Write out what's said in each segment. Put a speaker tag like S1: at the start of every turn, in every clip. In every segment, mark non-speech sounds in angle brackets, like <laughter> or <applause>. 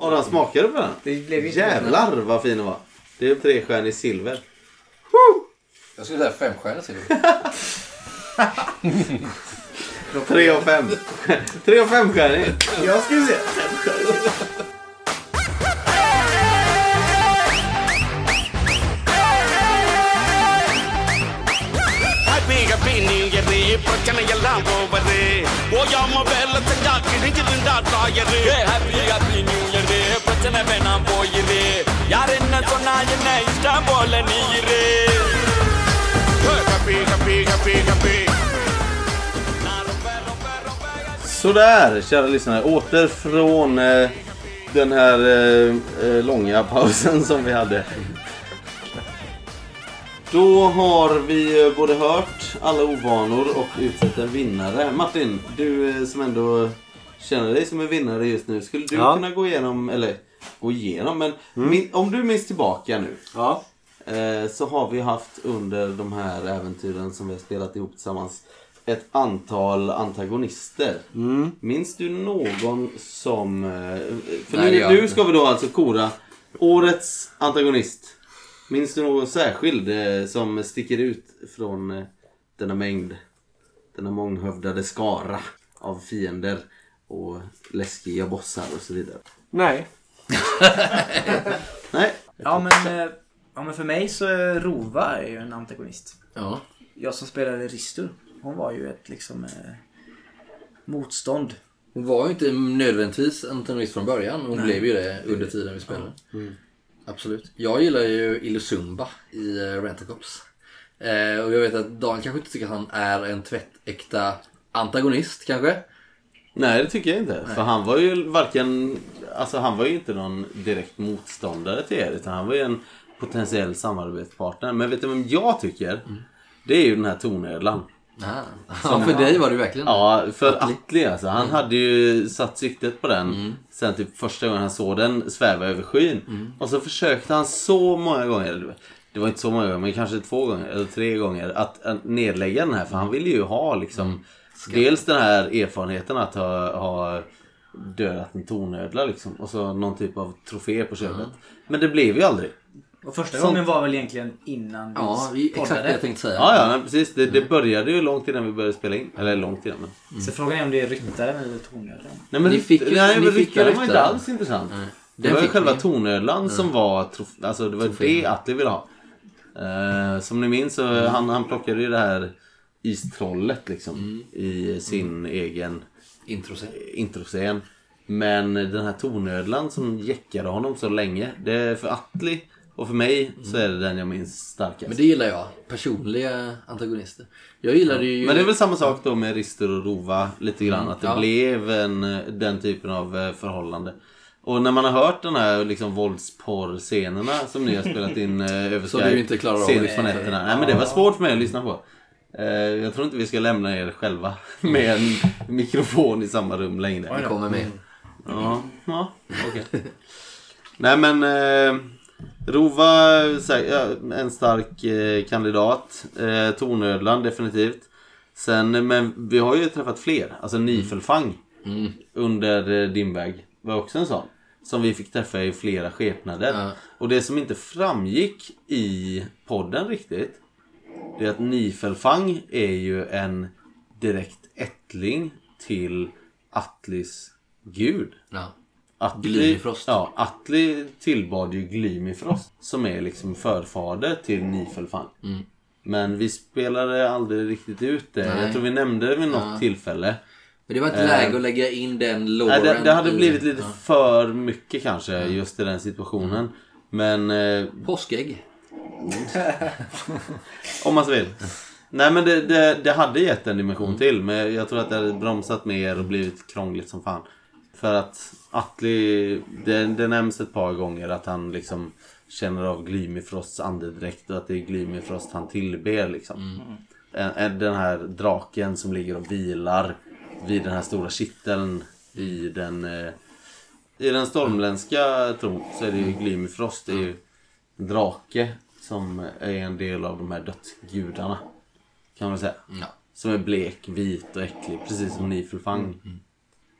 S1: Adam, smakar du på den?
S2: Det blev inte
S1: Jävlar vad fin den var. Det är trestjärnig silver.
S3: Jag skulle säga femstjärnigt till
S1: Tre av fem. <laughs> Tre av femstjärnig.
S2: Jag skulle säga...
S4: அபிகபி நீங்கரே பிரச்சனையெல்லாம் போவது ஓயாம வேலை செஞ்சா கிழிஞ்சிருந்தா தாயரு happy happy new year பிரச்சனை வேணாம் போயிரு யார் என்ன சொன்னா என்ன இஷ்டம் போல நீ இரு ஹப்பி ஹப்பி ஹப்பி ஹப்பி நான் ரொம்ப ரொம்ப ரொம்ப
S1: Sådär, kära lyssnare. Åter från eh, den här eh, eh, långa <laughs> pausen som vi hade. Då har vi eh, både hört alla ovanor och utsett en vinnare. Martin, du eh, som ändå känner dig som en vinnare just nu. Skulle du
S2: Ja.
S1: kunna gå igenom, eller gå igenom, men min, om du minns tillbaka nu.
S2: Ja.
S1: Eh, så har vi haft under de här äventyren som vi har spelat ihop tillsammans ett antal antagonister.
S3: Mm.
S1: Minns du någon som... eh, För
S3: Nej, det
S1: nu,
S3: gör jag
S1: nu
S3: inte.
S1: ska vi då alltså kora årets antagonist. Minns du någon särskild eh, som sticker ut från eh, denna mängd? Denna månghövdade skara av fiender och läskiga bossar och så vidare.
S2: Nej.
S1: <laughs> Nej,
S5: Ja men, eh, ja men för mig så är Rova är ju en antagonist.
S3: Ja.
S5: Jag som spelade Ristur, hon var ju ett liksom eh, motstånd.
S3: Hon var ju inte nödvändigtvis antagonist från början. Hon blev ju det under tiden vi spelade.
S1: Mm.
S3: Absolut. Jag gillar ju Ilusumba i eh, Rent-A-Cops. Eh, och jag vet att Dan kanske inte tycker att han är en tvättäkta antagonist kanske.
S1: Nej, det tycker jag inte. För han var ju varken... Alltså han var ju inte någon direkt motståndare till er. Utan han var ju en potentiell samarbetspartner. Men vet du vem jag tycker? Det är ju den här tornödlan.
S3: Ah. Ja, för dig var det ju verkligen.
S1: Ja, för Atli alltså. Han hade ju satt siktet på den. Sen typ första gången han såg den sväva över skyn. Och så försökte han så många gånger. Det var inte så många gånger, men kanske två gånger eller tre gånger. Att eh, nedlägga den här. För han ville ju ha liksom. Dels den här erfarenheten att ha, ha dödat en tornödla liksom. Och så någon typ av trofé på köpet. Men det blev ju aldrig.
S5: Och första
S1: Sånt-
S5: gången var väl egentligen innan vi
S3: Ja, vi- exakt det jag tänkte säga.
S1: Ja, ja, nej, Mm. precis. Det, det började ju långt innan vi började spela in. Eller långt innan men.
S5: Så frågan är om det är ryttaren eller tornödlan.
S1: Nej men,
S3: Ni fick ju-
S1: nej,
S3: ni
S1: men
S3: fick ju
S1: ryttaren var inte
S3: ryttaren.
S1: alls intressant. Det
S3: Den
S1: var ju
S3: fick
S1: själva
S3: ni.
S1: tornödlan som var trof- alltså det var det Atli ville ha. Eh, som ni minns så
S3: Mm.
S1: han, han plockade ju det här istrollet liksom
S3: Mm.
S1: i sin egen eh,
S3: Introscen.
S1: introscen. Men den här tornödlan som jäckade honom så länge. Det är för Atli och för mig så är det den jag minns starkast.
S3: Mm. Men det gillar jag. Personliga antagonister. Jag gillade ju... Mm,
S1: Men det är väl samma sak då med Rister och Rova lite grann. Att det
S3: ja.
S1: blev en, eh, den typen av eh, förhållande. Och när man har hört den här liksom, våldsporrscenerna som ni har spelat
S3: <laughs>
S1: in eh, över
S3: Som du inte klarar av att
S1: sent på
S3: lyssna till.
S1: nätterna. Nej men det var svårt för mig att lyssna på. Eh, Jag tror inte vi ska lämna er själva <laughs> med en mikrofon i samma rum längre.
S3: Det kommer med.
S1: Mm. Ja, ja okej. Nej men eh, Rova sä- ja, en stark eh, kandidat. Eh, Tornödlan definitivt. Sen, eh, men vi har ju träffat fler. Alltså Nifelfang under eh, din väg var också en sån. Som vi fick träffa i flera skepnader.
S3: Ja.
S1: Och det som inte framgick i podden riktigt. Det är att Nifelfang är ju en direkt ättling till Atlis gud.
S3: Ja.
S1: Atli,
S3: Glymifrost.
S1: Ja, Atli tillbad ju Glymifrost som är liksom förfader till Nifelfang.
S3: Mm.
S1: Men vi spelade aldrig riktigt ut det.
S3: Nej.
S1: Jag tror vi nämnde det vid något tillfälle.
S3: Men det var inte läge att lägga in den
S1: Eh. Nej,
S3: loren.
S1: det, det hade
S3: i-
S1: blivit lite
S3: Ja. Mm.
S1: för mycket kanske just i den situationen. Men eh,
S3: Påskägg.
S1: om man så vill. Nej men det, det, det hade gett en dimension till. Men jag tror att det hade bromsat mer och blivit krångligt som fan. För att Atli, det, det nämns ett par gånger att han liksom känner av Glymifrosts andedräkt och att det är Glymifrost han tillber liksom. En- en- Den här draken som ligger och vilar vid den här stora kitteln i den eh, i den stormländska tron så är det ju Glymifrost, det är ju en drake som är en del av de här dödsgudarna. Kan man säga.
S3: Ja.
S1: Som är blek, vit och äcklig, precis som Nifelfang.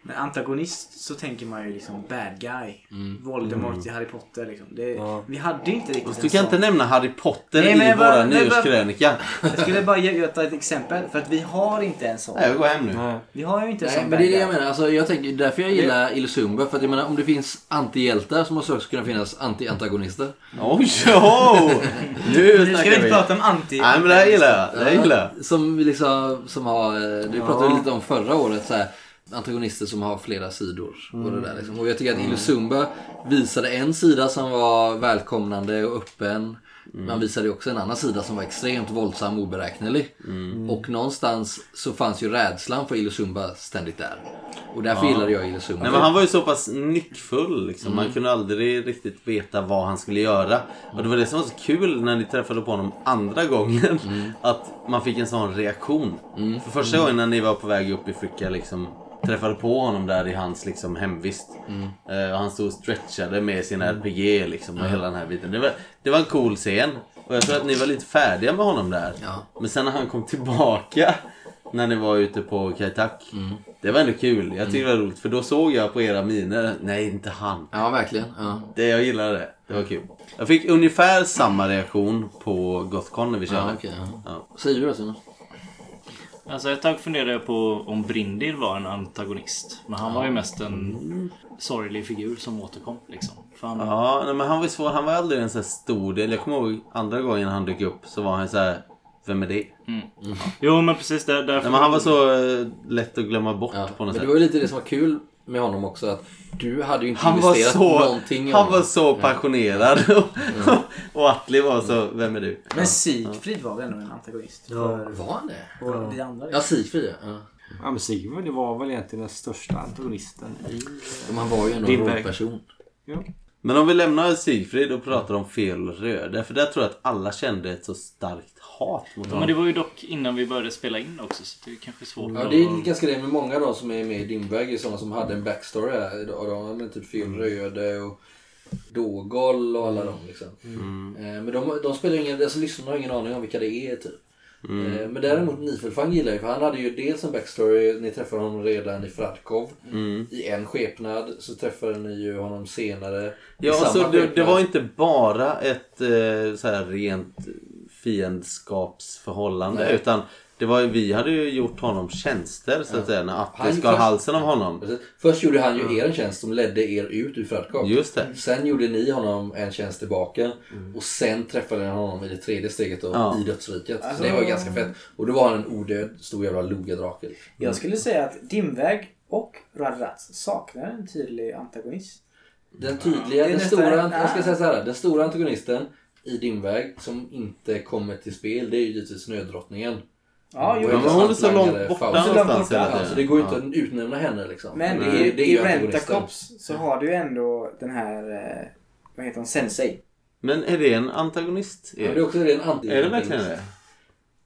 S5: Men antagonist så tänker man ju liksom bad guy. Voldemort i Harry Potter liksom. Det,
S2: Ja.
S5: Vi hade ju inte riktigt
S1: Du kan inte nämna Harry Potter
S5: Nej, men
S1: i
S5: jag bara-
S1: våra
S5: nej, bara-
S1: nyårskrönika.
S5: Jag skulle bara ge ta ett exempel. För att vi har inte en sån.
S1: Nej, jag går hem nu.
S2: Nej.
S5: Vi har ju inte en
S3: Nej,
S5: sån
S3: men det är det
S5: bad
S3: jag
S5: guy.
S3: menar. Alltså, jag tänker, därför jag gillar Illusumba. För att jag menar, om det finns antihjältar så måste det också kunna finnas anti-antagonister.
S1: Oj, oh, Nu
S5: Nu ska vi
S1: snackar
S5: inte
S1: vi.
S5: prata om anti.
S1: Nej, men det här gillar jag. Det här gillar jag.
S3: Som vi liksom, som har, eh, vi pratade lite om förra året så här, antagonister som har flera sidor. Och, det där, liksom. och jag tycker att Illusumba visade en sida som var välkomnande och öppen. Man visade ju också en annan sida som var extremt våldsam och oberäknelig. Och någonstans så fanns ju rädslan för Illusumba ständigt där. Och därför gillade jag Illusumba.
S1: Nej, men han var ju så pass nyckfull. Liksom. Man kunde aldrig riktigt veta vad han skulle göra. Och det var det som var så kul när ni träffade på honom andra gången. <laughs> Att man fick en sån reaktion. För första gången när ni var på väg upp i Fricka liksom, träffade på honom där i hans liksom, hemvist. Eh, och han stod och stretchade med sina RPG liksom, och hela den här biten. Det var, det var en cool scen. Och jag tror att ni var lite färdiga med honom där.
S3: Ja.
S1: Men sen när han kom tillbaka när ni var ute på Kajtak.
S3: Mm.
S1: Det var ändå kul. Jag tyckte det var roligt för då såg jag på era miner. Nej, inte han.
S3: Ja, verkligen. Ja.
S1: Det, jag gillade det. Det var kul. Jag fick ungefär samma reaktion på Gothcon när vi körde.
S3: Ja, Ah, okej, ja.
S1: Ja.
S3: Säger du då Simon?
S6: Alltså ett tag funderade jag på om Brindir var en antagonist. Men han var ju mest en sorglig figur som återkom liksom. För han,
S1: Ja, nej, men han var ju svår. Han var aldrig en så här stor del. Jag kommer ihåg andra gången han dök upp så var han så här. Vem är det?
S6: Jo men precis där, därför...
S1: Nej, men han var så eh, lätt att glömma bort
S3: Ja.
S1: på
S3: Men
S1: något
S3: det
S1: sätt.
S3: var ju lite det som var kul med honom också. Att du hade ju inte
S1: Han var
S3: investerat
S1: så,
S3: någonting i
S1: han
S3: honom.
S1: var så passionerad. <laughs> och Atli var så, vem är du?
S5: Men Sigfrid var väl ändå en antagonist? För
S3: Var han det?
S5: vår, vi andra.
S3: Ja, Sigfrid ja. ja.
S2: Ja, men Sigvard det var väl egentligen den största antagonisten i...
S3: Men han var ju ändå
S2: Din
S3: en
S2: väg.
S3: rollperson.
S2: Ja.
S1: Men om vi lämnar Sigfrid och pratar om fel röda. För där tror jag att alla kände ett så starkt hat mot
S6: Ja,
S1: honom.
S6: men det var ju dock innan vi började spela in också så det är kanske svårt
S3: Ja, det är ganska det med många då som är med i din väg. är sådana som hade en backstory här. Och de var med typ
S1: Mm.
S3: Fjällröde och Dågol och alla de liksom.
S1: Mm.
S3: Eh, Men de, de spelar ju ingen, alltså lyssnarna har ingen aning om vilka det är typ.
S1: Mm.
S3: Eh, Men däremot Nifelfang gillar jag ju för han hade ju dels en backstory, ni träffade honom redan i Fradkov
S1: Mm.
S3: i en skepnad, så träffade ni ju honom senare i
S1: Ja,
S3: samma
S1: alltså, det, det
S3: skepnad.
S1: var inte bara ett eh, så här rent fiendskapsförhållande.
S3: Nej.
S1: Utan det var, ju- vi hade ju gjort honom tjänster så att säga. När
S3: Han
S1: Atli skar
S3: först-
S1: halsen av honom.
S3: Precis. Alltså, Först gjorde han ju er en tjänst som ledde er ut ur Fradkov.
S1: Just det. Mm.
S3: Sen gjorde ni honom en tjänst tillbaka och sen träffade ni honom i det tredje steget då,
S1: Ja.
S3: i dödsriket.
S5: Alltså,
S3: Så det var ju ganska fett. Och då var han en odöd stor jävla logadrake.
S5: Jag skulle säga att Dimväg och Radratz saknar en tydlig antagonist.
S3: Den tydliga,
S5: Det är
S3: den
S5: nästan-
S3: stora, jag ska säga så här, den stora antagonisten i din väg som inte kommer till spel det är ju givetvis Snödrottningen.
S5: Ja, jo.
S1: men
S3: Hon är
S1: hon är så långt
S3: hantlangare,
S1: borta
S3: Faust.
S5: Så långt
S1: någonstans
S5: borta,
S1: hela
S3: Ja,
S1: tiden.
S3: så det går ju inte att utnämna henne liksom.
S5: Men
S3: det,
S5: i,
S3: det är
S5: i
S3: ju antagonisten.
S5: Rentacops
S1: Mm.
S5: så har du ändå den här, eh, vad heter hon, Sensei.
S1: Men är det en antagonist?
S3: Ja, men det är också det är en anti
S1: Är det verkligen det?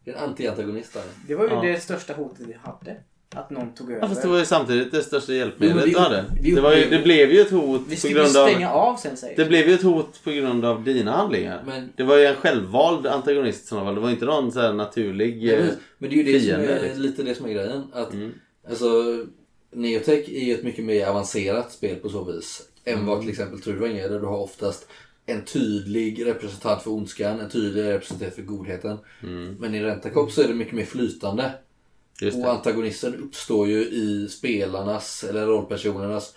S3: Det är en anti-antagonist där.
S5: Det var ju
S1: Ja.
S5: det största hotet vi hade. Att någon tog över.
S1: Ja, fast det var ju samtidigt det största
S3: Jo,
S1: hjälpmedlet
S3: men
S1: du
S3: vi-
S1: hade.
S3: vi-
S1: Det, var ju, det blev ju ett hot
S5: vi
S1: på
S5: skulle ju
S1: grund av...
S5: stänga av Sensei.
S1: Det blev ju ett hot på grund av dina handlingar.
S3: Men-
S1: Det var ju en självvald antagonist i sådana fall. Det var inte någon så här naturlig...
S3: Ja,
S1: eh,
S3: precis. Men det är ju det som
S1: fiende,
S3: är,
S1: liksom. Mm.
S3: lite det som är grejen. Att, alltså, Neotech är ju ett mycket mer avancerat spel på så vis. Än
S1: Mm.
S3: vad till exempel Truvan är. Där du har oftast en tydlig representant för ondskan, en tydlig representant för godheten.
S1: Mm.
S3: Men i Rentacop så är det mycket mer flytande.
S1: Just
S3: Och
S1: det.
S3: antagonisten uppstår ju i spelarnas, eller rollpersonernas,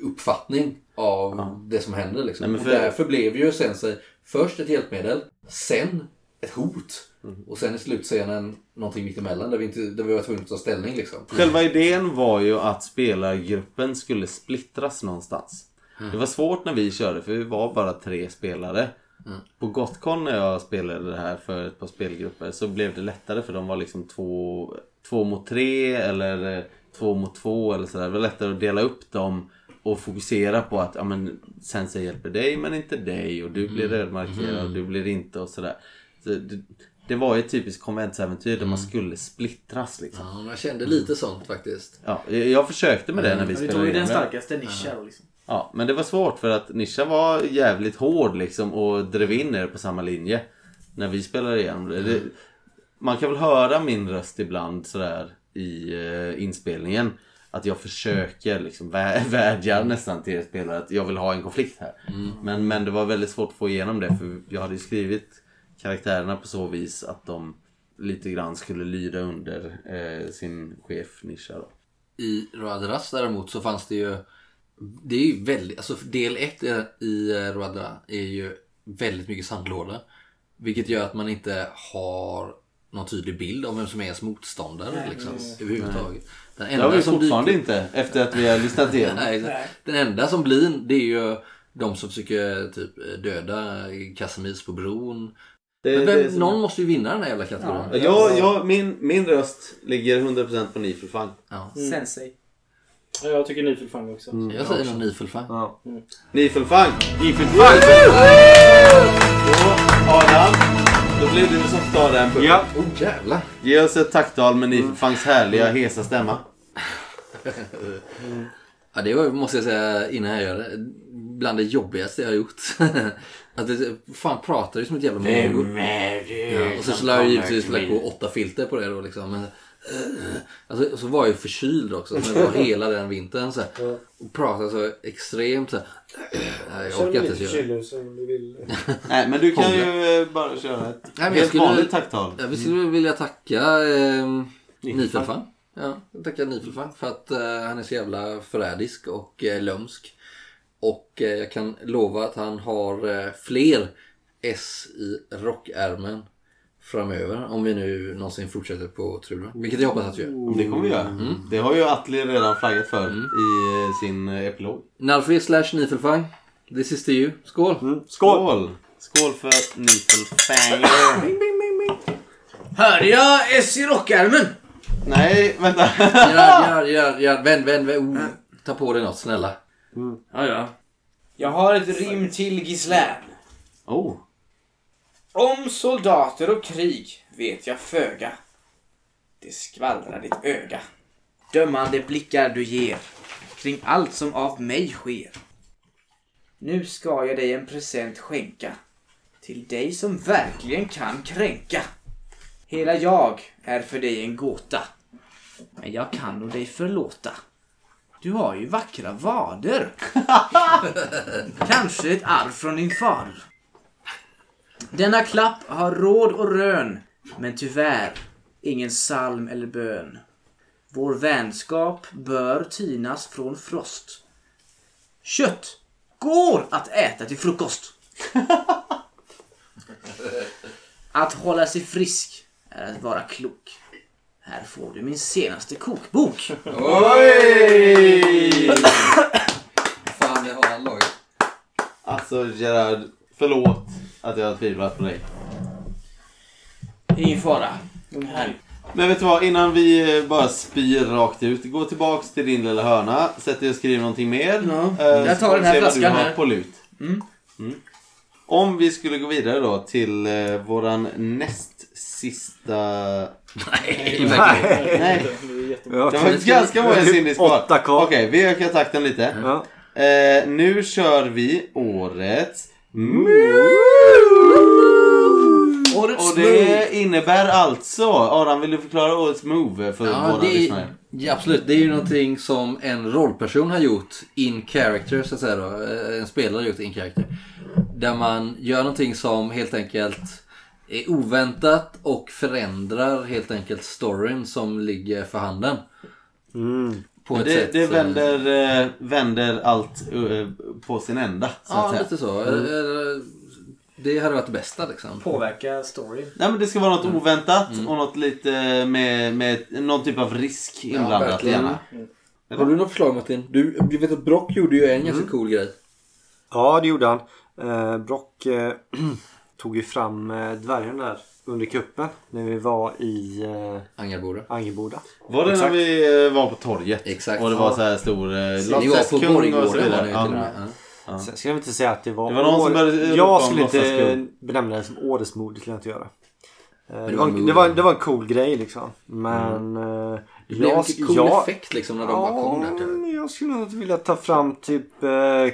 S3: uppfattning av det som händer. Liksom.
S1: Nej, men
S3: Och
S1: för-
S3: därför blev ju Sensei först ett hjälpmedel, sen ett hot. Och sen i slutscenen någonting mittemellan där vi, inte, där vi var tvungna att ta ställning. Liksom.
S1: Mm. Själva idén var ju att spelargruppen skulle splittras någonstans. Det var svårt när vi körde för vi var bara tre spelare. På Gothcon när jag spelade det här för ett par spelgrupper så blev det lättare för de var liksom två, två mot tre eller eh, två mot två eller sådär. Det var lättare att dela upp dem och fokusera på att ja, men, Sensei hjälper dig men inte dig och du blir rödmarkerad och du blir inte och sådär. Så det, det var ju ett typiskt konventsäventyr där man skulle splittras liksom.
S3: Ja, jag kände lite sånt faktiskt.
S1: Ja, jag- jag försökte med det när vi
S5: Mm. Ja, vi
S1: spelade
S5: tog ju
S1: in
S5: den
S1: det.
S5: starkaste nischen. då, Liksom.
S1: Ja, men det var svårt för att Nisha var jävligt hård liksom och drev in er på samma linje. När vi spelade igenom det.
S5: Mm.
S1: det man kan väl höra min röst ibland sådär i eh, inspelningen. att jag försöker liksom vä- <laughs>
S5: Mm.
S1: vädja nästan till spelare att jag vill ha en konflikt här. Men, men det var väldigt svårt att få igenom det för jag hade ju skrivit karaktärerna på så vis att de lite grann skulle lyda under eh, sin chef Nisha då.
S3: I Roadras däremot så fanns det ju... Det är ju väldigt... Alltså del 1 i Roadra är ju väldigt mycket sandlåda. Vilket gör att man inte har någon tydlig bild om vem som är ens motståndare liksom, överhuvudtaget. Den
S1: Det har vi
S3: som dyker-
S1: fortfarande inte efter att vi har lyssnat igenom.
S3: Nej, exakt. Den enda som blir det är ju de som försöker typ döda Casimirs på bron.
S1: Det-
S3: Men
S1: det är
S3: vem,
S1: så-
S3: någon måste ju vinna den här jävla kategorin. Ja.
S1: Ja, ja, min, min röst ligger 100% på ni för fan.
S7: Sensei.
S8: Ja, Jag tycker Nifelfang också.
S2: Mm.
S3: Jag säger nog Nifelfang.
S1: Ni för fan!
S2: Ifelfang!
S1: Adam, då blev du som tar den punkten.
S2: Ja.
S3: Åh oh, jävlar.
S1: Ge oss ett tacktal med ni för fans härliga hesa stämma.
S3: Ja, det var, måste jag säga innan jag gör det. Bland det jobbigaste jag har gjort. <laughs> att det, fan pratar ju som ett jävla mongo.
S9: är
S3: Ja, och så skulle jag ju givetvis lagt på åtta filter på det då liksom. Men, eh, alltså, och så var jag ju förkyld också. Så det var hela den vintern så här, Och pratade så extremt så här, <clears throat> Nej, Jag
S8: Känner
S3: orkar
S8: mig lite
S3: inte ens göra det.
S8: kylig som du vill.
S1: Nej, men du kan
S3: Kom,
S1: ju eh, bara köra ett
S3: men jag
S1: helt
S3: skulle-
S1: vanligt tacktal.
S3: Ja, vi skulle vilja tacka eh, Nifelfang. Ja, tacka Nifelfang för att eh, han är så jävla förrädisk och eh, lömsk. Och eh, jag kan lova att han har eh, fler S i rockärmen framöver. Om vi nu någonsin fortsätter på trudan. Vilket jag hoppas att vi gör.
S1: Mm. Det kommer vi göra.
S3: Mm.
S1: Det har ju Atli redan flaggat för i eh, sin eh, epilog.
S3: Nalfi slash Nifelfang. This is to you. Skål!
S1: Mm.
S2: Skål!
S1: Skål! Skål för Nifelfanger!
S7: Hörde jag S i rockärmen?
S1: Nej,
S7: <laughs>
S1: vänta.
S3: Gerard, Gerard, Gerard, Gerard. Vänd, vänd, vänd. Oh, ta på dig något snälla.
S7: Ja, ja. Jag har ett rim till Gislän.
S1: Oh.
S7: Om soldater och krig vet jag föga. Det skvallrar ditt öga. Dömande blickar du ger kring allt som av mig sker. Nu ska jag dig en present skänka till dig som verkligen kan kränka. Hela jag är för dig en gåta, men jag kan nog dig förlåta. Du har ju vackra vader. Kanske ett arv från din far. Denna klapp har råd och rön, men tyvärr ingen psalm eller bön. Vår vänskap bör tinas från frost. Kött går att äta
S5: <laughs>
S7: till frukost. Att hålla sig frisk är att vara klok. Här får du min senaste kokbok.
S3: Fan, det har han lagat.
S1: Alltså Gerard, förlåt att jag har tvivlat på dig.
S7: Ingen fara. Den här.
S1: Men vet du vad, innan vi eh, bara spyr rakt ut. Gå tillbaks till din lilla hörna. Sätt dig och skriv någonting mer.
S7: Ja.
S1: Eh,
S7: Jag
S1: så
S7: tar
S1: får vi
S7: den här
S1: se vad
S7: flaskan
S1: du har
S7: här.
S1: på lut. Mm. Om vi skulle gå vidare då till eh, våran näst sista... Nej,
S3: Nej.
S8: Det är jättemycket.
S1: det var ganska många Cindy kvar.
S2: typ Åtta kvar.
S1: Okej, vi ökar takten lite.
S2: Ja.
S1: Eh, nu kör vi årets...
S2: Mm.
S7: Årets
S1: Och det innebär alltså... Adam, vill du förklara årets move för
S3: Ja,
S1: våra
S3: det
S1: lyssnare?
S3: är, ja, absolut. Det är ju någonting som en rollperson har gjort in character, så att säga då. Eh, En spelare har gjort in character. Där man gör någonting som helt enkelt är oväntat och förändrar helt enkelt storyn som ligger för handen. På ett
S1: Det,
S3: sätt.
S1: det
S3: eh,
S1: vänder, eh, vänder allt eh, på sin ända. Så att
S3: Ja,
S1: säga.
S3: lite så. Eh, Det hade varit det bästa liksom.
S8: Påverka storyn.
S1: Nej, men det ska vara något
S3: Mm.
S1: oväntat och något lite med, med någon typ av risk inblandat.
S3: verkligen.
S1: gärna.
S3: Har du något förslag Martin? Du, jag vet att Brock gjorde ju en
S1: Mm.
S3: ganska cool grej.
S2: Ja, det gjorde han. Eh, Brock eh, <clears throat> tog ju fram eh, dvärgen där under kuppen när vi var i eh,
S3: Angelboda.
S2: Angelboda.
S1: var det när
S2: Exakt.
S1: vi eh, var på torget?
S3: Exakt.
S1: Och det var så här stor eh,
S3: Ni var på
S1: låtsaskung och så
S3: Borggården var
S1: vidare.
S3: ni
S1: Ja.
S3: till och med. Ja.
S2: Sen ska vi inte säga att det var,
S1: Det var någon som började ropa
S2: Jag
S1: om
S2: skulle inte
S1: låtsaskung.
S2: benämna det som årets mod. Det skulle jag inte göra. Eh, Det
S3: det
S2: var,
S3: var
S2: en,
S3: mod.
S2: det, var, det var en cool grej liksom. Men... eh,
S3: Det blev
S2: jag-
S3: en cool
S2: jag-
S3: effekt liksom när de bara kom
S2: Ja,
S3: där. typ.
S2: men jag skulle nog vilja ta fram typ eh,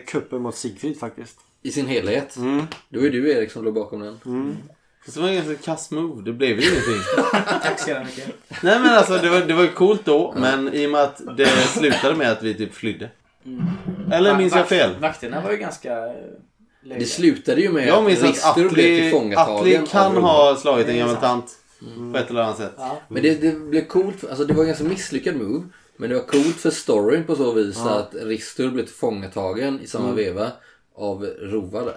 S2: kuppen mot Sigfrid faktiskt.
S3: I sin helhet.
S2: Mm.
S1: Mm.
S3: Det var ju du Erik som låg bakom den.
S1: Fast det var en ganska kass move. Det blev ju ingenting.
S10: Tack så jävla mycket.
S1: <laughs> Nej men alltså det var, det var ju coolt då. Men i och med att det slutade med att vi typ flydde.
S5: Mm.
S1: Eller minns jag fel?
S5: Vakterna var ju ganska eh,
S3: Det
S5: löjliga.
S3: slutade ju med
S1: Jag
S3: att
S1: minns att
S3: Rister blev
S1: Atli, Atli
S3: tillfångatagen
S1: kan
S3: av
S1: ha slagit en
S5: Det är
S1: gammal
S5: sant.
S1: tant. På ett eller annat sätt.
S5: Mm. Ja.
S3: Men det, det blev coolt, alltså det var en ganska misslyckad move. Men det var coolt för storyn på så vis att Ristur blev tillfångatagen i samma
S1: Mm.
S3: veva av rovare.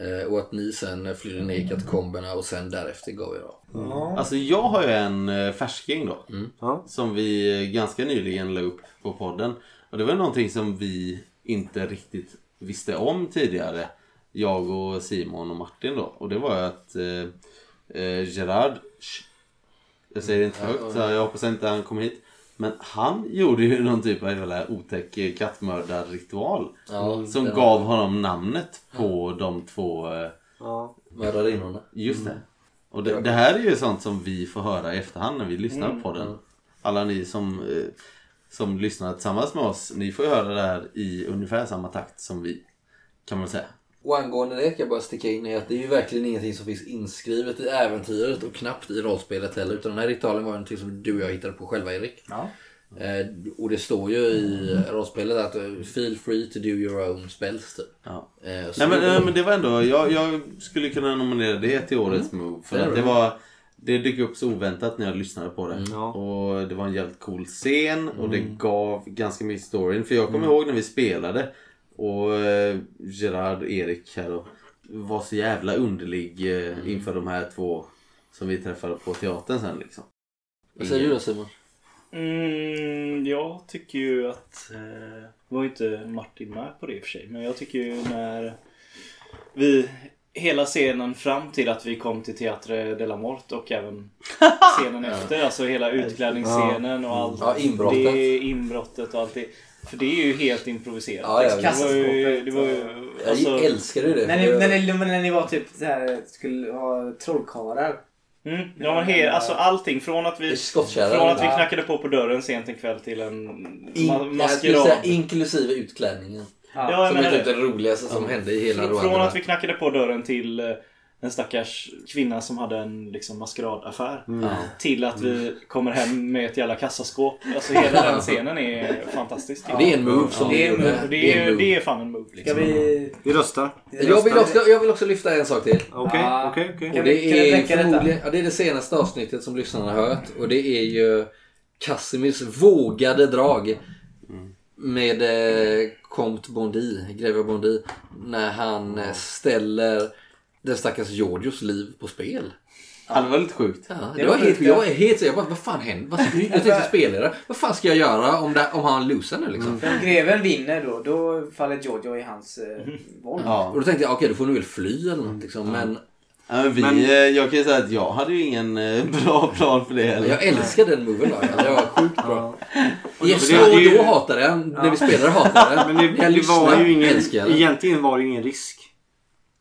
S3: Eh, och att ni sen flydde ner
S1: Mm.
S3: i katakomberna och sen därefter gav er av.
S1: Alltså jag har ju en eh, färsking då.
S2: Ja.
S1: Som vi eh, ganska nyligen la upp på podden. Och det var någonting som vi inte riktigt visste om tidigare. Jag och Simon och Martin då. Och det var ju att eh, eh, Gerard sh, Jag säger det inte högt så jag hoppas inte han kommer hit. Men han gjorde ju någon typ av jävla otäck eh, kattmördarritual.
S3: Ja,
S1: som
S3: den-
S1: gav honom namnet på de två eh,
S2: Ja.
S3: Mördarinnorna.
S1: Just
S3: Mm.
S1: det. Och det, det här är ju sånt som vi får höra i efterhand när vi lyssnar
S3: Mm.
S1: på den. Alla ni som, eh, som lyssnar tillsammans med oss, ni får ju höra det här i ungefär samma takt som vi. Kan man säga.
S3: Och angående det kan jag bara sticka in i att det är ju verkligen ingenting som finns inskrivet i äventyret och knappt i rollspelet heller. Utan den här ritualen var ju någonting som du och jag hittade på själva Erik.
S5: Ja.
S3: Eh, och det står ju i rollspelet att eh, feel free to do your own spells typ.
S1: Ja.
S3: Eh, så
S1: Nej men,
S3: det-
S1: nej men det var ändå, jag, jag skulle kunna nominera det till årets move. För
S3: Mm. Det är
S1: att det
S3: bra.
S1: var, det dök upp så oväntat när jag lyssnade på
S3: Mm.
S1: det.
S2: Ja.
S1: Och det var en jävligt cool scen och det gav ganska mycket storyn. För jag
S3: Mm.
S1: kommer ihåg när vi spelade och eh, Gerard och Erik här och var så jävla underlig eh,
S3: Mm.
S1: inför de här två som vi träffade på teatern sen liksom.
S3: Vad säger du då Simon?
S10: Mm, jag tycker ju att... Eh, var ju inte Martin med på det i och för sig. Men jag tycker ju när vi... Hela scenen fram till att vi kom till Teatre de la Mort och även scenen efter. Alltså hela utklädningsscenen och allt.
S3: Ja, inbrottet.
S10: Det inbrottet och allt det. För det är ju helt improviserat.
S3: Ja, ja,
S10: det var ju... Det var ju alltså,
S3: jag älskar ju det.
S5: När ni, när, ni, när ni var typ så här, skulle ha trollkarlar.
S10: mm, ja, men he, alltså allting från att vi...
S3: Skottkärran.
S10: Från att vi knackade på på dörren sent en kväll till en ma-
S3: In, jag skulle säga
S10: maskerad.
S3: inklusive utklädningen.
S10: Ja, jag
S3: Som är
S10: menar
S3: typ
S10: det.
S3: det roligaste som hände i hela
S10: Från-
S3: Rwanda.
S10: Från att vi knackade på dörren till eh, en stackars kvinna som hade en liksom, maskeradaffär.
S3: Mm.
S10: Till att vi kommer hem med ett jävla kassaskåp. Alltså hela den
S3: <laughs>
S10: scenen är fantastisk.
S3: Det är en move som
S5: det är en
S3: vi
S5: move.
S3: gjorde.
S10: Det är,
S3: en
S10: ju-
S3: move.
S10: det är fan en move
S5: Ska
S10: liksom.
S5: vi...
S2: Vi röstar.
S3: Jag vill, också, jag vill också lyfta en sak till.
S2: Okej,
S5: Ja.
S2: okej, okej.
S5: Kan
S3: Och
S5: vi- kan vi
S3: det, är
S5: bläcka detta?
S3: förmodligen, ja, det är det senaste avsnittet som lyssnarna har hört. Och det är ju Casimirs vågade drag med eh, Comte Bondi, greve Bondi. När han eh, ställer den stackars Georgios liv på spel.
S1: Ja, det var lite sjukt.
S3: Ja, det
S5: Det
S3: var
S5: var
S3: helt,
S5: sjukt,
S3: jag är helt så jag bara, vad fan händer? Vad ska, jag tänkte
S5: <laughs>
S3: spelare, vad fan ska jag göra om, det, om han losar nu liksom?
S5: Om greven vinner då, då faller Giorgio i hans eh, våld.
S1: Ja.
S3: Och då tänkte jag, okej då får du väl fly eller något liksom.
S5: Mm.
S3: Men
S1: Ja, men vi,
S2: Men-
S1: eh, jag kan ju säga att jag hade ju ingen eh, <laughs> bra plan för det heller.
S3: jag älskar den moven då. Alltså, det var sjukt bra. Yes,
S2: det-
S3: då och
S2: det är ju-
S3: då hatade jag den. När vi spelade hatade jag den.
S2: Men det,
S3: jag
S2: det var
S3: lyssnar,
S2: ju ingen,
S3: älskar jag den.
S2: egentligen var det ju ingen risk.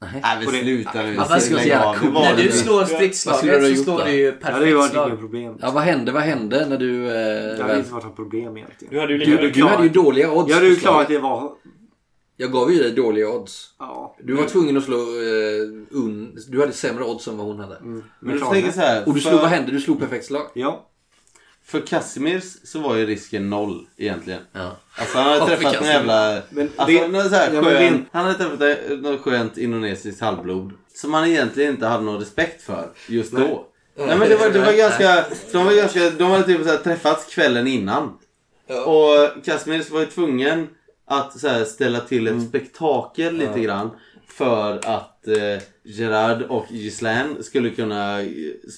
S1: Nej men
S2: Och det-
S1: sluta nu.
S3: Ja, fast det skulle vara så jävla
S1: Det
S3: coolt.
S1: var
S5: När
S1: det
S5: du
S1: inte.
S5: slår
S3: Vad skulle du ha
S5: stridsslaget så
S3: gjort då?
S5: slår du ju
S2: Ja, det var typ-
S5: perfekt
S2: inget
S5: slag.
S2: problem.
S3: Ja, vad hände, vad hände när du...
S2: Det
S3: Eh,
S2: hade
S3: väl,
S2: inte varit något problem egentligen.
S10: Du hade ju
S2: Du-
S10: lika...
S3: du hade ju dåliga odds.
S2: Jag hade ju
S3: på slaget.
S2: klarat det var...
S3: Jag gav ju dig dåliga odds.
S2: Ja.
S3: Du var tvungen att slå... Eh, un, du hade sämre odds än vad hon hade.
S2: Mm.
S1: Men du
S2: klarade
S1: tänker
S2: det.
S1: så här.
S3: Och du
S1: för-
S3: slog, vad hände? Du slog perfekt slag.
S2: Ja.
S1: För Casimirs så var ju risken noll egentligen.
S3: Ja.
S1: Alltså han hade
S3: Ja, för
S1: träffat någon
S3: Casimir.
S1: jävla...
S2: Men
S1: Alltså,
S2: det-
S1: någon så här
S2: ja, men
S1: skön,
S2: det-
S1: han hade träffat eh, något skönt indonesiskt halvblod. Som han egentligen inte hade någon respekt för just då. Nej men det var, det var ganska... De var ganska... De hade typ så här träffats kvällen innan. Och Casimirs var ju tvungen att så här, ställa till ett spektakel lite grann. För att eh, Gerard och Ghislaine skulle kunna eh,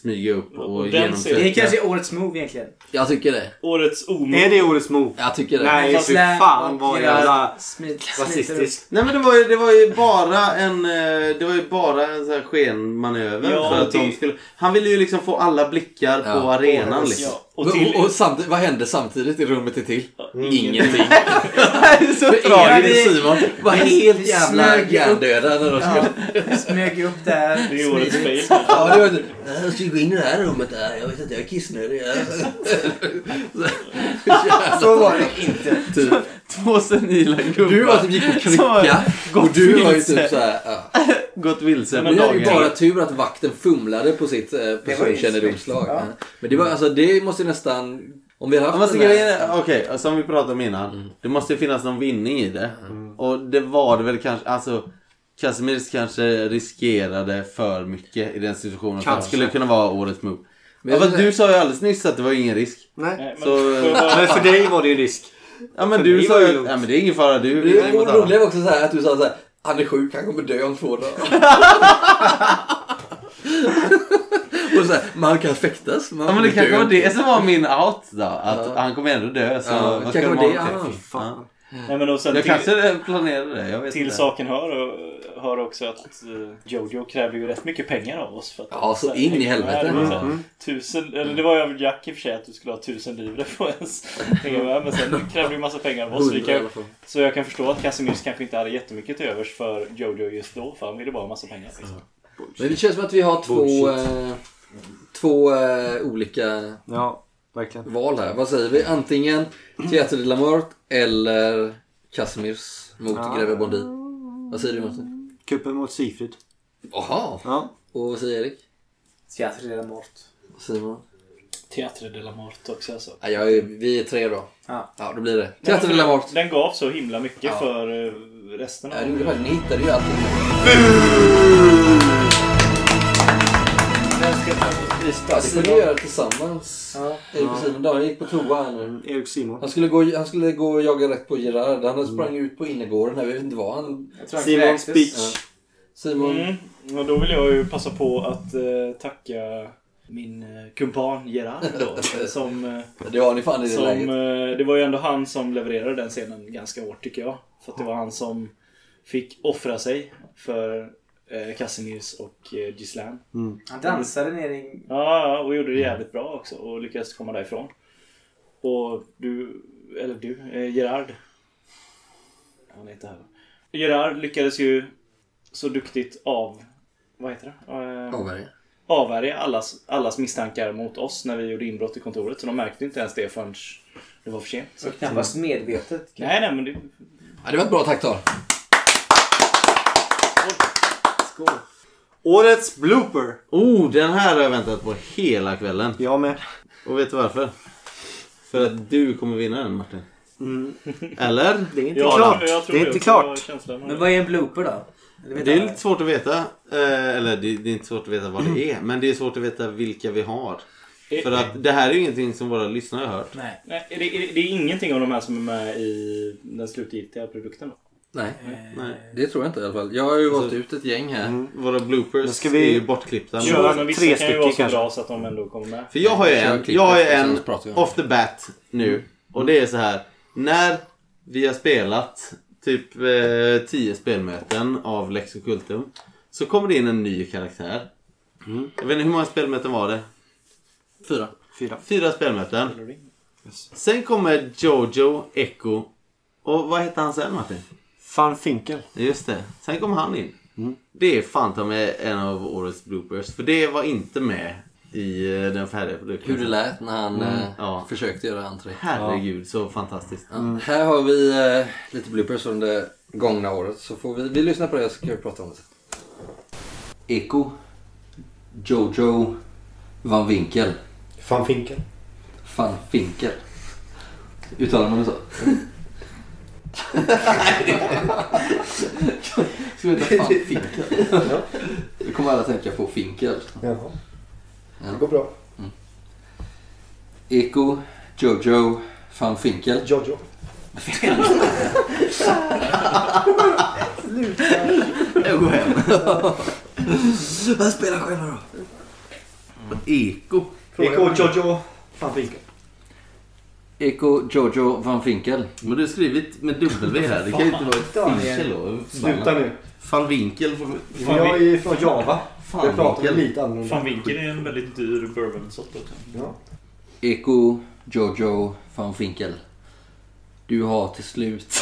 S1: smyga upp och,
S10: Och den
S1: genomsöka...
S10: ser-
S5: Det är kanske årets move egentligen.
S3: Jag tycker det.
S10: Årets
S2: Är
S10: omove.
S2: det årets move?
S3: Jag tycker det.
S2: Nej, fy
S5: Slä-
S2: fan
S5: och
S2: vad
S5: Gerard
S2: jävla
S5: smit- <laughs> smiter upp. <laughs>
S2: rasistisk.
S1: Nej men det var ju, det var ju bara en eh, Det var ju bara en sån här skenmanöver
S10: Ja,
S1: för att de
S10: det-
S1: skulle Han ville ju liksom få alla blickar
S3: Ja.
S1: på arenan liksom
S10: Ja.
S3: Och,
S10: Och till...
S3: och, samtidigt, vad hände samtidigt i rummet till? Ingenting.
S1: Det är så
S3: För Elin och Simon var helt jävla
S5: Smög upp.
S3: hjärndöda när de skulle...
S5: Smög upp där.
S10: <laughs> Det är årets fail.
S3: Ja, det var inte... Jag ska gå in i det här rummet där. Jag vet inte, jag är kissnödig.
S5: Så var det inte.
S3: Typ.
S1: Två senila gubbar
S3: Du var typ gick på
S1: Som har
S3: krycka och
S1: gått
S3: du var ju
S1: vilse.
S3: typ såhär... Ja.
S1: gått vilse på
S10: Men
S3: Men det är
S1: dagen.
S3: ju bara tur att vakten fumlade på sitt eh,
S5: Det var ju
S3: personkännedomslag.
S5: snyggt,
S3: Men det var alltså, det måste ju nästan... Om vi hade
S1: Ja,
S3: haft
S1: men så
S3: den här-
S1: grejen är- Okej, alltså, som vi pratade om innan. Det måste ju finnas någon vinning i det. Och det var det väl kanske. Alltså, Casemirs kanske riskerade för mycket i den situationen. För att det
S2: Kanske.
S1: skulle kunna vara årets move.
S3: Men
S1: Ja,
S3: jag
S1: fast
S3: vill
S1: du sa ju alldeles nyss att det var ingen risk.
S2: Nej.
S10: Nej, men
S1: Så,
S10: för
S1: eh,
S10: vad-
S2: Men för dig var det ju risk.
S1: Ja men
S2: För
S1: du
S2: mig
S1: sa
S2: var det
S1: ju
S2: lugnt.
S1: ja, men det är ingen fara. Du
S3: Det
S1: vinner mot alla.
S3: roliga var också så här att du sa så här, han är sjuk, han kommer dö om två dagar. och så här, man kan fäktas. Man
S1: Ja men det
S3: kan dö
S1: kanske var
S3: om två-
S1: det som var min out då. Att
S3: Ja.
S1: han kommer ändå dö. Så
S3: Ja,
S1: vad
S3: det
S1: ska de
S3: kanske var det
S1: ha
S3: han
S1: till?
S3: var.
S2: Fan.
S10: Nej, men och sen
S1: Jag
S10: till,
S1: kanske planerade det. Jag vet
S10: till
S1: inte.
S10: saken hör, och, hör också att eh, Jojo krävde ju rätt mycket pengar av oss. För att
S3: Ja, så in i helvete. Mm.
S10: Det, var så här, tusen, eller det var ju av Jack i och för sig att du skulle ha tusen livre på
S3: <laughs>
S10: ens pengar med, Men sen krävde du ju massa pengar av oss. Så, Alltså, vi
S3: Hundra i alla
S10: kan,
S3: fall.
S10: så jag kan förstå att Casimirs kanske inte hade jättemycket till övers för Jojo just då. För han ville bara ha massa pengar. Liksom.
S3: Men det känns som att vi har två,
S2: Bullshit.
S3: eh, två eh, olika
S2: Ja, verkligen.
S3: val här. Vad säger vi? Antingen Teater de la Mort eller Casimirs mot
S2: Ja.
S3: Greve Bondi. Vad säger du Martin?
S2: Kuppen mot Sifrid.
S3: Jaha!
S2: Ja.
S3: Och vad säger Erik?
S5: Teater redan bort.
S3: Vad säger man?
S10: Teatre de la Mort också alltså.
S3: Ja, jag är, vi är tre då.
S5: Ja.
S3: Ja, då blir det. Teater de la Mort.
S10: Den gav så himla mycket
S3: Ja.
S10: för eh, resten
S3: Ja,
S10: av...
S3: det gjorde faktiskt. Ni hittade ju allting. Ja, det kunde vi göra tillsammans.
S5: Ja.
S3: Erik och Simon. Daniel gick på toa här nu.
S2: Erik Simon.
S3: Han skulle, gå, han skulle gå och jaga rätt på Gerard. Han sprang ut på innergården. Jag vet inte vad han...
S5: Jag tror han
S2: Simon
S5: kräktes.
S2: Speech.
S3: Simon...
S10: Mm. Och då vill jag ju passa på att eh, tacka min eh, kumpan Gerard då, som, eh,
S3: Det har ni fan i det
S10: som
S3: läget.
S10: eh, Det var ju ändå han som levererade den scenen ganska hårt tycker jag. För att det var han som fick offra sig för eh, Casimirs och eh, Gislan.
S5: Han dansade ner i...
S10: Ja, ja, och gjorde det jävligt bra också och lyckades komma därifrån. Och du, eller du, eh, Gerard. Han är inte här. Gerard lyckades ju så duktigt av... Vad heter det? Eh,
S3: Avvärja.
S10: avvärja allas, allas misstankar mot oss när vi gjorde inbrott i kontoret. Så de märkte inte ens det förrän det var för sent.
S5: Så knappast medvetet.
S10: Nej, nej, men det...
S3: Ja, det var ett bra takttal.
S5: Skål.
S2: Årets blooper.
S1: Oh, den här har jag väntat på hela kvällen.
S2: Jag med.
S1: Och vet du varför? För att du kommer vinna den Martin. Mm. <laughs> Eller?
S2: Det är inte klart. det är inte klart.
S5: Men vad är en blooper då? Eller vet
S1: Det är
S5: alla?
S1: lite svårt att veta. Eh, eller det, det är inte svårt att veta vad det är. Men det är svårt att veta vilka vi har. För att det här är ju ingenting som våra lyssnare har hört.
S5: Nej.
S10: Nej, är det, är det, det är ingenting av de här som är med i den slutgiltiga produkten. Då.
S3: Nej,
S1: Nej.
S3: det tror jag inte i alla fall. Jag har ju valt ut ett gäng här.
S1: Våra bloopers
S2: Men ska vi-
S1: är ju bortklippta.
S2: Kör.
S10: Ja, men vissa
S2: tre
S10: kan ju
S2: stycken
S10: vara så
S2: kanske.
S10: bra så att de ändå kommer med.
S1: För jag har ju
S3: Kör
S1: en,
S3: klippet
S1: jag har ju
S3: och sen
S1: en
S3: så pratar vi om Mm.
S1: off the bat nu. Och det är så här. När vi har spelat typ 10 spelmöten av Lex Occultum Så kommer det in en ny karaktär.
S3: Mm.
S1: Jag vet inte hur många spelmöten var det?
S3: Fyra.
S2: Fyra.
S1: Fyra spelmöten. Sen kommer Jojo, Echo och vad heter han sen Martin?
S2: Van Finkel.
S1: Just det. Sen kom han in.
S3: Mm.
S1: Det är fan ta med en av årets bloopers. För det var inte med i eh, den färdiga produkten.
S3: Hur det lät när han eh,
S1: ja.
S3: försökte göra entré.
S1: Herregud så fantastiskt.
S3: Ja, Här har vi eh, lite bloopers från det gångna året. Så får vi, vi lyssnar på det så kan vi prata om det sen. Eko. Jojo. Van Winkel.
S2: Van Finkel.
S3: Van Finkel. Uttalar man det så? <laughs> Ska vi heta Van Finkel? Då kommer alla tänka på Finkel.
S11: Jaha. Det går bra.
S3: Eko. Jojo. Van Finkel.
S11: Jojo.
S1: Jag går hem.
S3: Han spelar själv då.
S1: Mm. Eko.
S11: Fråga mig.
S2: Jojo. Van Finkel.
S3: Eko. Jojo. Van Finkel.
S1: Men du har skrivit med W här. Det kan ju inte vara ett finkel då.
S11: Sluta nu.
S1: Van Winkel. får-
S11: Jag är från Java.
S1: Fan
S11: Där pratar vi
S1: Winkel.
S11: lite annorlunda.
S10: Winkel är en väldigt dyr bourbonsort.
S11: Ja.
S3: Eko, Jojo, van Finkel. Du har till slut...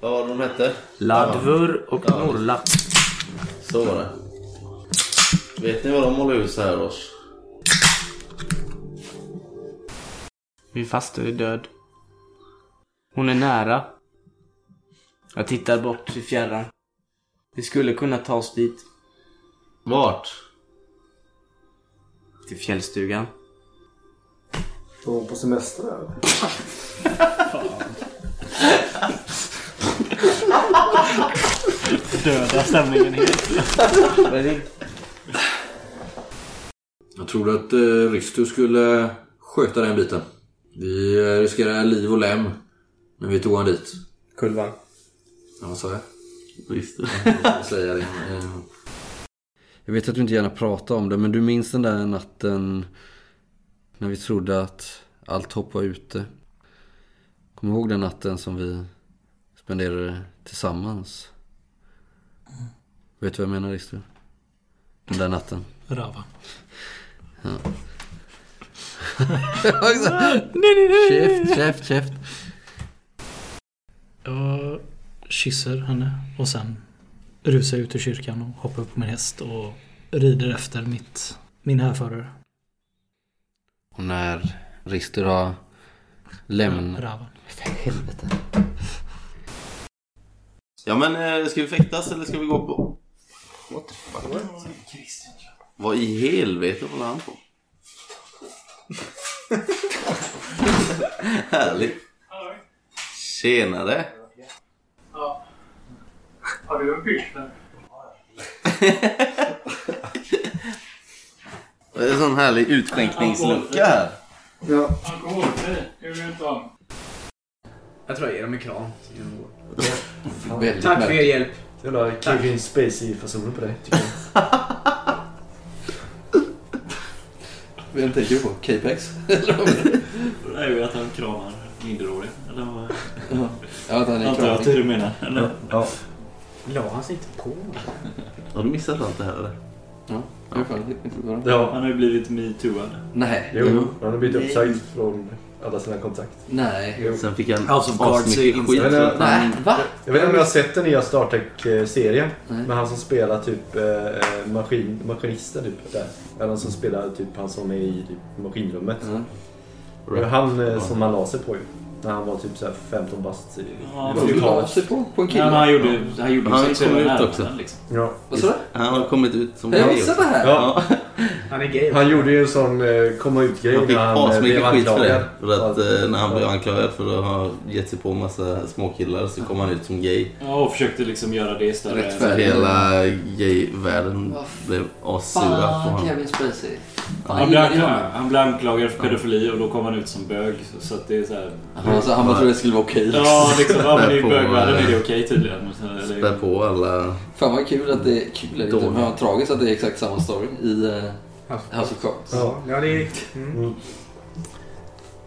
S1: Vad var det de hette?
S12: Ladvur och
S1: Ja.
S12: Norla.
S1: Så var det. Vet ni vad de håller hus här års?
S7: Min faster är död. Hon är nära. Jag tittar bort i fjärran. Vi skulle kunna ta oss dit.
S1: Vart?
S7: Till fjällstugan.
S2: Var hon på semester där?
S4: Döda stämningen helt.
S3: Jag trodde att eh, Ristu skulle sköta den biten. Vi eh, riskerar liv och lem när vi tog han dit.
S13: Kulvan.
S3: Ja, vad sa jag?
S1: Visst.
S3: Jag <laughs> säger det. Eh, Jag vet att du inte gärna pratar om det, men du minns den där natten när vi trodde att allt hopp var ute. Kommer du ihåg den natten som vi spenderade tillsammans? Vet du vad jag menar, Ristu? Den där natten.
S14: Rava.
S3: <laughs> käft, käft, käft.
S14: Jag kysser henne och sen rusar jag ut ur kyrkan och hoppar upp på min häst och rider efter mitt, min härförare.
S3: Och när Rister har lämnat...
S14: Ravan.
S1: Ja men eh, ska vi fäktas eller ska vi gå på? What the fuck? Vad i helvete håller han på? <laughs> Härligt. Tjenare.
S4: Har du en pyschel?
S1: <laughs> Det är en sån härlig utskänkningslucka här.
S4: Alkoholfri? Det vill du inte ha.
S7: Jag tror jag ger dem en kram.
S3: Väldigt
S7: Tack för
S3: märkligt.
S7: er hjälp.
S2: Jävla Kevin Spacey-fasoner på dig. tycker jag.
S3: Vem tänker du på? <laughs> Capex?
S10: Det är ju att han kramar minderåriga. Eller vad?
S3: Ja, att han är
S10: Antar jag typ.
S3: klar.
S10: att det är det du menar? Eller?
S7: La han sig inte på?
S1: Har du missat allt det här eller?
S3: Jag har fan inte varit.
S2: Ja.
S10: Han har ju blivit metooad.
S3: Mm. Nej.
S2: Jo, han har blivit uppsagd från alla sina kontrakt.
S3: Nej.
S1: Sen fick han
S14: House of Cards är
S1: avsnitt skit.
S14: inställd.
S1: för att han-
S3: Nej, va?
S2: Jag vet inte om jag har sett den nya Star Trek-serien.
S3: Nej.
S2: Men han som spelar typ eh, maskin, maskinisten typ där. Eller han som spelar typ han som är i typ, maskinrummet.
S3: Mm.
S2: Det var han eh, som han la sig på ju. När han var typ såhär 15 bast. i-
S4: Ja,
S3: Du la sig på, på en
S4: Nej,
S3: kille.
S4: men han gjorde, han gjorde
S1: Han
S4: sexuella
S1: kom ut
S4: närmanden,
S1: också.
S4: Liksom.
S2: Ja.
S3: Vad sa du?
S1: Han har kommit ut som
S3: Har jag missat det här?
S2: Ja,
S7: Han är gay.
S2: han gjorde ju en sån eh, komma ut-grej
S1: Han fick
S2: eh,
S1: asmycket skit för det.
S2: anklagad.
S1: För att
S2: Ja.
S1: eh, när han blev anklagad för att ha gett sig på massa småkillar så kom han ut som gay.
S4: Ja, och försökte liksom göra det större.
S3: Rättfärdigt.
S1: Så hela gay-världen
S3: Vad
S1: blev assura på
S3: Fan,
S1: honom.
S3: Kevin Spacey. Fan,
S4: Han
S3: jag
S4: blev,
S3: gillar
S4: anklagad,
S3: honom.
S4: han blev anklagad för pedofili och då kom han ut som bög. Så, så att det är så här...
S3: Han var så- Han bara trodde det skulle vara okej. liksom.
S4: Ja, liksom. Ja, men i
S1: På,
S4: bögvärlden
S1: eh,
S4: är det okej tydligen. Så- eller-
S10: liksom-
S1: Spär på alla...
S3: Fan vad kul att det är kul. Är det inte,
S1: Dåligt.
S3: men vad tragiskt att det är exakt samma story i eh, House of Cards.
S2: Ja.
S7: Ja, det är...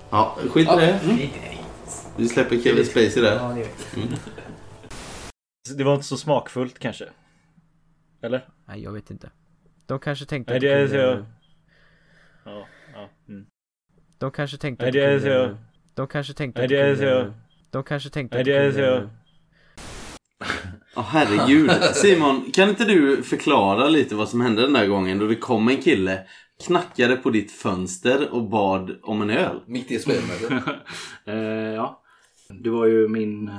S1: Ja, skit i
S3: Ja.
S1: det. Vi släpper Kevin Spacey där.
S7: Ja, det är...
S4: Det var inte så smakfullt kanske. Eller?
S15: Nej, jag vet inte. De kanske tänkte
S4: Nej,
S15: att
S4: det är
S15: kunde-
S4: så- Ja. ja. Mm.
S15: De kanske tänkte
S4: Nej,
S15: att du
S4: det är
S15: kunde-
S4: så-
S15: De kanske tänkte
S4: Nej,
S15: att du
S4: det är
S15: kunde-
S4: så-
S15: De kanske tänkte
S4: Nej,
S15: att du
S4: det är
S15: kunde-
S4: så-
S1: Ja, <laughs> herregud. Simon, kan inte du förklara lite vad som hände den där gången då det kom en kille, knackade på ditt fönster och bad om en öl?
S3: Mitt i spelmötet.
S10: <laughs> Eh, ja. Det var ju min eh,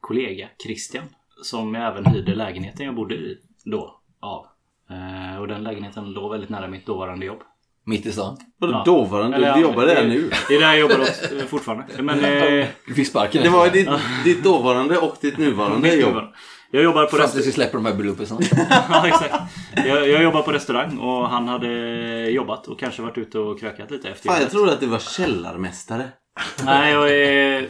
S10: kollega Christian som även hyrde lägenheten jag bodde i då av. Eh, och den lägenheten låg väldigt nära mitt dåvarande jobb.
S3: Mitt i stan.
S1: Vadå
S10: Ja.
S1: dåvarande?
S10: Eller,
S1: du
S10: ja,
S1: jobbar
S10: det-
S1: där nu.
S10: Det är där jag jobbar åt, eh, fortfarande. Men, eh,
S3: Du fick sparken.
S1: Det var ju ditt, ditt dåvarande och ditt nuvarande
S10: mitt
S1: jobb.
S10: jobb. jag jobbar på
S3: Fram
S10: restaurang.
S3: tills vi släpper de
S1: <laughs>
S3: här bloopersarna.
S10: ja, exakt. Jag, jag jobbar på restaurang och han hade jobbat och kanske varit ute och krökat lite efter
S1: Fan, jag
S10: jobbet.
S1: trodde att du var källarmästare.
S10: Nej, jag är...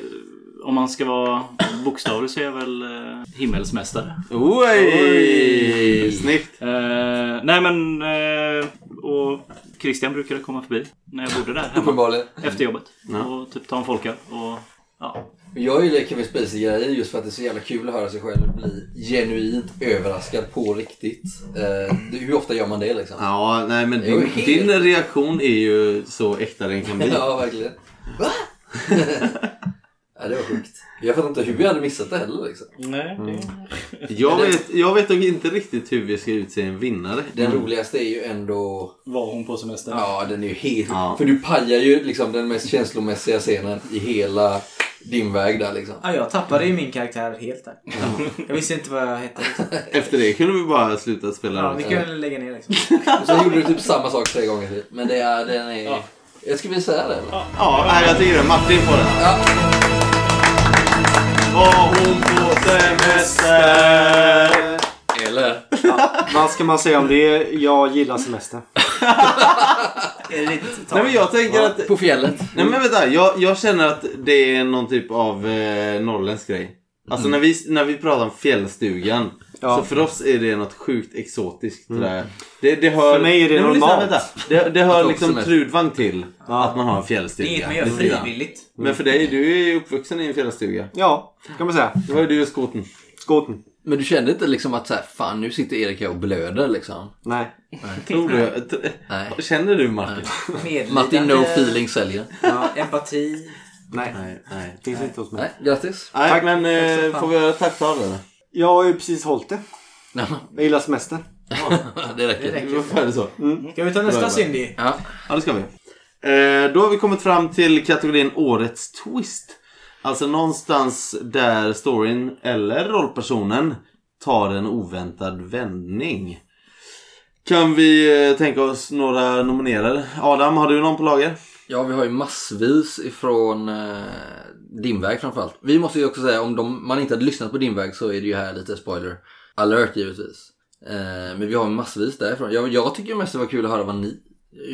S10: Om man ska vara bokstavlig så är jag väl eh, himmelsmästare.
S1: Oj! Snyggt!
S10: Eh, nej men... Eh, och Christian brukade komma förbi när jag bodde där hemma
S3: Uppenbarligen.
S10: efter jobbet.
S1: Ja.
S10: Och typ ta en folköl. Och, ja.
S3: Jag gillar Kevin Spacey-grejer just för att det är så jävla kul att höra sig själv bli genuint överraskad på riktigt. Eh, det- hur ofta gör man det liksom? <laughs>
S1: Ja, nej men
S3: Jag är
S1: din,
S3: helt-
S1: din reaktion är ju så äkta den kan bli.
S3: Ja, verkligen. Va? <laughs> Ja, det var sjukt. Jag fattar inte hur vi hade missat det heller liksom.
S10: Nej,
S1: Mm. Jag vet, jag vet nog inte riktigt hur vi ska utse en vinnare.
S3: Den roligaste är ju ändå...
S10: Var hon på semester?
S3: Ja, den är ju helt...
S1: Ja.
S3: För du pajar ju liksom den mest känslomässiga scenen i hela din väg där liksom.
S5: Ja, jag tappade ju min karaktär helt där. Jag visste inte vad jag hette. liksom.
S1: Efter det kunde vi bara sluta spela.
S5: Ja,
S1: den.
S5: vi kunde lägga ner liksom.
S3: Och sen gjorde du typ samma sak tre gånger till. Men det är, den är... Jag skulle vilja säga det. Eller?
S1: Ja, nej, jag tycker det. Martin får den.
S3: Ja.
S1: Var hon på semester?
S3: Eller?
S2: Vad ska man säga om det? Jag
S16: <laughs>
S2: gillar semester.
S1: Nej men jag tänker att...
S3: På fjället.
S1: Nej men vänta, jag, jag känner att det är någon typ av eh, norrländsk grej. Alltså när, vi, när vi pratar om fjällstugan.
S2: Ja. Mm.
S1: Så för oss är det något sjukt exotiskt. det där. Det, det hör,
S2: För mig är det
S1: Nej, men lyssna,
S2: normalt.
S1: vänta. Det, det
S3: Att
S1: hör
S3: åka
S1: liksom
S3: semester.
S1: Trudvang till
S2: Ja.
S1: att man har en fjällstuga.
S5: Det är inget man gör
S1: Lite grann.
S5: frivilligt.
S1: Men för dig, du är ju uppvuxen i en fjällstuga.
S2: Ja, kan man säga.
S1: Det var ju du och skoten.
S2: Skoten.
S3: Men du kände inte liksom att så här, fan nu sitter Erik här och blöder liksom?
S2: Nej.
S1: Tror du? t-
S3: Nej.
S1: Känner du Martin?
S5: Medlidande,
S3: Martin No Feeling säljer.
S5: Ja, empati.
S2: Nej.
S1: Nej, nej.
S2: Finns inte hos mig.
S3: Nej, grattis.
S1: Nej,
S2: Tack.
S1: men
S5: Tack så
S1: eh,
S5: fan.
S1: får vi göra ett tacktal eller?
S2: Jag har ju precis hållit det.
S3: Ja,
S2: Jag gillar semestern.
S3: det räcker.
S1: Varför är det så?
S5: Ska vi ta nästa Cindy?
S3: Ja.
S1: Ja, det ska vi. Eh, då har vi kommit fram till kategorin Årets Twist. Alltså någonstans där storyn eller rollpersonen tar en oväntad vändning. Kan vi eh, tänka oss några nominerade? Adam, har du någon på lager?
S3: ja, vi har ju massvis ifrån eh, din väg framförallt. Vi måste ju också säga om de, man inte hade lyssnat på din väg så är det ju här lite spoiler alert givetvis. Eh, men vi har massvis därifrån. Jag, jag tycker mest det var kul att höra vad ni,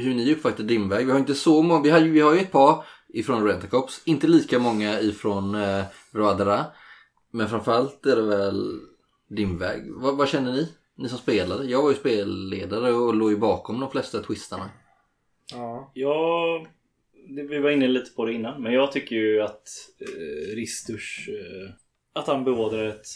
S3: hur ni uppfattade din väg. Vi har inte så många, vi har, ju- vi har ju ett par ifrån Rentacops, inte lika många ifrån eh, Roadera. Men framförallt är det väl din väg. Vad, vad känner ni? Ni som spelade? Jag var ju spelledare och låg ju bakom de flesta twistarna.
S10: Ja, det, vi var inne lite på det innan. Men jag tycker ju att eh, Risturs... Eh, att han beordrar ett...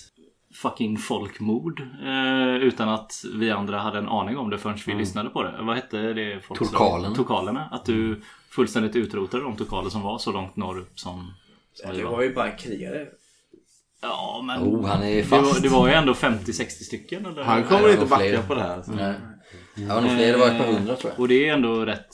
S6: Fucking folkmord. Eh, utan att vi andra hade en aning om det förrän
S3: Mm.
S6: vi lyssnade på det. Vad hette det? Folk som-
S3: Turkalerna.
S6: Turkalerna. Att
S3: Mm.
S6: du fullständigt utrotade de turkaler som var så långt norrut som, som vi
S5: Det
S6: var.
S5: var ju bara en krigare.
S6: Ja, men...
S3: Oh, han är
S6: det, var,
S3: fast.
S6: det var ju ändå 50-60 stycken. Eller?
S1: Han kommer
S3: det
S1: inte
S3: var
S1: backa
S3: fler.
S1: på det här.
S3: Nej. Det var nog fler, det var ett par hundra tror jag.
S6: Och det är ändå rätt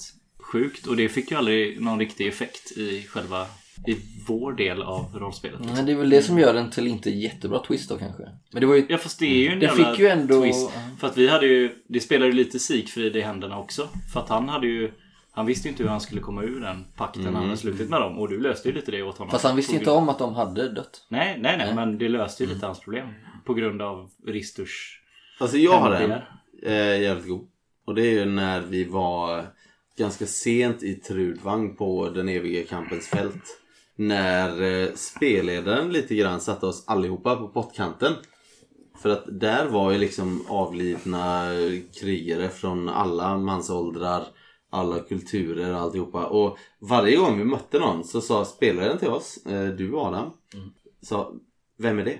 S6: sjukt. Och det fick ju aldrig någon riktig effekt i själva... I vår del av rollspelet.
S3: Nej, det är väl det som gör den till inte jättebra twist då kanske. Men Mm. det var ju...
S6: Ja fast det är ju en
S3: Den
S6: jävla
S3: fick ju ändå-
S6: twist. För att vi hade ju, det spelade ju lite Sigfrid i händerna också. För att han hade ju, han visste ju inte hur han skulle komma ur den pakten han hade slutit med dem. Och du löste ju lite det åt honom.
S3: Mm. Fast han visste ju inte Mm. om att de hade dött.
S6: Nej, nej, nej, men det löste ju lite hans problem. På grund av Risturs...
S1: Alltså jag har en
S6: Hemligare.
S1: eh, jävligt god. Och det är ju när vi var ganska sent i Trudvang på den eviga kampens fält. När eh, spelledaren lite grann satte oss allihopa på pottkanten. För att där var ju liksom avlidna eh, krigare från alla mansåldrar, alla kulturer och alltihopa. Och varje gång vi mötte någon så sa spelaren till oss, eh, du Adam, sa vem är det?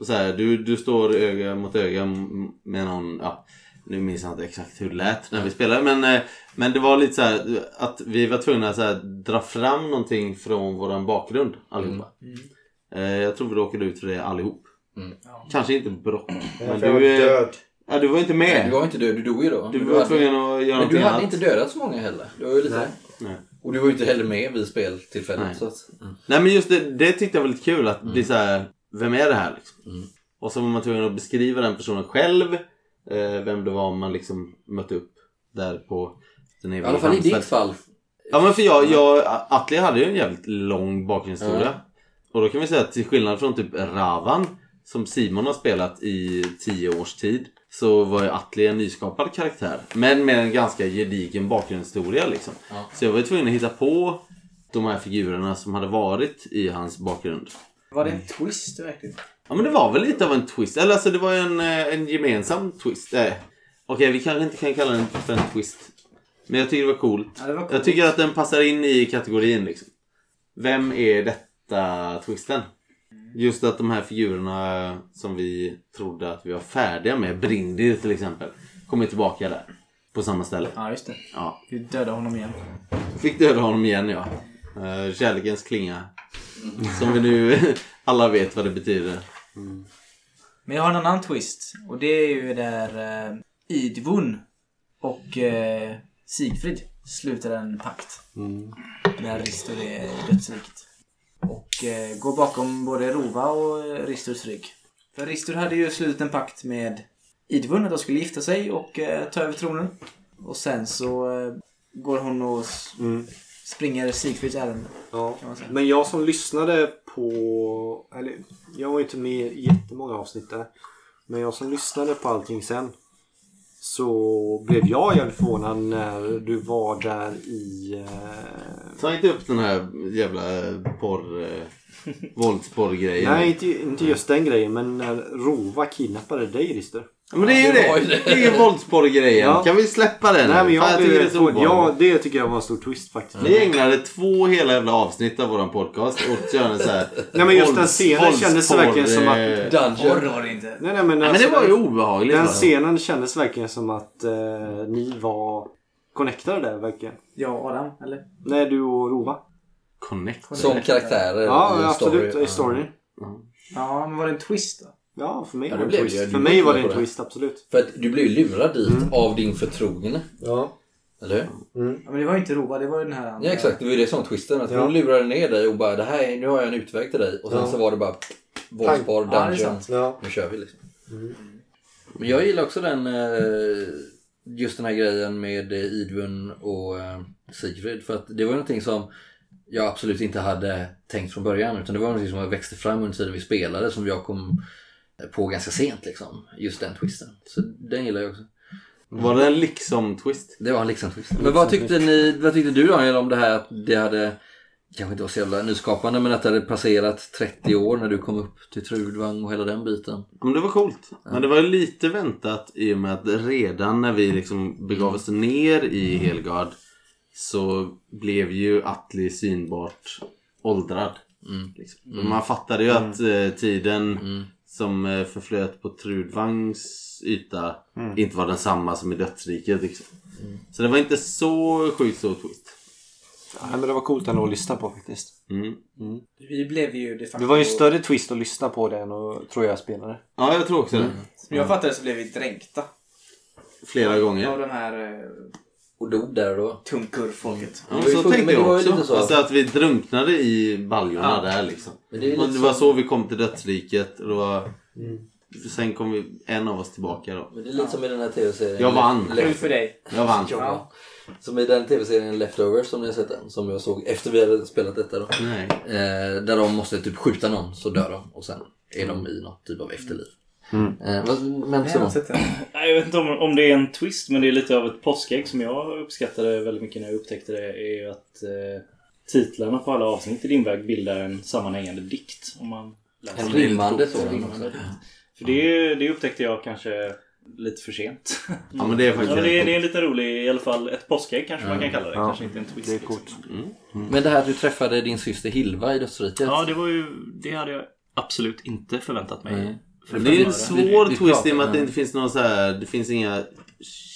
S1: Och så här, du, du står öga mot öga m- med någon, ja, nu minns jag inte exakt hur det lät när vi spelade men, eh, men det var lite så här att vi var tvungna att så här, dra fram någonting från våran bakgrund allihopa.
S11: Mm.
S1: Eh, Jag tror vi råkade ut för det allihop.
S3: Mm.
S1: Kanske inte Brock. Men
S11: jag var
S1: du, eh,
S11: död.
S1: ja, du var inte
S3: Nej, du
S1: med.
S3: var inte död, du dog ju då.
S1: Du
S3: Men
S1: var tvungen att göra
S3: Men du
S1: någonting
S3: hade
S1: annat.
S3: inte dödat så många heller. Det var ju lite...
S1: Nej.
S3: Och du var ju inte heller med vid speltillfället.
S1: Nej.
S3: Så att...
S1: Nej men just det, det tyckte jag var lite kul att
S3: Mm.
S1: bli så här, vem är det här liksom? Och så var man tvungen att beskriva den personen själv, eh, vem det var man liksom mötte upp där på den
S3: I
S1: eviga
S3: alla fall i ditt
S1: dansen.
S3: fall.
S1: Ja men för jag, jag Atli hade ju en jävligt lång bakgrundshistoria. Och då kan vi säga att till skillnad från typ Ravan som Simon har spelat i tio års tid så var ju Atli en nyskapad karaktär. Men med en ganska gedigen bakgrundshistoria liksom. Så jag var ju tvungen att hitta på de här figurerna som hade varit i hans bakgrund.
S5: Var det en twist verkligen?
S1: Ja men det var väl lite av en twist. Eller alltså det var ju en, eh, en gemensam twist. Eh, Okej vi kanske inte kan kalla den för en twist. Men jag tycker det var coolt.
S5: Ja, det var
S1: Jag
S5: coolt.
S1: tycker att den passar in i kategorin liksom. Vem är detta twisten? Just att de här figurerna eh, som vi trodde att vi var färdiga med, Brindir till exempel, kommer tillbaka där. På samma ställe.
S5: Ja, just det.
S1: Ja.
S5: Vi dödade honom igen.
S1: Fick döda honom igen ja. Eh, Kärlekens klinga Som vi nu <laughs> alla vet vad det betyder.
S16: Men jag har en annan twist. Och det är ju där eh, Idvun och eh, Sigfrid sluter en pakt.
S2: Mm.
S16: När Ristur är dödsrikt. Och eh, går bakom både Rova och eh, Risturs rygg. För Ristur hade ju slutit en pakt med Idvun att de skulle gifta sig och eh, ta över tronen. Och sen så eh, går hon och s-
S2: Mm.
S16: springer Sigfrids ärenden.
S2: Ja.
S16: Kan man säga.
S2: Men jag som lyssnade på... Eller, jag var ju inte med i jättemånga avsnitt där. Men jag som lyssnade på allting sen. Så blev jag jävligt förvånad när du var där i... Eh,
S1: Ta inte upp den här jävla porr... Eh, våldsporrgrejen.
S2: nej, inte, inte just den grejen. Men när Rova kidnappade dig, Rister.
S1: Ja, Men det är ju
S2: var
S1: det! Det är ju våldsporrgrejen.
S2: Ja.
S1: Kan vi släppa den?
S2: Nej, men jag,
S1: Fan, jag
S2: blev
S1: tycker det är
S2: rätt
S1: så
S2: förvånad.
S1: obehagligt. Mm.
S2: ja, det tycker jag var en stor twist faktiskt.
S1: Vi ägnade två hela jävla avsnitt av våran podcast åt Göran så här.
S2: Nej men just den
S1: vålds-
S2: scenen kändes
S1: våldsporr,
S2: verkligen som att...
S1: eh,
S16: inte.
S2: Nej, nej, men, alltså,
S1: men det var ju obehagligt
S2: Den
S1: bara.
S2: scenen kändes verkligen som att eh, ni var connectade där verkligen.
S16: Jag och Adam, eller?
S2: Nej, du och Rova.
S1: Connectade?
S3: Som karaktärer
S2: Ja,
S3: Eh, i
S2: ja, absolut.
S3: story.
S2: I storyn.
S16: Ja, men var det en twist då?
S2: Ja, för mig
S3: Ja,
S2: var det
S3: det
S2: en
S3: blev
S2: twist.
S3: det ju.
S2: För
S3: Du
S2: mig var
S3: var
S2: det en
S3: på det.
S2: twist, absolut.
S3: För att du blev ju lurad dit av din förtrogne.
S2: Ja.
S3: Eller hur?
S16: Ja, men det var ju inte Rova, det var ju den här andra.
S3: Ja exakt, det var ju det som var twisten. Att
S2: Ja.
S3: Hon lurade ner dig och bara det här, är- nu har jag en utväg till dig. Och sen
S2: Ja.
S3: så var det bara våldsporr,
S16: Ja, det är
S3: dungeon.
S16: sant.
S2: Ja.
S3: nu kör vi liksom. Men jag gillar också den eh, just den här grejen med eh, Idvin och eh, Sigfrid. För att det var ju någonting som jag absolut inte hade tänkt från början. Utan det var någonting som jag växte fram under tiden vi spelade som jag kom eh, på ganska sent liksom. Just den twisten. Så den gillar jag också.
S1: Var det en liksom liksom-twist?
S3: Det var en liksom liksom-twist. Men vad tyckte, ni, vad tyckte du Daniel om det här att det hade, kanske inte var så jävla nyskapande, men att det hade passerat 30 år när du kom upp till Trudvang och hela den biten?
S1: Men det var coolt. Men det var ju lite väntat i och med att redan när vi liksom begav oss ner i Helgard så blev ju Atli synbart åldrad. Liksom. Man fattade ju att eh, tiden som eh, förflöt på Trudvangs yta inte var densamma som i dödsriket. Liksom. Så det var inte så sjukt stor twist.
S2: Nej, men det var coolt ändå att lyssna på faktiskt.
S1: Mm.
S16: Vi blev ju de facto...
S2: Det var ju en större twist att lyssna på den och tror jag spelade.
S1: Ja, jag tror också det.
S16: Som jag fattade så blev vi dränkta.
S1: Flera
S16: Av
S1: gånger.
S16: de här eh,
S3: Och dog där då?
S16: tungkurvfolket.
S1: Ja,
S3: Det var ju
S1: så
S3: fullt-
S1: tänkte
S3: men det
S1: jag
S3: var ju
S1: också.
S3: lite så.
S1: Alltså att vi drunknade i baljorna
S16: Ja.
S1: där liksom.
S3: Men det är ju
S1: och
S3: lite
S1: det var
S3: så- Mm.
S1: så vi kom till dödsriket. Och det var... Sen kom vi, en av oss tillbaka då.
S3: Men det är lite som i den här tv-serien.
S1: Jag vann.
S3: Lef-
S16: Kul för dig.
S1: Jag vann.
S3: Ja. Som i den tv-serien Leftovers som ni har sett den. Som jag såg efter vi hade spelat detta då.
S1: Nej.
S3: Eh, där de måste typ skjuta någon så dör de och sen är de i något typ av efterliv.
S6: Mm.
S3: Eh, vad- men
S16: Jag har
S3: så,
S16: sett det.
S10: Nej, Jag vet inte om, om det är en twist men det är lite av ett påskägg som jag uppskattade väldigt mycket när jag upptäckte det. är ju att eh, titlarna på alla avsnitt i din väg bildar en sammanhängande dikt. Om man läser
S3: En
S10: det.
S3: rimmande
S10: En
S3: sådan
S10: rimmande
S3: också.
S10: dikt. För det, det upptäckte jag kanske lite för sent. <laughs>
S1: Ja men det är
S10: Ja,
S1: faktiskt...
S10: det, är, det är en lite rolig, i alla fall ett påskägg kanske man kan kalla det.
S2: Ja.
S10: Kanske inte en twist.
S2: Det är
S10: liksom.
S2: coolt.
S3: men det här att du träffade din syster Hilva i dödsriket.
S6: Ja, det var ju... Det hade jag absolut inte förväntat mig.
S3: Nej.
S6: För
S1: det är en
S6: fem
S1: svår
S3: Vi- vi
S1: twist i och med
S3: pratar-
S1: att det inte finns någon så här... Det finns inga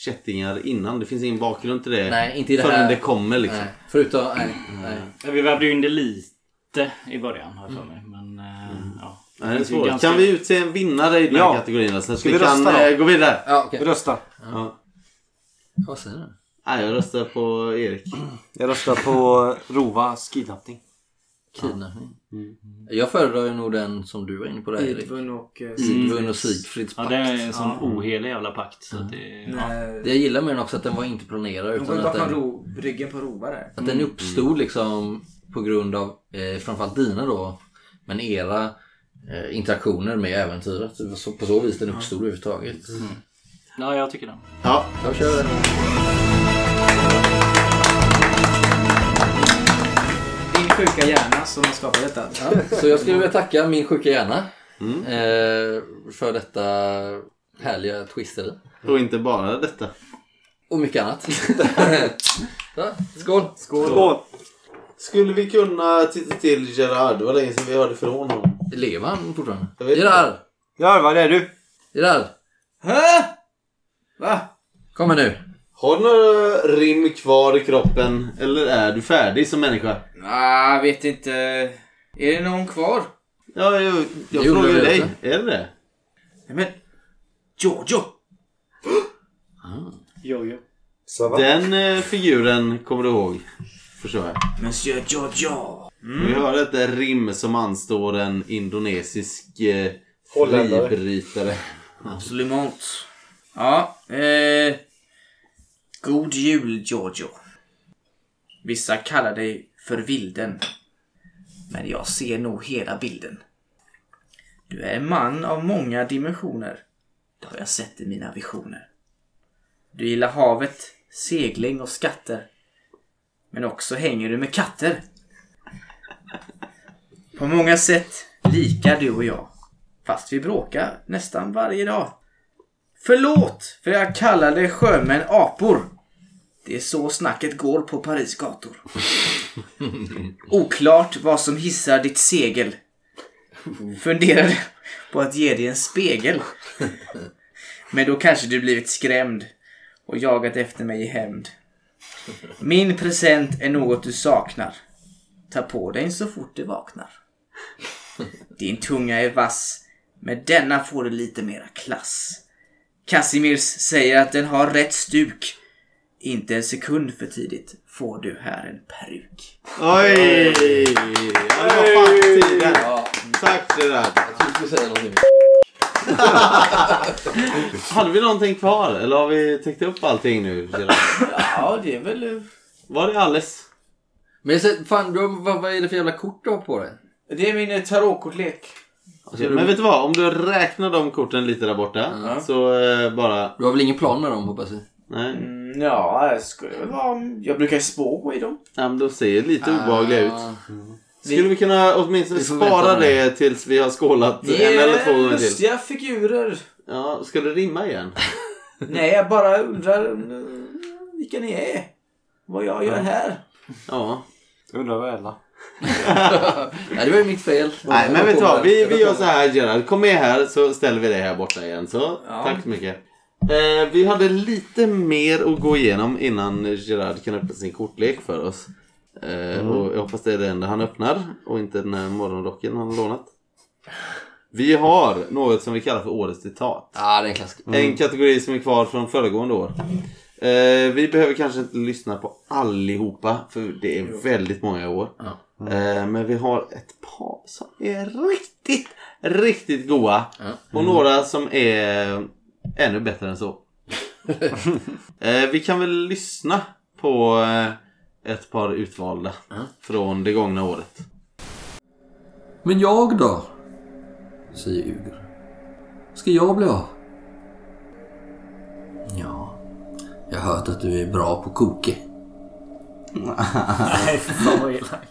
S1: kättingar innan. Det finns ingen bakgrund till det.
S3: Nej, inte i det
S1: förrän
S3: här-
S1: det kommer liksom.
S3: Nej, förutom... Nej, nej.
S10: Ja, Vi vävde ju in det lite i början har jag för mig. Men eh,
S3: Mm.
S10: ja.
S1: Nej, det är
S10: finns ju
S1: svårt.
S10: ganska-
S1: Kan vi utse en vinnare i den här
S2: Ja.
S1: kategorin då, så att
S2: Ska
S1: vi,
S2: vi
S1: kan
S2: rösta då?
S1: eh, gå vidare?
S3: Ja, okej.
S2: Rösta.
S1: Ja.
S3: Vad säger du?
S1: Nej, jag röstar på Erik.
S2: Jag röstar på Rovas kidnappning.
S3: Kidnappning.
S6: Mm.
S3: Jag föredrar ju nog den som du var inne på där Erik.
S16: Idvun och... eh,
S3: Sigvund och Sigfrids
S6: Mm, Ja,
S3: pakt.
S6: det är en sån ohelig jävla pakt. Så
S10: Mm.
S6: att det, ja.
S16: när-
S3: Det jag gillar med den också att den var inte planerad
S16: De går ju
S3: utan att
S16: bakom
S3: den,
S16: ro, ryggen på Rova där.
S3: att den uppstod liksom på grund av eh, framförallt dina då men era eh, interaktioner med äventyret. Så- så- På så vis den uppstod överhuvudtaget.
S6: Mm. ja, jag tycker det.
S1: Ja,
S3: Då kör vi den.
S16: Din sjuka hjärna som har skapat detta.
S3: Ja, så jag skulle vilja tacka min sjuka hjärna eh, för detta härliga twisteri.
S1: och inte bara detta.
S3: Och mycket <laughs> annat. ja, skål!
S2: Skål!
S1: Skulle vi kunna titta till Gerard? Det var länge sedan vi hörde från honom.
S3: Lever han fortfarande?
S1: Jag vet
S3: Gerard!
S2: Ja, vad är du?
S3: Gerard!
S16: Hä? Va?
S3: Kom här nu!
S1: Har du några rim kvar i kroppen? Eller är du färdig som människa?
S16: Nej, jag vet inte.
S7: Är det någon kvar?
S1: Ja, jag, jag frågar ju dig. Är det det?
S7: Men, Jojo!
S10: Jojo.
S1: Den eh, figuren kommer du ihåg. Förstår jag.
S7: Monsieur Jojo!
S1: Mm. Vi hör ett rim som anstår en indonesisk eh,
S7: Holländare.
S1: fribrytare.
S7: Absolut. Ja, eh, God jul Giorgio. Vissa kallar dig för vilden. Men jag ser nog hela bilden. Du är en man av många dimensioner. Det har jag sett i mina visioner. Du gillar havet, segling och skatter. Men också hänger du med katter. På många sätt lika du och jag. Fast vi bråkar nästan varje dag. Förlåt för jag kallade sjömän apor. Det är så snacket går på Paris gator. Oklart vad som hissar ditt segel. Funderade på att ge dig en spegel. Men då kanske du blivit skrämd och jagat efter mig i hämnd. Min present är något du saknar. Ta på dig så fort du vaknar. Din tunga är vass. Med denna får du lite mera klass. Casimirs säger att den har rätt stuk. Inte en sekund för tidigt får du här en peruk.
S1: Oj! Ja, det var fan tid där. Tack det där.
S3: Jag skulle säga någonting.
S1: Hade vi någonting kvar? Eller har vi täckt upp allting nu? Gerard?
S17: Ja, det är väl...
S1: Var det alles?
S3: Men sen, fan, du, har- vad, vad är det för jävla kort du har på dig?
S17: Det är min tarotkortlek.
S1: Okej, men vet du vad? Om du räknar de korten lite där borta. Så eh, bara...
S3: Du har väl ingen plan med dem hoppas jag?
S1: Nej.
S17: Mm, ja, det skulle väl vara... Jag brukar spå i dem.
S1: Ja, men de ser lite obehagliga ut.
S3: Ah.
S1: Skulle vi kunna åtminstone
S3: Vi får
S1: spara
S3: vänta med
S1: det tills vi har skålat
S17: Vi
S1: en eller två
S17: är
S1: gånger till?
S17: lustiga figurer.
S1: Ja, ska det rimma igen?
S17: Nej, jag bara undrar mm, vilka ni är. Vad jag gör här.
S1: Ja.
S2: Jag undrar vad Ella...
S3: Nej, det var ju mitt fel.
S1: Nej, men vet du vad? Vi, vi gör så här Gerard. Kom med här så ställer vi dig här borta igen. Så, Tack så mycket. Eh, vi hade lite mer att gå igenom innan Gerard kan öppna sin kortlek för oss. Eh, och jag hoppas det är det enda han öppnar och inte den här morgonrocken han har lånat. Vi har något som vi kallar för årets citat.
S3: Ja, Ah, det är en klassiker.
S1: En kategori som är kvar från föregående år. Eh, vi behöver kanske inte lyssna på allihopa för det är väldigt många år. Eh, men vi har ett par som är riktigt, riktigt goa. Och några som är ännu bättre än så. eh, vi kan väl lyssna på eh, ett par utvalda från det gångna året.
S3: Men jag då? Säger Uger. Ska jag bli av? Ja, jag har hört att du är bra
S1: <laughs>
S3: på koke.
S17: Nej, fan vad elakt.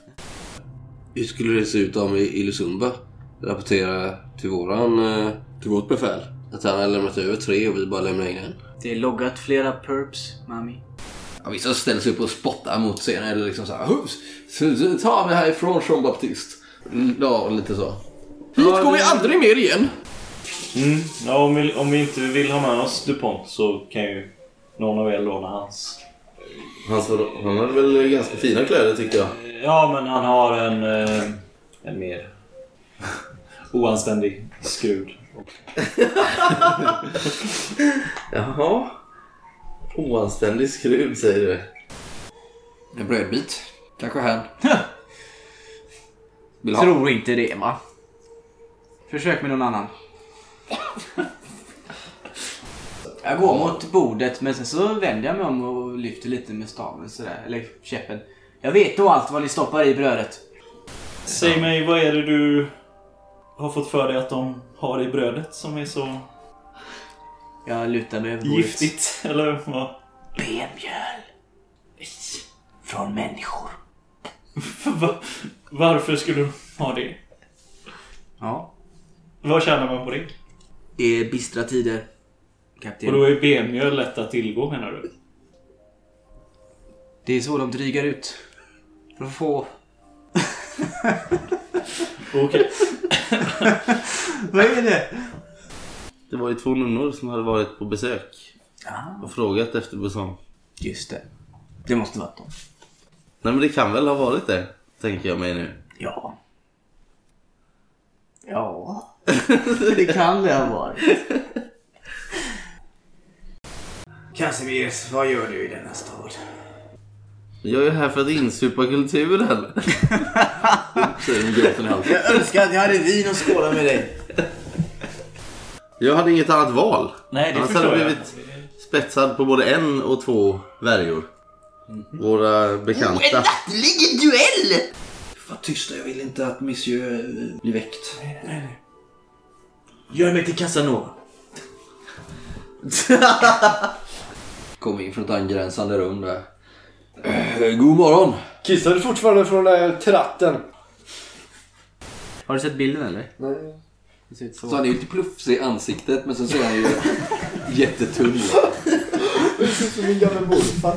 S3: Hur skulle det se ut om vi Illusumba rapporterar till våran, eh, till vårt befäl att han har lämnat över tre och vi bara lämnar in en?
S18: Det är loggat flera perps, mami.
S3: Ja, vissa ställer sig upp och spottar mot scenen eller liksom så här. "Hus, så- så Ta mig härifrån Jean Baptiste. Mm, Ja, och lite så. Hit går vi aldrig mer igen.
S10: Mm. Ja, om, vi, om vi inte vill ha med oss DuPont så kan ju någon av er låna hans.
S1: Han, han hade väl ganska fina kläder tyckte jag.
S10: Ja, men han har en, eh, en mer <laughs> oanständig skrud.
S1: Jaha. Oanständig skruv säger du.
S3: En brödbit. Kanske här. Vill ha.
S18: Tror inte det, va? Försök med någon annan. <laughs> Jag går mot bordet men sen så vänder jag mig om och lyfter lite med staven sådär, eller käppen. Jag vet då allt vad ni stoppar i brödet.
S10: Säg mig, vad är det du har fått för dig att de har i brödet som är så
S18: Jag lutar mig över bordet.
S10: giftigt? <laughs> Eller vad?
S18: Benmjöl. Från människor.
S10: Va- Varför skulle de ha det?
S18: Ja.
S10: Vad tjänar man på det?
S18: Det är bistra tider. Kapten.
S10: Och då är benmjöl lätt att tillgå menar du?
S18: Det är så de drygar ut. För att få...
S10: Okej.
S18: Vad är det?
S1: Det var ju två nunnor som hade varit på besök. Och frågat efter Busan.
S18: Just det. Det måste varit dem.
S1: Nej men det kan väl ha varit det. Tänker jag mig nu.
S18: Ja.
S7: Ja, <laughs> det kan det ha varit. Casimirs, vad gör du i denna stad?
S1: Jag är här för att insupa kulturen. Säger hon gråten i halsen.
S7: Jag önskar att jag hade vin och skåla med dig.
S1: Jag hade inget annat val.
S7: Nej, det
S1: Annars
S7: förstår
S1: hade jag
S7: jag.
S1: blivit spetsad på både en och två värjor. Våra bekanta.
S7: nattlig duell!
S19: Var tysta, jag vill inte att monsieur eh, blir väckt. Nej, nej.
S7: Gör mig till Casanova.
S3: <laughs> Kom in från ett angränsande rum där. Eh, God morgon!
S19: Kissar du fortfarande från den där tratten?
S3: Har du sett bilden eller?
S19: Nej.
S3: Så han är ju lite plufsig i ansiktet men sen ser han ju <laughs> jättetunn
S19: Det ser ut som min gamla morfar.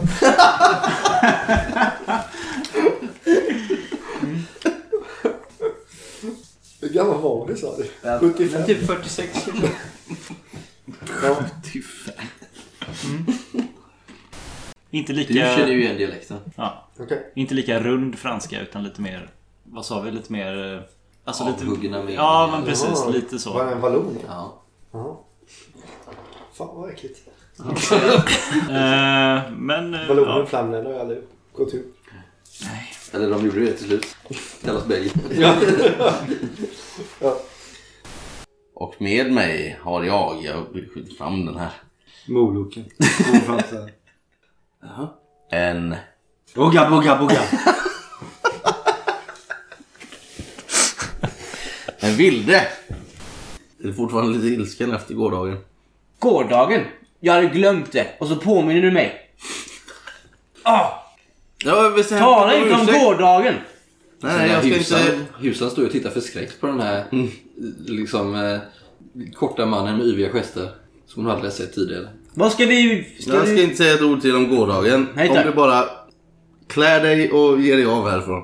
S19: Hur gammal var du sa du? 75?
S16: Typ 46.
S19: Ja.
S6: Inte lika...
S3: Du känner ju igen dialekten.
S6: Ja.
S19: Okej.
S6: Inte lika rund franska utan lite mer... Vad sa vi? Lite mer... eh, Alltså
S3: Avhuggna
S6: lite...
S3: med-
S6: Ja, men precis.
S19: Jaha,
S6: Lite så.
S19: Var det en vallon?
S3: Ja.
S19: Jaha. Fan vad äckligt.
S6: Eh, men... eh,
S19: Valloner
S6: ja.
S19: och flamländer har ju aldrig gått upp.
S3: Eller de gjorde det till slut. Kallas Belgien.
S1: <laughs>
S19: Ja. ja.
S1: Och med mig har jag, jag skjuter fram den här.
S2: Moloken.
S1: En...
S2: Booga, booga,
S1: <laughs>
S2: booga.
S1: En vilde. Det är fortfarande lite ilsken efter gårdagen.
S7: Gårdagen? Jag hade glömt det och så påminner du mig.
S1: Ja, vi säger-
S7: Tala inte om gårdagen!
S1: Nej, nej, jag ska inte...
S3: Husan står ju och tittar förskräckt på den här liksom eh, korta mannen med yviga gester. Som hon aldrig har sett tidigare.
S7: Vad ska vi...
S3: ska
S1: jag ska
S3: vi-
S1: inte säga ett ord till om gårdagen.
S3: Nej,
S1: om
S3: tack.
S1: du bara klär dig och ger dig av härifrån.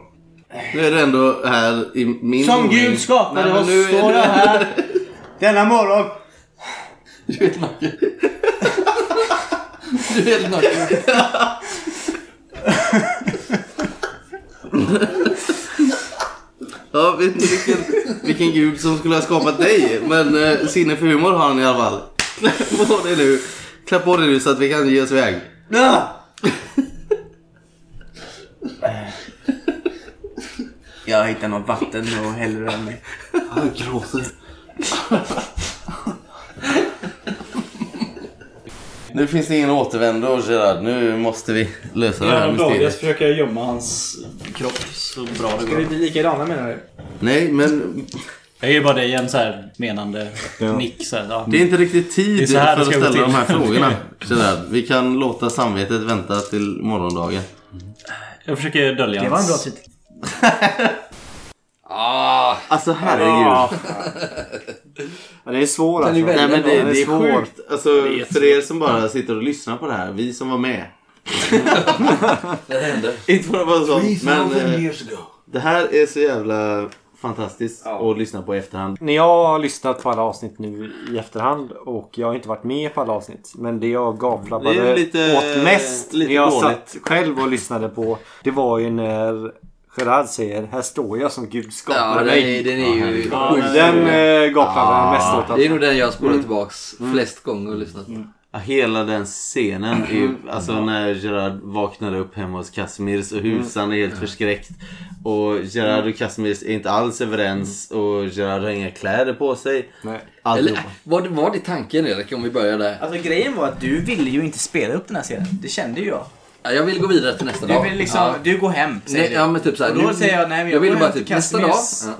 S1: Nu är du ändå här i min
S7: Som
S1: ordning.
S7: Gud skapade
S1: Nej, men
S7: oss
S1: nu är
S7: står
S1: du-
S7: jag här denna morgon. <laughs>
S3: Du är helt naken.
S1: Ja, vet inte vilken, vilken gud som skulle ha skapat dig. Men eh, sinne för humor har han i alla fall. Klä på dig nu. Klä på dig nu så att vi kan ge oss iväg.
S7: Jag hittar något vatten och häller över mig.
S1: Han gråter. Nu finns det ingen återvändo, Gerard. Nu måste vi lösa det här
S10: Genom dagar
S1: mysteriet.
S10: försöker jag gömma hans kropp så bra det
S16: Ska vi
S10: går.
S16: bli likadana menar du?
S1: Nej, men...
S6: Jag ger bara dig en så här menande nick. Så här, ja.
S1: Det är inte riktigt tid
S6: Det är så
S1: för
S6: här
S1: att
S6: det ska
S1: ställa
S6: gå till.
S1: de här
S6: <laughs>
S1: frågorna. Gerard. Vi kan låta samvetet vänta till morgondagen.
S6: Jag försöker dölja
S1: Det var en
S6: hans-
S1: bra
S3: Ah,
S1: alltså
S2: Ja. <laughs> Ja, det är svårt alltså.
S1: Nej, men det, det är
S2: svår.
S1: sjukt. Alltså, för er som bara sitter och lyssnar på det här, vi som var <laughs> med.
S3: det hände.
S1: Inte för att vara sån,
S2: Three
S1: men
S2: thousand
S1: eh,
S2: years ago.
S1: det här är så jävla fantastiskt att lyssna på i efterhand.
S2: När jag har lyssnat på alla avsnitt nu i efterhand och jag har inte varit med på alla avsnitt. Men det jag
S1: Det är
S2: gavflabbade
S1: lite-
S2: åt mest
S1: lite
S2: när jag
S1: dåligt.
S2: satt själv och lyssnade på det var ju när Gerard säger Här står jag som Gud skapade
S3: Ja, den
S2: mig.
S3: är, den är ju
S2: Ja,
S3: sjukt
S2: den
S3: rolig.
S2: eh, gapade
S3: Ah.
S2: jag mest åt.
S3: Det är nog den jag spolar
S2: Mm.
S3: tillbaks flest gånger och lyssnat
S7: Mm.
S3: på.
S1: Ja, Hela den scenen, är ju, alltså när Gerard vaknar upp hemma hos Casimirs och husan är helt förskräckt. Och Gerard och Casimirs är inte alls överens och Gerard har inga kläder på sig.
S2: Nej.
S1: Allihopa.
S3: Eller var det, var det tanken Erik om vi börjar där?
S7: Alltså grejen var att du ville ju inte spela upp den här scenen. Det kände ju jag.
S3: Ja, jag vill gå vidare till nästa
S7: Du
S3: dag.
S7: vill liksom,
S3: Ja.
S7: du går hem säger
S3: Nej,
S7: du.
S3: ja, men typ så här,
S7: Och då
S3: nu-
S7: säger jag nej men jag,
S3: jag vill
S7: går
S3: bara
S7: hem till
S3: typ nästa
S7: Casimirs.
S3: dag.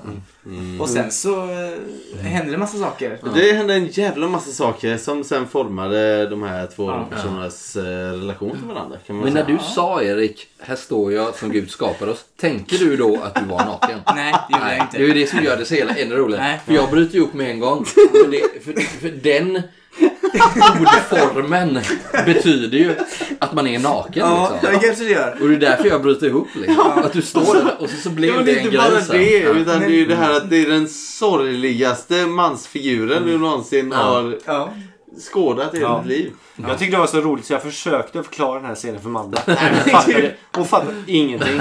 S3: Ja,
S7: Och sen så eh, händer det massa saker.
S1: Det hände en jävla massa saker som sen formade de här två
S7: Ja.
S1: personernas eh, relation till varandra. Kan man
S3: Men när
S1: säga.
S3: du sa Erik, här står jag som Gud skapade oss. Tänker du då att du var naken?
S7: Nej, det gjorde jag inte.
S3: Det är ju det som gör det så hela ännu roligare.
S7: Nej.
S3: För jag bryter ju upp med en gång. För, det, för, för den ordformen betyder ju att man är naken.
S7: Ja,
S3: liksom.
S7: det kanske det gör.
S3: Och det är därför jag bryter ihop. Liksom. Att du står där och så, så
S1: Ja,
S3: blev
S1: men
S3: det
S1: det är
S3: en
S1: inte
S3: grej
S1: bara
S3: sen.
S1: det,
S3: Ja.
S1: utan det är ju det här att det är den sorgligaste mansfiguren du någonsin har skådat i
S2: Ja.
S1: ditt liv.
S2: Jag tyckte det var så roligt så jag försökte förklara den här scenen för Manda. Hon fattade, hon fattade ingenting.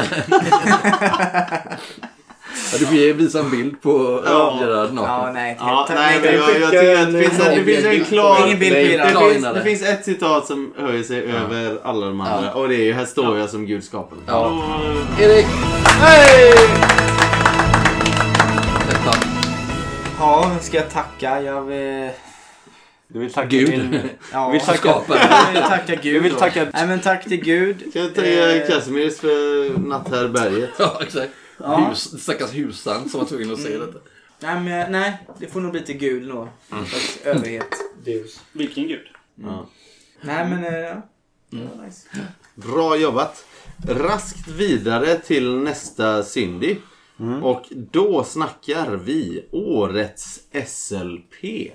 S3: Ja, du får ge- visa en bild på
S1: Ja.
S3: ja. Gerard naken.
S1: Ja, nej, Ja, tack. nej, men jag, jag tycker att det finns, en- det finns en klar...
S3: Ingen bild på Gerard.
S1: det, finns, det
S3: Klar
S1: finns ett citat som höjer sig över alla de andra.
S3: Ja.
S1: Och det är ju Här står jag som Gud skapade.
S3: Ja. Erik!
S16: Ja, vem ska jag tacka? Jag vill...
S2: Du vill tacka
S16: Gud.
S2: din-
S16: Ja.
S2: Du vill tacka-
S1: <laughs>
S16: Jag vill tacka Gud.
S2: Du vill
S16: då.
S2: tacka-
S16: Nej, men tack till Gud.
S1: Kan jag
S3: Eh.
S1: tacka Casimirs för natthärbärget?
S3: Ja, exakt.
S16: Ja.
S3: Hus, stackars husan som var tvungen att se
S1: Mm.
S3: detta.
S16: Nej, men, nej, det får nog bli till Gud då.
S3: Mm.
S16: Slags Överhet. Mm.
S10: Vilken gud?
S16: Nej, men... eh, ja.
S3: Mm.
S16: Det var nice.
S1: Bra jobbat. Raskt vidare till nästa Cindy.
S3: Mm.
S1: Och då snackar vi årets SLP.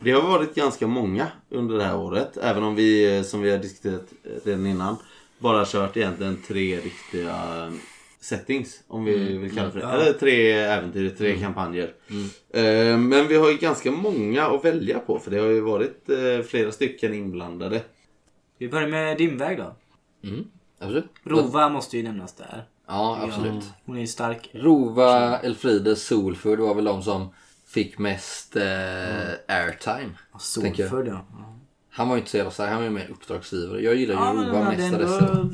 S1: Det har varit ganska många under det här året. Även om vi, eh, som vi har diskuterat eh, redan innan, bara har kört egentligen tre riktiga eh, settings. Om vi
S3: Mm.
S1: vill kalla det för det.
S3: Ja.
S1: Eller tre äventyr, tre
S3: Mm.
S1: kampanjer.
S3: Mm.
S1: Eh, Men vi har ju ganska många att välja på. För det har ju varit eh, flera stycken inblandade.
S16: Vi börjar med din väg då.
S3: Mm, absolut.
S16: Rova måste ju nämnas där.
S3: Ja, absolut.
S16: Hon är ju stark.
S3: Rova, Elfride, Solfur, det var väl de som fick mest eh,
S1: Mm.
S3: airtime. tänker jag.
S16: Solfur, ja.
S3: Han var ju inte så jävla stark, han var ju mer uppdragsgivare. Jag gillar ju
S16: Ja, men
S3: Rova
S16: han hade
S3: mest av
S16: ändå-
S3: dessa.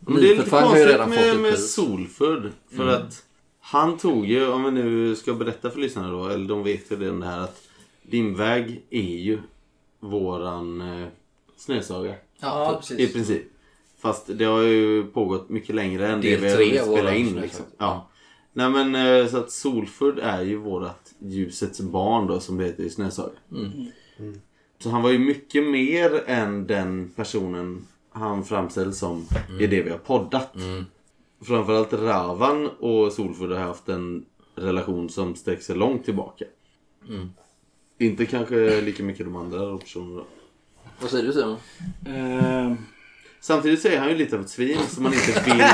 S3: <laughs>
S1: Men det är lite
S3: Nyförfan har ju
S1: konstigt
S3: redan fått
S1: med,
S3: ett
S1: med
S3: pris.
S1: Solfurd. För
S3: Mm.
S1: att han tog ju, om vi nu ska berätta för lyssnarna då, eller de vet ju redan det här att din väg är ju våran eh, snösaga.
S3: Ja,
S1: Typ,
S3: precis.
S1: I princip. Fast det har ju pågått mycket längre än det
S3: Del
S1: vi har
S3: tre
S1: hunnit
S3: av
S1: spela
S3: våran
S1: in.
S3: snösaga.
S1: Liksom. Ja. Nej men eh, så att Solfurd är ju vårat ljusets barn då som det heter i snösaga.
S3: Mm.
S1: Så han var ju mycket mer än den personen han framställs som
S3: Mm.
S1: i det vi har poddat. Framförallt Ravan och Solfurd har haft en relation som sträcker sig långt tillbaka.
S3: Mm.
S1: Inte kanske lika mycket de andra personerna.
S3: Vad säger du Simon?
S1: Samtidigt så är han ju lite av ett svin som man inte
S16: <laughs>
S1: vill...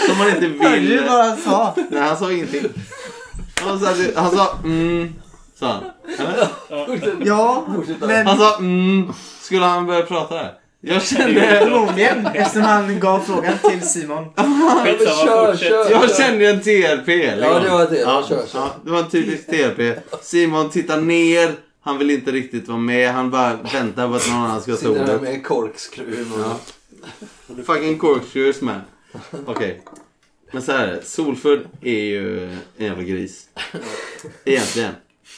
S1: som man inte
S16: Hörde
S1: vill...
S16: du vad han sa?
S1: Nej, han sa ingenting. Han sa, han sa mm, sa han. Eller?
S16: Ja, men...
S3: Alltså-
S1: Han sa mm. Skulle han börja prata där? Jag kände...
S16: Förmodligen, eftersom han gav frågan till Simon.
S1: Jag kände ju en TRP. liksom.
S3: Ja, det var det.
S1: Ja,
S3: Kör, kör.
S1: ja, det var en typisk TRP. Simon tittar ner. Han vill inte riktigt vara med. Han bara väntar på att någon annan ska ta
S3: Sitter här
S1: ordet.
S3: med korkskruv och...
S1: Ja. Fucking corkscrews man. Okej. Men så här är det. Solfurd är ju en jävla gris. Egentligen.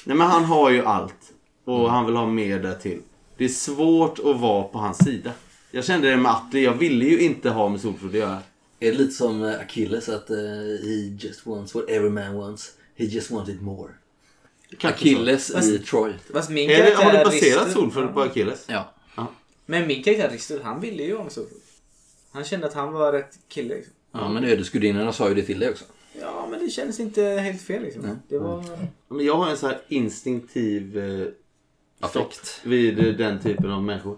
S1: Nej men han har ju allt. Och han vill ha mer därtill. Det är svårt att vara på hans sida. Jag kände det med Atli. Jag ville ju inte ha med Solfurd att göra.
S3: Är det lite som eh, Achilles att eh, he just wants what every man wants. He just wanted more.
S1: Kanske
S3: Achilles
S1: så.
S3: i Troy.
S16: Fast min
S1: Är det, har du
S16: karaktär
S1: baserat
S16: Risto-
S1: Solfurd på Achilles?
S3: Ja.
S16: Men min karaktär Ristor, han ville ju vara med Solfur. Han kände att han var rätt kille. Liksom.
S3: Ja, men ödesgudinnorna sa ju det till dig också.
S16: Ja, men det kändes inte helt fel liksom. Det var...
S1: Men jag har en så här instinktiv eh, affekt vid eh, den typen av människor.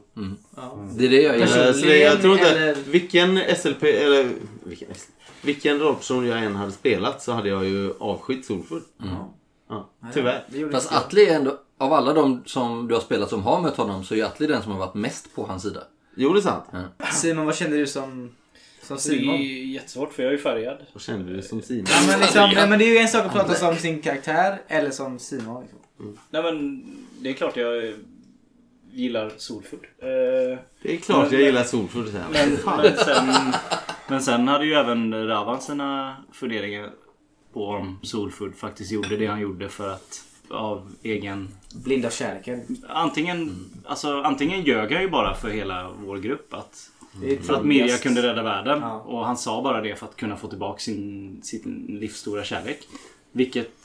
S16: Ja.
S3: Det är det jag
S1: Eh,
S3: gillar.
S1: Så det, jag tror inte,
S16: eller-
S1: vilken SLP, eller vilken, vilken rollperson jag än hade spelat så hade jag ju avskytt Solfurd. Ja, tyvärr.
S3: Fast Atli är ändå, av alla de som du har spelat som har mött honom så är ju Atli den som har varit mest på hans sida.
S1: Jo, det är sant.
S16: Simon, vad kände du som, som
S10: Det är
S16: Simon?
S10: ju jättesvårt för jag är ju färgad.
S1: Vad kände du som Simon?
S16: Ja, men, liksom, nej, men det är ju en sak att prata som sin karaktär eller som Simon. Liksom.
S10: Nej men det är klart jag eh, gillar Solfurd. Eh,
S1: Det är klart jag gillar Solfurd, säger han.
S10: Men,
S1: Fan.
S10: men, sen, men sen hade ju även Ravan sina funderingar på om Solfurd faktiskt gjorde det han gjorde för att av egen...
S16: Blind av kärleken.
S10: Antingen,
S1: Mm.
S10: alltså, antingen ljög han ju bara för hela vår grupp att,
S16: Det är
S10: för att
S16: troligast.
S10: Mirja kunde rädda världen. Och han sa bara det för att kunna få tillbaka sin, sin livsstora kärlek. Vilket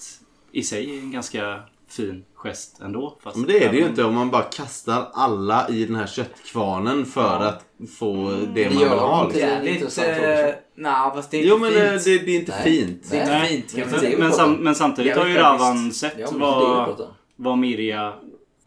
S10: i sig är en ganska fin gest ändå. Fast
S1: Men det är det ju
S10: även-
S1: inte om man bara kastar alla i den här köttkvarnen för att få det man vill ha.
S16: Det
S1: liksom.
S16: är lite... Nej, eh, fast det är inte
S1: Jo men eh,
S16: fint.
S1: det, det är inte fint.
S16: Det är inte
S10: Nej,
S16: fint. kan man
S10: men,
S16: säga.
S10: men, sam, men samtidigt
S16: Jag
S10: har
S16: vet
S10: ju
S16: inte,
S10: Ravan
S16: visst.
S10: sett
S16: Ja, men det är ju
S10: vad,
S16: pratar.
S10: vad Mirja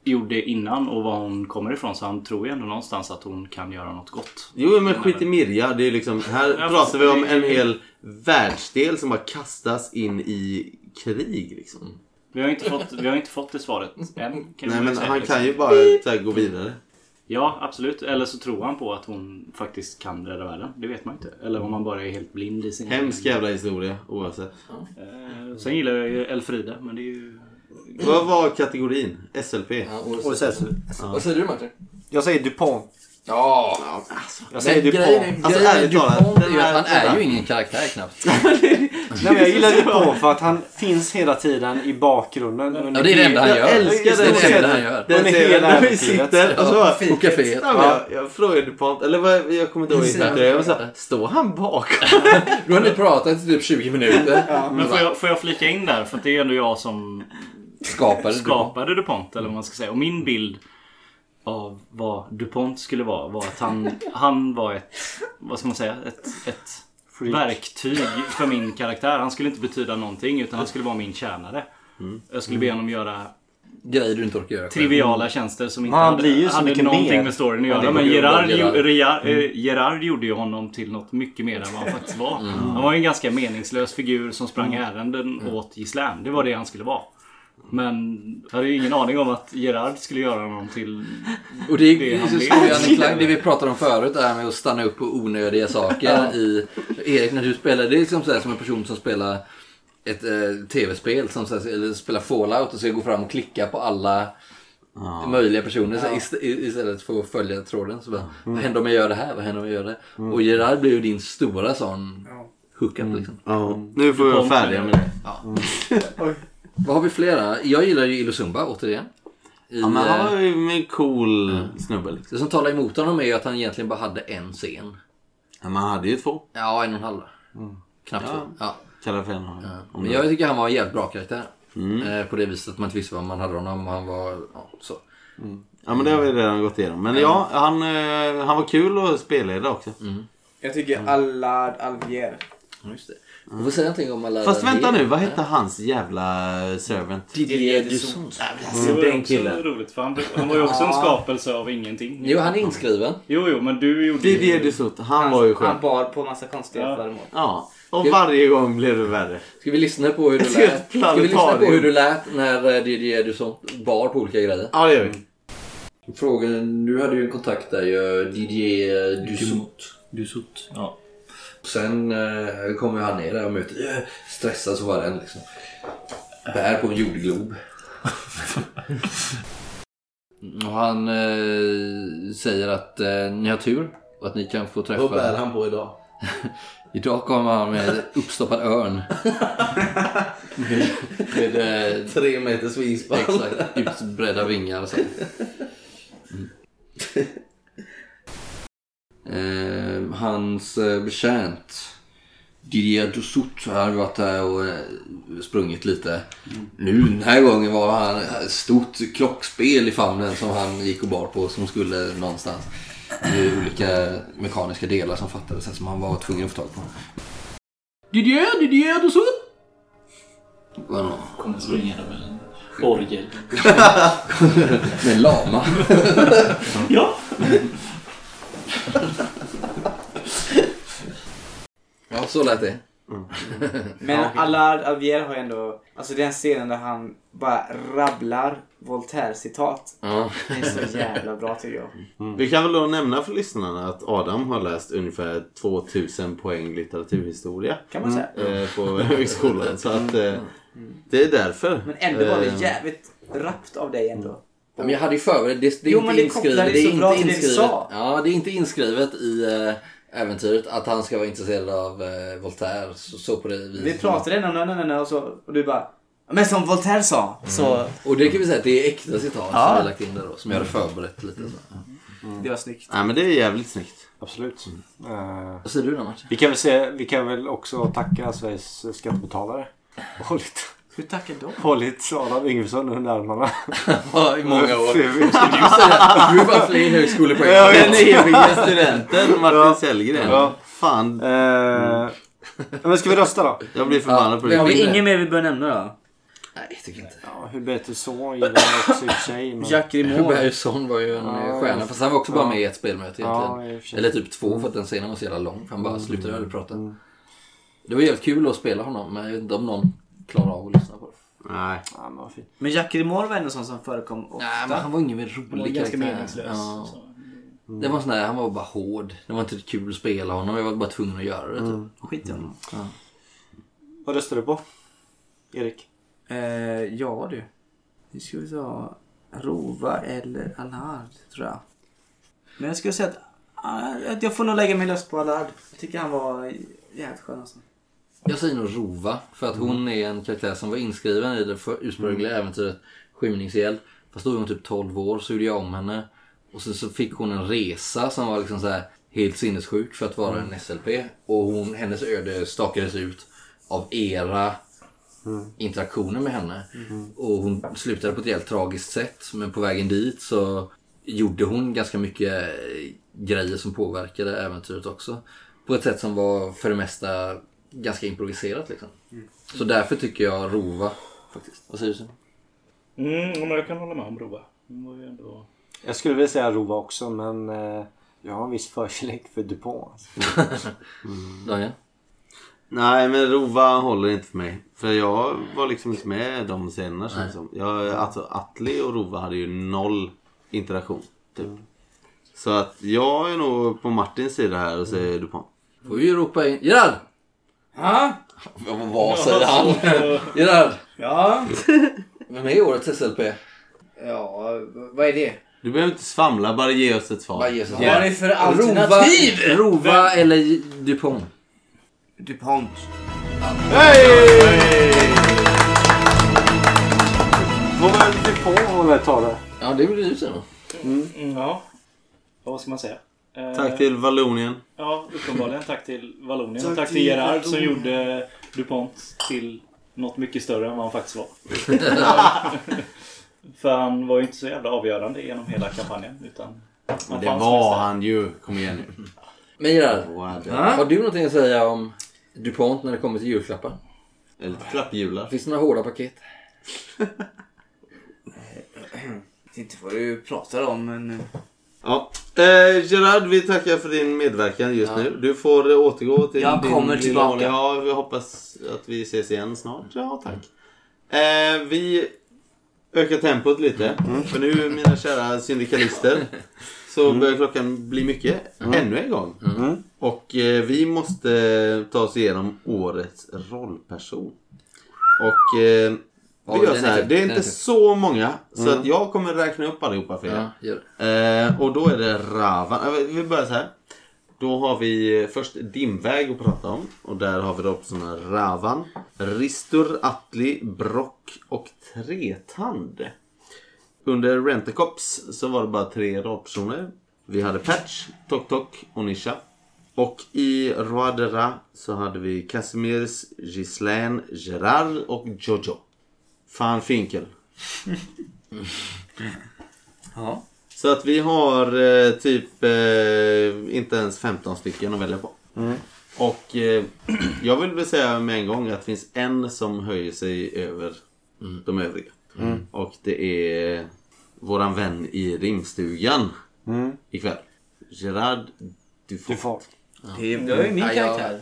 S10: gjorde innan och var hon kommer ifrån. Så han tror ju ändå någonstans att hon kan göra något gott.
S1: Jo men skit i Mirja. Det är liksom, här
S10: Ja,
S1: pratar vi om
S10: det-
S1: en hel världsdel som bara kastas in i krig
S10: Mm.
S1: liksom. <laughs>
S10: Vi har ju inte fått, vi har inte fått det svaret än.
S1: Nej
S10: man
S1: men
S10: säga,
S1: han
S10: liksom.
S1: kan ju bara så här, gå vidare.
S10: Ja, absolut. Eller så tror han på att hon faktiskt kan rädda världen. Det vet man inte. Eller om han bara är helt blind i sin...
S1: Hemsk jävla historia oavsett.
S10: Eh, Sen gillar jag ju Elfrida, men det är ju...
S1: Vad var kategorin? SLP? Ja,
S2: OSS.
S1: Ja.
S2: säger
S20: du Martin?
S2: Jag säger DuPont.
S20: Ja.
S2: Jag säger
S3: Men
S2: DuPont.
S3: grejen är-
S2: Alltså,
S3: grejen
S2: ärligt
S3: med
S2: talat,
S3: DuPont är
S2: den
S3: ju att han
S2: här-
S3: är ju ingen karaktär knappt.
S2: Nej, men jag gillar DuPont för att han finns hela tiden i bakgrunden. under
S3: det är det enda han
S2: hela-
S3: gör.
S2: Jag älskar
S3: Det är det
S2: den
S3: enda han
S2: scenen.
S3: gör.
S2: Den
S1: Den
S2: är
S1: ser
S2: hela
S1: när vi
S2: äventyret.
S1: sitter och så
S2: Ja.
S1: bara, Ja, men
S2: Ja.
S1: jag, jag frågade DuPont, eller vad, jag kommer inte ihåg
S3: Precis.
S1: exakt hur det är, men så här, står han bakom?
S3: Då har ni pratat i typ 20 minuter.
S10: Men får jag, får jag flika in där? För att det är ändå jag som
S3: Skapade
S10: skapade DuPont. Eller vad man ska säga. Och min bild av vad DuPont skulle vara var
S3: <laughs>
S10: att han, han var ett, vad ska man säga, ett, ett
S21: Freak.
S10: verktyg för min karaktär. Han skulle inte betyda
S3: <laughs>
S10: någonting utan han skulle vara min tjänare.
S3: Mm.
S10: Jag skulle be honom göra
S3: Grejer du inte orkar göra själv.
S10: triviala tjänster som inte
S3: Men han
S10: hade,
S3: Mm. blir ju så
S10: hade
S3: mycket
S10: någonting
S3: mer.
S10: med storyn att
S3: Ja,
S10: göra.
S3: det
S10: men
S3: var ju
S10: Gerard,
S3: Gerard.
S10: Gerard. Gerard,
S3: Mm.
S10: eh, Gerard gjorde ju honom till något mycket mer än vad han faktiskt var.
S3: Mm.
S10: Han var ju en ganska meningslös figur som sprang
S3: Mm.
S10: ärenden åt Gislaine. Det var det han skulle vara. Men jag hade ju ingen aning om att Gerard skulle göra honom till
S3: Och det är så
S10: blev.
S3: skojande klang, det vi pratade om förut, det här med att stanna upp på onödiga saker.
S10: Ja.
S3: i, Erik, när du spelar, det är liksom så här, som en person som spelar ett eh, tv-spel, som så här, eller spelar Fallout och ska gå fram och klicka på alla möjliga personer så här,
S10: Ja.
S3: ist- i- istället för att följa tråden. Så bara,
S1: Mm.
S3: Vad händer om jag gör det här? Vad händer om jag gör det?
S1: Mm.
S3: Och Gerard blir ju din stora sån hookup liksom.
S1: Ja, nu får vi vara färdiga med det.
S3: Ja.
S10: <laughs>
S3: Vad har vi flera? Jag gillar ju Ilosumba återigen. I,
S1: Ja, men han
S3: eh,
S1: var ju en cool snubbe liksom.
S3: det som talar emot honom är ju att han egentligen bara hade en scen.
S1: Ja, men han hade ju två.
S3: Ja, en och en halv. Knappt
S1: Ja.
S3: två. Ja.
S1: Kallar för en och en halv. Om
S3: Men
S1: det-
S3: jag tycker han var en jävligt bra karaktär.
S1: Mm.
S3: Eh, på det viset att man inte visste vad man hade honom. och Han var ja, så.
S1: Mm. Ja men det har vi redan gått igenom. Men ja, han, eh, han var kul att spelleda också.
S7: Jag tycker Allard Alvier.
S3: Just det. Du får säga någonting om alla...
S1: Fast vänta nu, vad
S3: Ja.
S1: hette hans jävla servant?
S3: Didier Dusson.
S10: Det var ju
S1: Den
S10: också
S1: killen.
S10: roligt för han, han var ju också en
S1: Ja.
S10: skapelse av ingenting.
S1: Jo, han är
S3: inskriven.
S10: Jo, jo, men du gjorde
S1: Didier Dusson, han var ju skön.
S7: Han bar på massa konstiga
S10: Ja.
S7: föremål.
S1: Ja, och varje gång blev det värre.
S3: Ska vi lyssna på hur
S1: <laughs>
S3: du
S1: Jag ser
S3: lät?
S1: ett
S3: Ska vi lyssna på
S1: planetarium.
S3: hur du lät när eh, Didier Dusson bar på olika grejer?
S1: Ja, det gör vi.
S3: Frågan, du hade ju en kontakt där ju, Didier eh, Dusot. Dusot. Ja. Sen eh, kommer ju han ner där och möter, eh, stressad så var den liksom. Bär på en jordglob. <laughs> och han eh, säger att eh, ni har tur och att ni kan få träffa...
S1: Vad bär han på idag?
S3: <laughs> idag kommer han med uppstoppad
S1: <laughs>
S3: örn. med, med, eh,
S1: Tre meters vingspann.
S3: Exakt, utbredda vingar och så. Eh, hans eh, betjänt Didier Dussout har varit där och eh, sprungit lite.
S21: Mm.
S3: Nu den här gången var han eh, stort klockspel i famnen som han gick och bar på som skulle någonstans. Det är olika mekaniska delar som fattades här som han var tvungen att få tag på. Didier, Didier Dussout! Vadå?
S21: Kommer springande med en orgel.
S3: <laughs> Med en lama.
S21: ja.
S3: Ja, så lät det.
S7: Men Allard Alvier har ju ändå, alltså den scenen där han bara rabblar Voltaire-citat.
S1: Ja.
S7: Det är så jävla bra tycker jag.
S1: Vi kan väl då nämna för lyssnarna att Adam har läst ungefär 2000 poäng litteraturhistoria.
S7: Kan man säga. Mm.
S1: eh, På högskolan. Så att eh, det är därför.
S7: Men ändå var det
S1: Eh,
S7: jävligt rappt av dig ändå.
S3: Ja, men jag hade ju förberett. Det, det är
S7: Jo, men
S3: inte
S7: det
S3: inskrivet.
S7: kopplade
S3: Det är
S7: så bra
S3: inte
S7: till det du
S3: inskrivet.
S7: sa.
S3: Ja, det är inte inskrivet i eh, äventyret att han ska vara intresserad av eh, Voltaire. Så, så på det viset.
S7: Vi pratade ändå nej, nej, nej, och, så, och du bara Men som Voltaire sa. Så
S3: Och det kan vi säga att det är äkta citat
S7: Ja.
S3: som jag lagt in där då. Som jag hade förberett lite. Så.
S7: det var snyggt.
S1: Nej men det är jävligt snyggt.
S2: Absolut.
S3: Vad säger du då Martin?
S2: Eh, Vi kan väl, säga, vi kan väl också tacka Sveriges skattebetalare. <laughs> Hållit,
S7: Hur tackar de?
S2: hållit Adam Yngvesson under armarna.
S3: Ja, i många
S2: <laughs>
S3: år.
S2: Skulle du
S3: Skulle du säga- du bara fler högskolepoäng.
S1: Den eviga
S3: <laughs>
S1: studenten Martin Sellgren.
S2: Ja.
S1: Fan.
S2: Eh, men ska vi rösta då?
S1: Jag blir förbannad på det.
S7: Har vi inget mer vi bör nämna då?
S3: Nej, jag tycker inte.
S2: Ja, Hubert Son gillar jag också i och för sig. men-
S7: Jacques
S3: <laughs>
S7: Grimaud.
S3: Hubert Son var ju en
S2: Ja,
S3: eh, stjärna. Fast han var också
S2: ja.
S3: bara med i ett spelmöte
S2: Ja,
S3: egentligen.
S2: i och för sig.
S3: Eller typ två för Mm. att den scenen var så jävla lång. För han bara slutade aldrig prata. Det var jävligt kul att spela honom. Men jag vet inte om någon klarar av att lyssna på det.
S1: Nej.
S2: Ja, men vad fint.
S7: Men Jacques Grimaud var ändå sån som förekom ofta.
S3: Nej, men han var ingen rolig
S7: Han var ganska
S3: karaktär.
S7: meningslös.
S3: Ja.
S7: Så.
S3: Det var en sån där, han var bara hård. Det var inte kul att spela honom. Jag var bara tvungen att göra det. Typ.
S2: Mm.
S3: Skit i honom. Ja.
S2: Vad röstar du på? Erik?
S16: Eh, ja du. Nu ska vi ta Rova eller Allard tror jag. Men jag skulle säga att, ah, att jag får nog lägga min röst på Allard. Jag tycker han var jävligt skön alltså.
S3: Jag säger nog Rova. För att hon är en karaktär som var inskriven i det för- ursprungliga äventyret Skymningshjälp. Fast då var hon typ 12 år så gjorde jag om henne. Och sen så fick hon en resa som var liksom så här helt sinnessjuk för att vara
S6: Mm.
S3: en SLP. Och hon, hennes öde stakades ut av era interaktioner med henne. Och hon slutade på ett helt tragiskt sätt. Men på vägen dit så gjorde hon ganska mycket eh, grejer som påverkade äventyret också. På ett sätt som var för det mesta ganska improviserat liksom.
S10: Mm.
S3: Så därför tycker jag Rova faktiskt. Vad säger du? Simon?
S10: Mm, men jag kan hålla med om Rova. Hon var ju ändå...
S2: Jag skulle vilja säga Rova också men eh, jag har en viss förkärlek för Dupont.
S1: Mm.
S3: Daniel?
S1: Nej, men Rova håller inte för mig. För jag var liksom inte med de scenerna känns det som. Jag, alltså Atli och Rova hade ju noll interaktion. Typ.
S7: Mm.
S1: Så att jag är nog på Martins sida här och säger Dupont.
S3: Får vi ropa in... Gerard!
S1: Ja?
S3: Vad säger han? Gerard!
S5: Ja?
S3: Vem är årets SLP?
S5: Ja, vad är det?
S1: Du behöver inte svamla, bara ge oss ett svar.
S3: Vad ges
S5: Vad är det för alternativ?
S3: Rova, Rova eller Dupont?
S5: DuPont.
S2: Vad var det Dupont håller talet?
S3: Ja, det blir du sen då.
S10: Mm, ja. Ja, Vad ska man säga? Eh,
S1: Tack till Vallonien.
S10: Ja, uppenbarligen tack till Vallonien.
S2: Tack
S10: Tack,
S2: till
S10: till Gerard som
S2: Vallonien.
S10: gjorde DuPont till något mycket större än vad
S3: <laughs>
S10: han faktiskt var. För han var ju inte så jävla avgörande genom hela kampanjen. Utan
S1: Men
S10: han
S1: det
S10: fanns
S1: var
S10: mest där.
S1: han ju. Kom igen nu.
S3: Men Gerard,
S1: Wow.
S3: har du någonting att säga om DuPont när det kommer till julklappar?
S1: Eller klapphjular.
S3: Finns det några hårda paket?
S5: vet inte vad du pratar om men... eh,
S1: Ja. Eh, Gerard, vi tackar för din medverkan just
S5: Ja.
S1: nu. Du får eh, återgå till
S5: Jag
S1: din
S5: kommer
S1: lilla
S5: tillbaka.
S1: vanliga- Ja, vi hoppas att vi ses igen snart. Ja, tack. Eh, vi ökar tempot lite. För nu, mina kära syndikalister, så börjar klockan bli mycket.
S2: Mm.
S1: Ännu en gång. Och eh, vi måste eh, ta oss igenom årets rollperson. Och eh,
S3: Ja,
S1: vi gör
S3: den
S1: så
S3: är
S1: här.
S3: fin.
S1: Det är
S3: Den är
S1: inte
S3: fin.
S1: så många. Så
S3: Mm.
S1: att jag kommer räkna upp allihopa för er.
S3: Ja, gör
S1: Eh, och då är det Ravan. Eh, Vi börjar så här. Då har vi eh, först Dimväg att prata om. Och där har vi då såna Ravan, Ristur, Atli, Brock och Tretand. Under Rentacops så var det bara tre rollpersoner. Vi hade Patch, Tok Tok och Nisha. Och i Roi de Ra så hade vi Casimirs, Gislaine, Gerard och Jojo. Fan
S2: <laughs>
S1: Finkel.
S3: Ja.
S1: Så att vi har eh, typ eh, inte ens 15 stycken att välja på.
S2: Mm.
S1: Och eh, <clears throat> jag vill väl säga med en gång att det finns en som höjer sig över de övriga.
S2: Mm.
S1: Och det är våran vän i rimstugan
S2: Mm.
S1: ikväll. Gerard Dufort. Ja.
S5: Det var ju min
S3: Ja, jag-
S5: karaktär.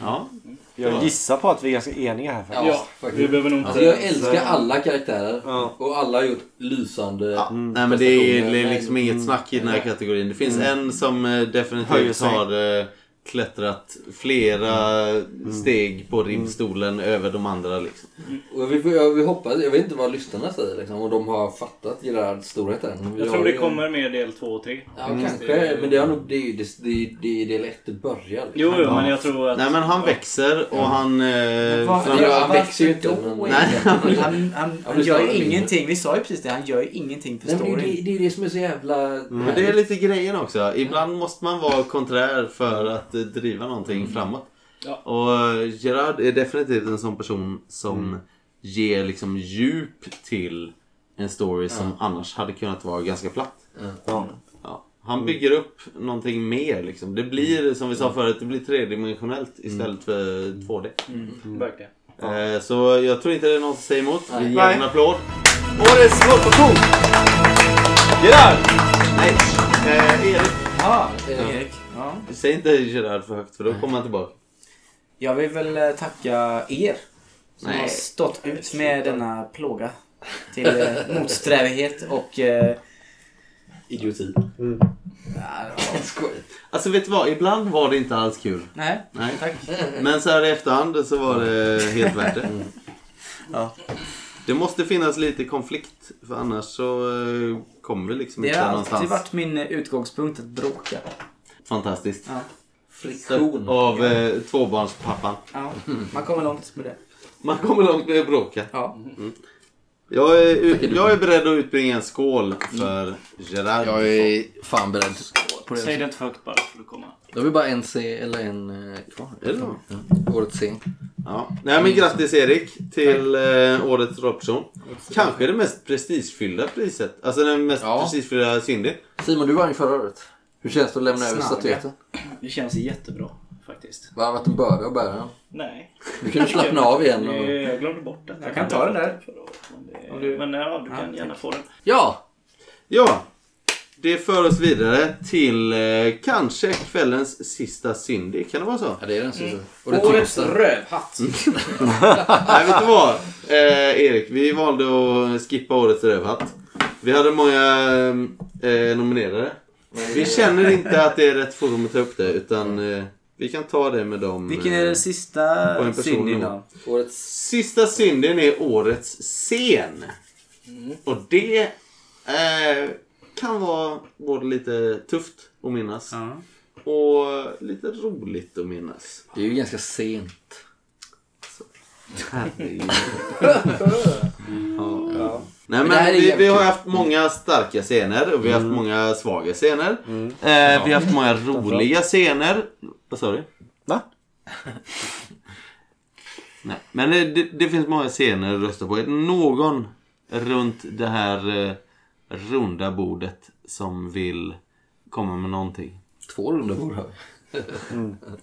S1: Ja.
S2: Jag gissar på att vi är ganska eniga här faktiskt.
S3: alltså, Jag älskar alla karaktärer och alla har gjort lysande
S1: Nej men det är, det är
S3: prestationer.
S1: liksom inget snack i den här
S3: Mm. Nej.
S1: kategorin. Det finns
S3: Mm.
S1: en som eh,
S2: Höjer
S1: definitivt
S2: sig.
S1: har eh, klättrat flera
S3: Mm.
S1: steg på rimstolen över de andra liksom.
S3: Och vi, får- jag, vi hoppas, jag vet inte vad lyssnarna säger liksom, och de har fattat Gerards storhet än. Vi
S10: Jag
S3: har
S10: tror det
S3: ju-
S10: kommer med del två och tre.
S3: Ja, kanske. Men det är nog det, är ju- det, det, det är del ett det börjar. liksom.
S10: Jo, jo, men jag tror att...
S1: Nej men han växer och han... Eh,
S3: vad-
S1: fram-
S3: ja, han växer ju inte,
S1: Varför då?
S3: men-
S1: Nej.
S16: Han, han, han,
S3: Ja, men
S16: gör
S3: snarare
S16: ju
S3: mindre.
S16: ingenting. Vi sa ju precis det. Han gör ju ingenting för
S3: Nej, men det, är ju
S16: storyn.
S3: det, det är ju det som är så jävla...
S1: Men det är lite grejen också. Ibland måste man vara konträr för att eh, driva någonting
S2: Mm.
S1: framåt.
S10: Ja.
S1: Och eh, Gerard är definitivt en sån person som
S2: Mm.
S1: ger liksom djup till en story som annars hade kunnat vara ganska platt.
S2: Ja.
S1: Ja. Han bygger upp någonting mer liksom. Det blir
S2: Mm.
S1: som vi sa förut, det blir tredimensionellt istället för 2D.
S10: Mm. Verkligen.
S1: Eh, Så jag tror inte det är någon som säger emot. Vi ger
S2: Nej.
S1: en applåd.
S2: Årets rollperson!
S1: Gerard! Nej, eh, Erik.
S16: Ja,
S1: Ja.
S16: Erik. Ja.
S1: Säg inte Gerard för högt för då kommer han tillbaka.
S16: Jag vill väl eh, tacka er som
S1: Nej.
S16: har stått ut med denna plåga till eh, motsträvighet och eh,
S3: Idioti.
S1: Alltså vet du vad, ibland var det inte alls kul.
S7: Nej, tack.
S1: Men så här i efterhand så var det helt värt det.
S7: Mm.
S1: Ja. Det måste finnas lite konflikt för annars så eh, kommer vi liksom
S16: Det
S1: inte
S16: har alltid
S1: någonstans.
S16: varit min eh, utgångspunkt att bråka.
S1: Fantastiskt.
S16: Ja.
S1: Stött Av eh, tvåbarnspappan.
S16: Ja, man kommer långt med det.
S1: Man kommer långt med att bråka.
S16: Ja.
S1: Mm. Jag, är, jag är beredd att utbringa en skål för Gerard.
S3: Jag är fan beredd. På det.
S10: Säg det inte för högt bara för att komma.
S3: Då har vi bara en C eller en eh, kvar. Mm.
S1: Är det då?
S3: Ja. Årets C.
S1: Ja. Nej men grattis Erik till eh, årets rollperson. Kanske det mest prestigefyllda priset. Alltså den mest prestigefyllda Cindy.
S3: Simon, du vann ju förra året. Hur känns det att lämna över statyetten?
S10: Det känns jättebra faktiskt.
S3: Vad har varit en börda att bära?
S10: Nej.
S3: Du kan ju slappna av igen.
S10: Eh,
S3: Och...
S1: Mm.
S10: Jag glömde bort den.
S3: Jag kan ta den
S10: där. Men, det, men ja, du kan gärna få den.
S3: Ja!
S1: Ja! Det för oss vidare till eh, kanske kvällens sista Cindy. Kan det
S16: <laughs>
S1: vara så?
S3: Ja, det är den sista.
S5: Årets rövhatt.
S1: Nej, vet du vad? Eh, Erik, vi valde att skippa årets rövhatt. Vi hade många eh, nominerade. Vi känner inte att det är rätt forum att ta upp det, utan eh, vi kan ta det med dem. eh,
S16: Vilken är den sista synden då?
S3: Årets...
S1: Sista synden är årets scen. Och det eh, kan vara både lite tufft att minnas och lite roligt att minnas.
S3: Det är ju ganska sent.
S1: Herregud.
S3: Ja.
S1: ja.
S3: Men
S1: Nej,
S3: det här
S1: men
S3: är
S1: vi,
S3: jävligt
S1: vi har
S3: kul. Mm.
S1: haft många starka scener och vi har haft många svaga scener. Eh, vi har haft många roliga scener. Vad sa du? Va? Nej, men det, det, det finns många scener att rösta på. Är det någon runt det här eh, runda bordet som vill komma med någonting?
S3: Två runda bord har vi.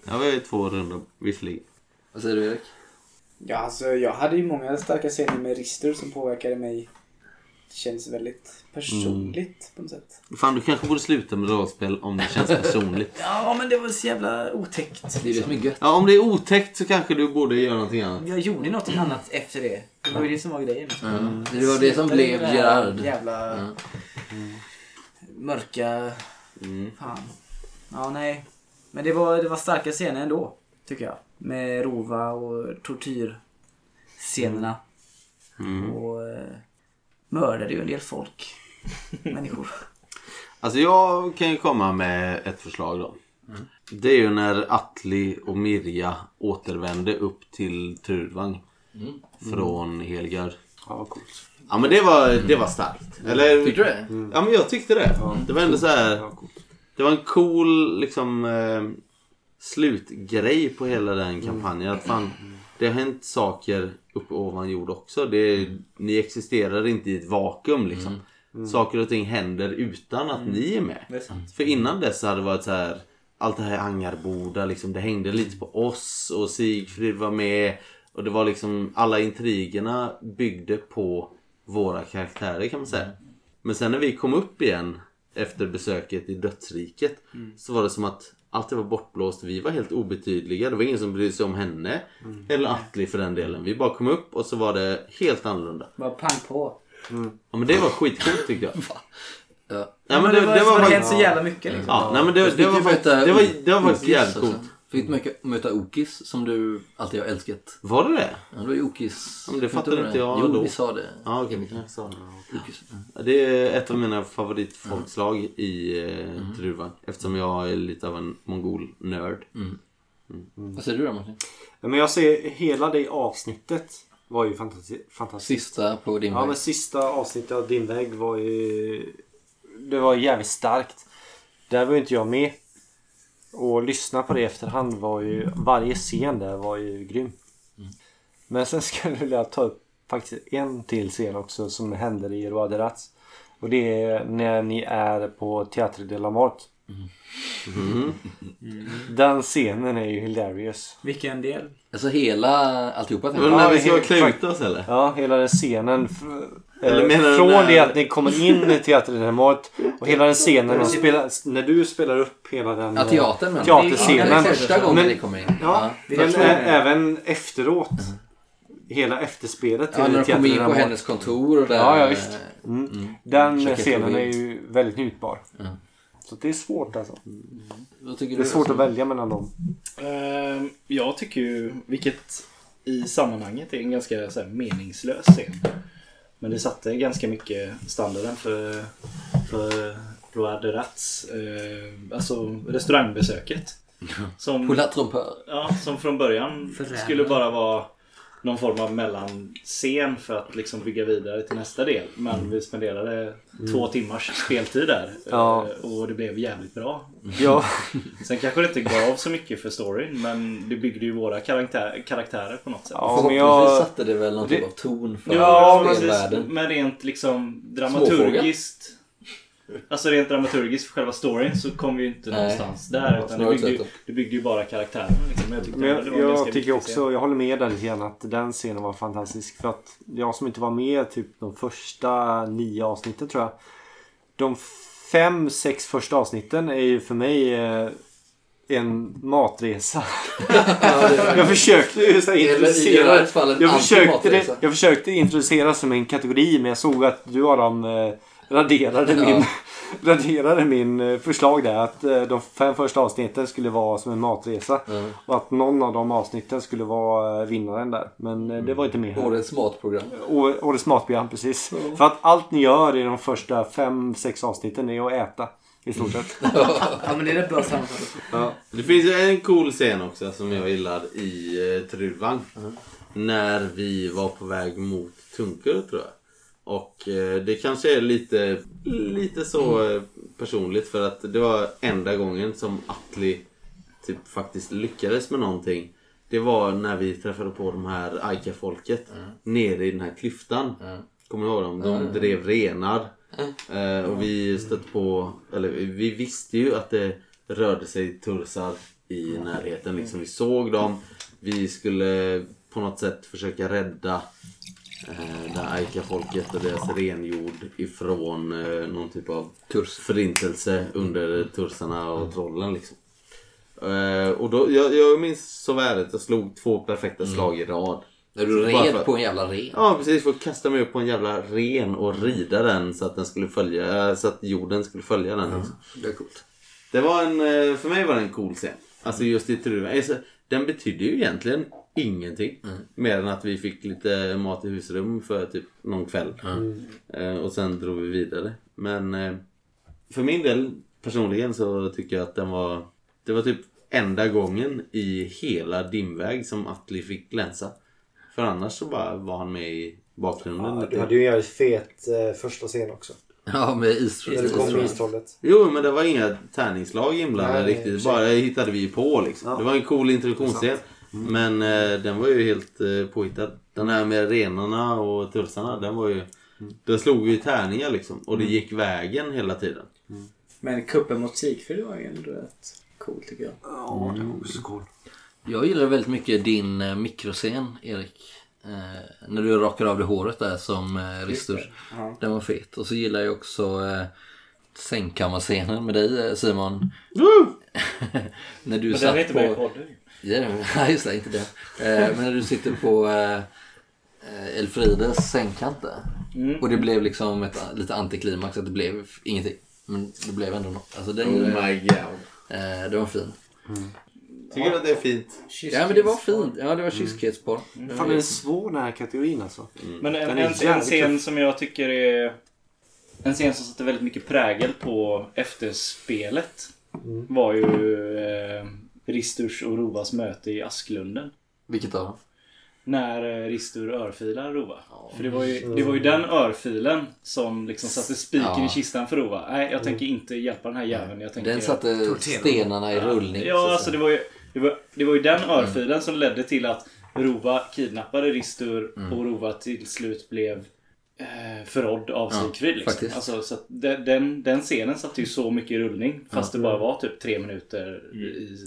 S1: Ja, vi har ju två runda visserligen.
S3: Vad säger du Erik?
S5: Ja, alltså, jag hade ju många starka scener med Rister som påverkade mig. Det känns väldigt
S1: Mm.
S5: personligt på något sätt.
S1: Fan, du kanske borde sluta med rollspel om det känns personligt.
S16: Ja, men det var så jävla otäckt.
S1: Ja, om det är otäckt så kanske du borde göra någonting annat.
S16: Jag gjorde något annat efter det. Det var ju det som var grejen.
S3: Mm. Det var det som
S16: Slutade med
S3: blev
S16: det här
S3: Gerard.
S16: Jävla
S3: Mm.
S16: mörka... Fan. Ja, nej. Men det var, det var starka scener ändå, tycker jag. Med Rova och tortyrscenerna. Och eh, mördade ju en del folk. Människor.
S1: Alltså jag kan ju komma med ett förslag då. Det är ju när Atli och Mirja återvände upp till Trudvang.
S3: Mm.
S1: Från Helgard. Ja, coolt. Ja men det var, det var starkt. Eller,
S3: Tyckte du det?
S1: Ja men jag tyckte det. Det var ändå så här. Det var en cool liksom eh, slutgrej på hela
S16: Mm.
S1: den kampanjen. Att fan, det har hänt saker uppe ovan jord också. Det, är-
S16: Mm.
S1: Ni existerar inte i ett vakuum liksom. Saker och ting händer utan att ni är med.
S16: Mm. Det är sant.
S1: För innan dess så hade det varit så här. Allt det här i Angarboda liksom, det hängde
S16: Mm.
S1: lite på oss och Sigfrid var med. Och det var liksom alla intrigerna byggde på våra karaktärer kan man säga.
S16: Mm.
S1: Men sen när vi kom upp igen efter besöket i dödsriket så var det som att allt det var bortblåst. Vi var helt obetydliga. Det var ingen som brydde sig om henne. Eller Atli för den delen. Vi bara kom upp och så var det helt annorlunda.
S16: Bara pang på.
S1: Ja men det var skitcoolt tyckte <laughs> jag.
S3: Ja.
S1: Nej,
S16: Men det var- det
S1: faktiskt-
S16: hänt så jävla mycket, liksom.
S1: Ja, nej, men det, det,
S3: Fick
S1: var,
S3: ju
S1: faktiskt-
S3: möta
S1: det var Det var faktiskt
S3: Okis
S1: jävligt
S3: också.
S1: coolt.
S3: Fick möta, möta Okis som du alltid har älskat.
S1: Var det det?
S3: Ja, det var ju Okis.
S1: Ja, men det
S3: Vet du
S1: fattade
S3: vad
S1: inte
S3: är?
S1: jag
S3: Jo,
S1: då.
S3: vi sa det.
S1: Ja, okej, vi kanske sa det. Ja, Det är ett av mina favoritfolkslag i eh, Druvan. Eftersom jag är lite av en mongol-nörd.
S3: Mm. Vad säger du då Martin?
S2: Ja, Men jag ser hela det avsnittet var ju fantasi- fantastiskt.
S3: Sista på din
S2: Ja,
S3: väg.
S2: men sista avsnittet av din väg var ju... Det var jävligt starkt. Där var ju inte jag med. Och lyssna på det i efterhand var ju... Varje scen där var ju <laughs> grym. Men sen skulle jag vilja ta upp faktiskt en till scen också som händer i Roi de Rats. Och det är när ni är på Teatre de la Mort.
S3: Mhm.
S2: Den scenen är ju hilarious.
S16: Vilken del?
S3: Alltså hela alltihopa? tänker
S2: Men
S3: jag.
S2: när vi ska klä
S1: ut oss eller?
S2: Ja, hela den scenen. f-
S1: Eller
S2: eh,
S1: menar du
S2: från
S1: när-
S2: det att ni kommer in i teaterdramot och hela den scenen de
S3: Mm.
S2: spelar, när du spelar upp hela den
S3: Ja,
S2: eh,
S3: teatern, men.
S2: teaterscenen.
S3: Det är första gången
S2: Men-
S3: ni kommer in.
S2: Ja,
S3: Ja.
S2: men
S3: Första
S2: ä-
S3: gången.
S2: även efteråt. Hela efterspelet
S3: Ja, när de kommer in på
S2: teaterdramot.
S3: hennes kontor och där-
S2: Ja, ja visst. Mm.
S3: Mm.
S2: Den
S3: Försöker
S2: scenen
S3: få
S2: är
S3: in.
S2: ju väldigt njutbar.
S3: Ja.
S2: Så det är svårt alltså.
S10: Vad
S2: Det
S10: tycker
S2: är
S10: du,
S2: svårt
S10: Özil?
S2: att välja mellan dem.
S10: Ehm, jag tycker ju, vilket i sammanhanget är en ganska så här, meningslös scen. Men det satte ganska mycket standarden för, för Roi de Rats, eh, alltså restaurangbesöket. Som,
S3: Pour la trompeur.
S10: Ja, som från början
S3: Förrädare.
S10: skulle bara vara någon form av mellanscen för att liksom bygga vidare till nästa del. Men vi spenderade två timmars speltid där.
S2: Mm. Ja.
S10: Eh, Och det blev jävligt bra.
S2: Ja.
S10: <laughs> Sen kanske det inte gav så mycket för storyn men det byggde ju våra karaktär, karaktärer på något sätt.
S2: Ja, men jag- Förhoppningsvis satte
S3: det väl någon typ av ton för
S10: men
S3: spelvärlden.
S10: precis. Men rent liksom
S3: Småfågel.
S10: dramaturgiskt. Alltså rent dramaturgiskt för själva storyn så kom vi ju inte
S2: Nej.
S10: någonstans där.
S2: Ja,
S10: Utan det
S2: snarare
S10: byggde, ju,
S2: tvärtom.
S10: det byggde ju bara karaktären. Liksom. Men jag tyckte
S2: Men
S10: ändå
S2: jag,
S10: det var en
S2: jag
S10: ganska
S2: tycker
S10: viktig scen.
S2: också, jag håller med dig lite grann att den scenen var fantastisk. För att jag som inte var med typ de första nio avsnitten tror jag. De fem, sex första avsnitten är ju för mig eh, en matresa. <laughs>
S3: det-
S2: jag försökte ju så här
S3: Det är väl i det här fallet liksom.
S2: introducera. Jag försökte, det,
S3: antimatresa.
S2: jag försökte introducera som en kategori men jag såg att du Adam eh, raderade
S3: Ja.
S2: min <laughs> raderade min eh, förslag där att eh, de fem första avsnitten skulle vara som en matresa. Och att någon av de avsnitten skulle vara eh, vinnaren där. Men eh, det var inte med här.
S1: Mm.
S3: Årets matprogram.
S2: Å- Årets matprogram, precis. För att allt ni gör i de första fem, sex avsnitten är att äta. I stort sett.
S1: Ja,
S19: men det är ett bra samtal.
S1: Ja. Det finns ju en cool scen också som jag gillar i eh, Truvan. När vi var på väg mot Tunkur tror jag. Och eh, det kanske är lite, lite så eh, personligt för att det var enda gången som Atli typ faktiskt lyckades med någonting. Det var när vi träffade på de här Aika-folket nere i den här klyftan. Kommer du ihåg dem? De
S3: Mm.
S1: drev renar. Eh, och vi stötte på, eller vi visste ju att det rörde sig tursar i närheten. Liksom, vi såg dem. Vi skulle på något sätt försöka rädda eh, det här Aika-folket och deras renjord ifrån eh, någon typ av förintelse under tursarna och trollen. Liksom. Eh, och då, jag, jag minns så väl att jag slog två perfekta slag i rad.
S3: Mm. När du
S1: Bara
S3: red
S1: för-
S3: på en jävla ren.
S1: Ja precis, för att kasta mig upp på en jävla ren och rida den så att, den skulle följa, eh, så att jorden skulle följa den. Liksom.
S3: Det är coolt.
S1: Det var en, eh, för mig var det en cool scen. Alltså just i Truva. Alltså, Den betydde ju egentligen ingenting. Mer än att vi fick lite mat i husrum för typ någon kväll. Eh, Och sen drog vi vidare. Men eh, för min del personligen så tycker jag att den var... Det var typ enda gången i hela dimväg som Atli fick glänsa. För annars så bara var han med i bakgrunden.
S2: Du hade ju en jävligt fet eh, första scen också.
S3: Ja, med istroll.
S2: När du kom med istrollet.
S1: Jo, men det var inga tärningslag inblandade
S2: Nej,
S1: riktigt.
S2: precis.
S1: Bara det hittade vi på liksom.
S2: Ja.
S1: Det var en cool introduktionsscen.
S2: Sant.
S1: Men eh, den var ju helt eh, påhittad. Den här med renarna och tursarna, den var ju... Den slog ju tärningar liksom. Och det gick vägen hela tiden.
S19: Men kuppen mot Sigfrid var ju ändå rätt cool tycker jag.
S2: Ja, den var också cool.
S3: Jag gillar väldigt mycket din eh, mikroscen, Erik. Eh, när du rakar av det håret där som eh,
S19: Just det,
S3: Ristus.
S19: ja.
S3: Den var fet. Och så gillar jag också eh, sängkammarscenen med dig eh, Simon. <laughs> när du
S10: Men den
S3: satt
S10: är inte
S3: på...
S10: med i podden.
S3: Ja, men- <laughs> Nej, just det. Inte det. Eh, men när du sitter på eh, eh, Elfrides sängkant där.
S10: Mm.
S3: Och det blev liksom ett, lite antiklimax att det blev f- ingenting. Men det blev ändå något. Alltså, det,
S1: Oh my god.
S3: Eh, det var fin.
S1: Tycker du att det är fint?
S3: Ja men det var fint. Ja det var kyskhetsporr.
S2: Mm. Fan, den är svår den här kategorin alltså.
S1: Mm.
S10: Men en,
S2: Den är
S10: en, en
S2: jävligt
S10: scen
S2: tuff.
S10: som jag tycker är... En scen som satte väldigt mycket prägel på efterspelet
S2: Mm.
S10: var ju eh, Risturs och Rovas möte i Asklunden.
S3: Vilket av dem?
S10: När eh, Ristur örfilar Rova. För det var, ju, det var ju den örfilen som liksom satte spiken
S3: Ja.
S10: i kistan för Rova. Nej, jag tänker inte hjälpa den här jäveln. Jag tänker...
S3: Den satte
S10: Tortera.
S3: eh, stenarna i rullning. så
S10: Ja,
S3: att
S10: alltså
S3: säga.
S10: det
S3: Mm.
S10: var ju, det var, det var ju den örfilen som ledde till att Rova kidnappade Ristur
S3: Mm.
S10: och Rova till slut blev eh, förrådd av
S3: Ja,
S10: Sigfrid. liksom.
S3: faktiskt.
S10: alltså, så att den, den, den scenen satte ju så mycket i rullning fast
S3: Ja. Mm.
S10: det bara var typ tre minuter i, i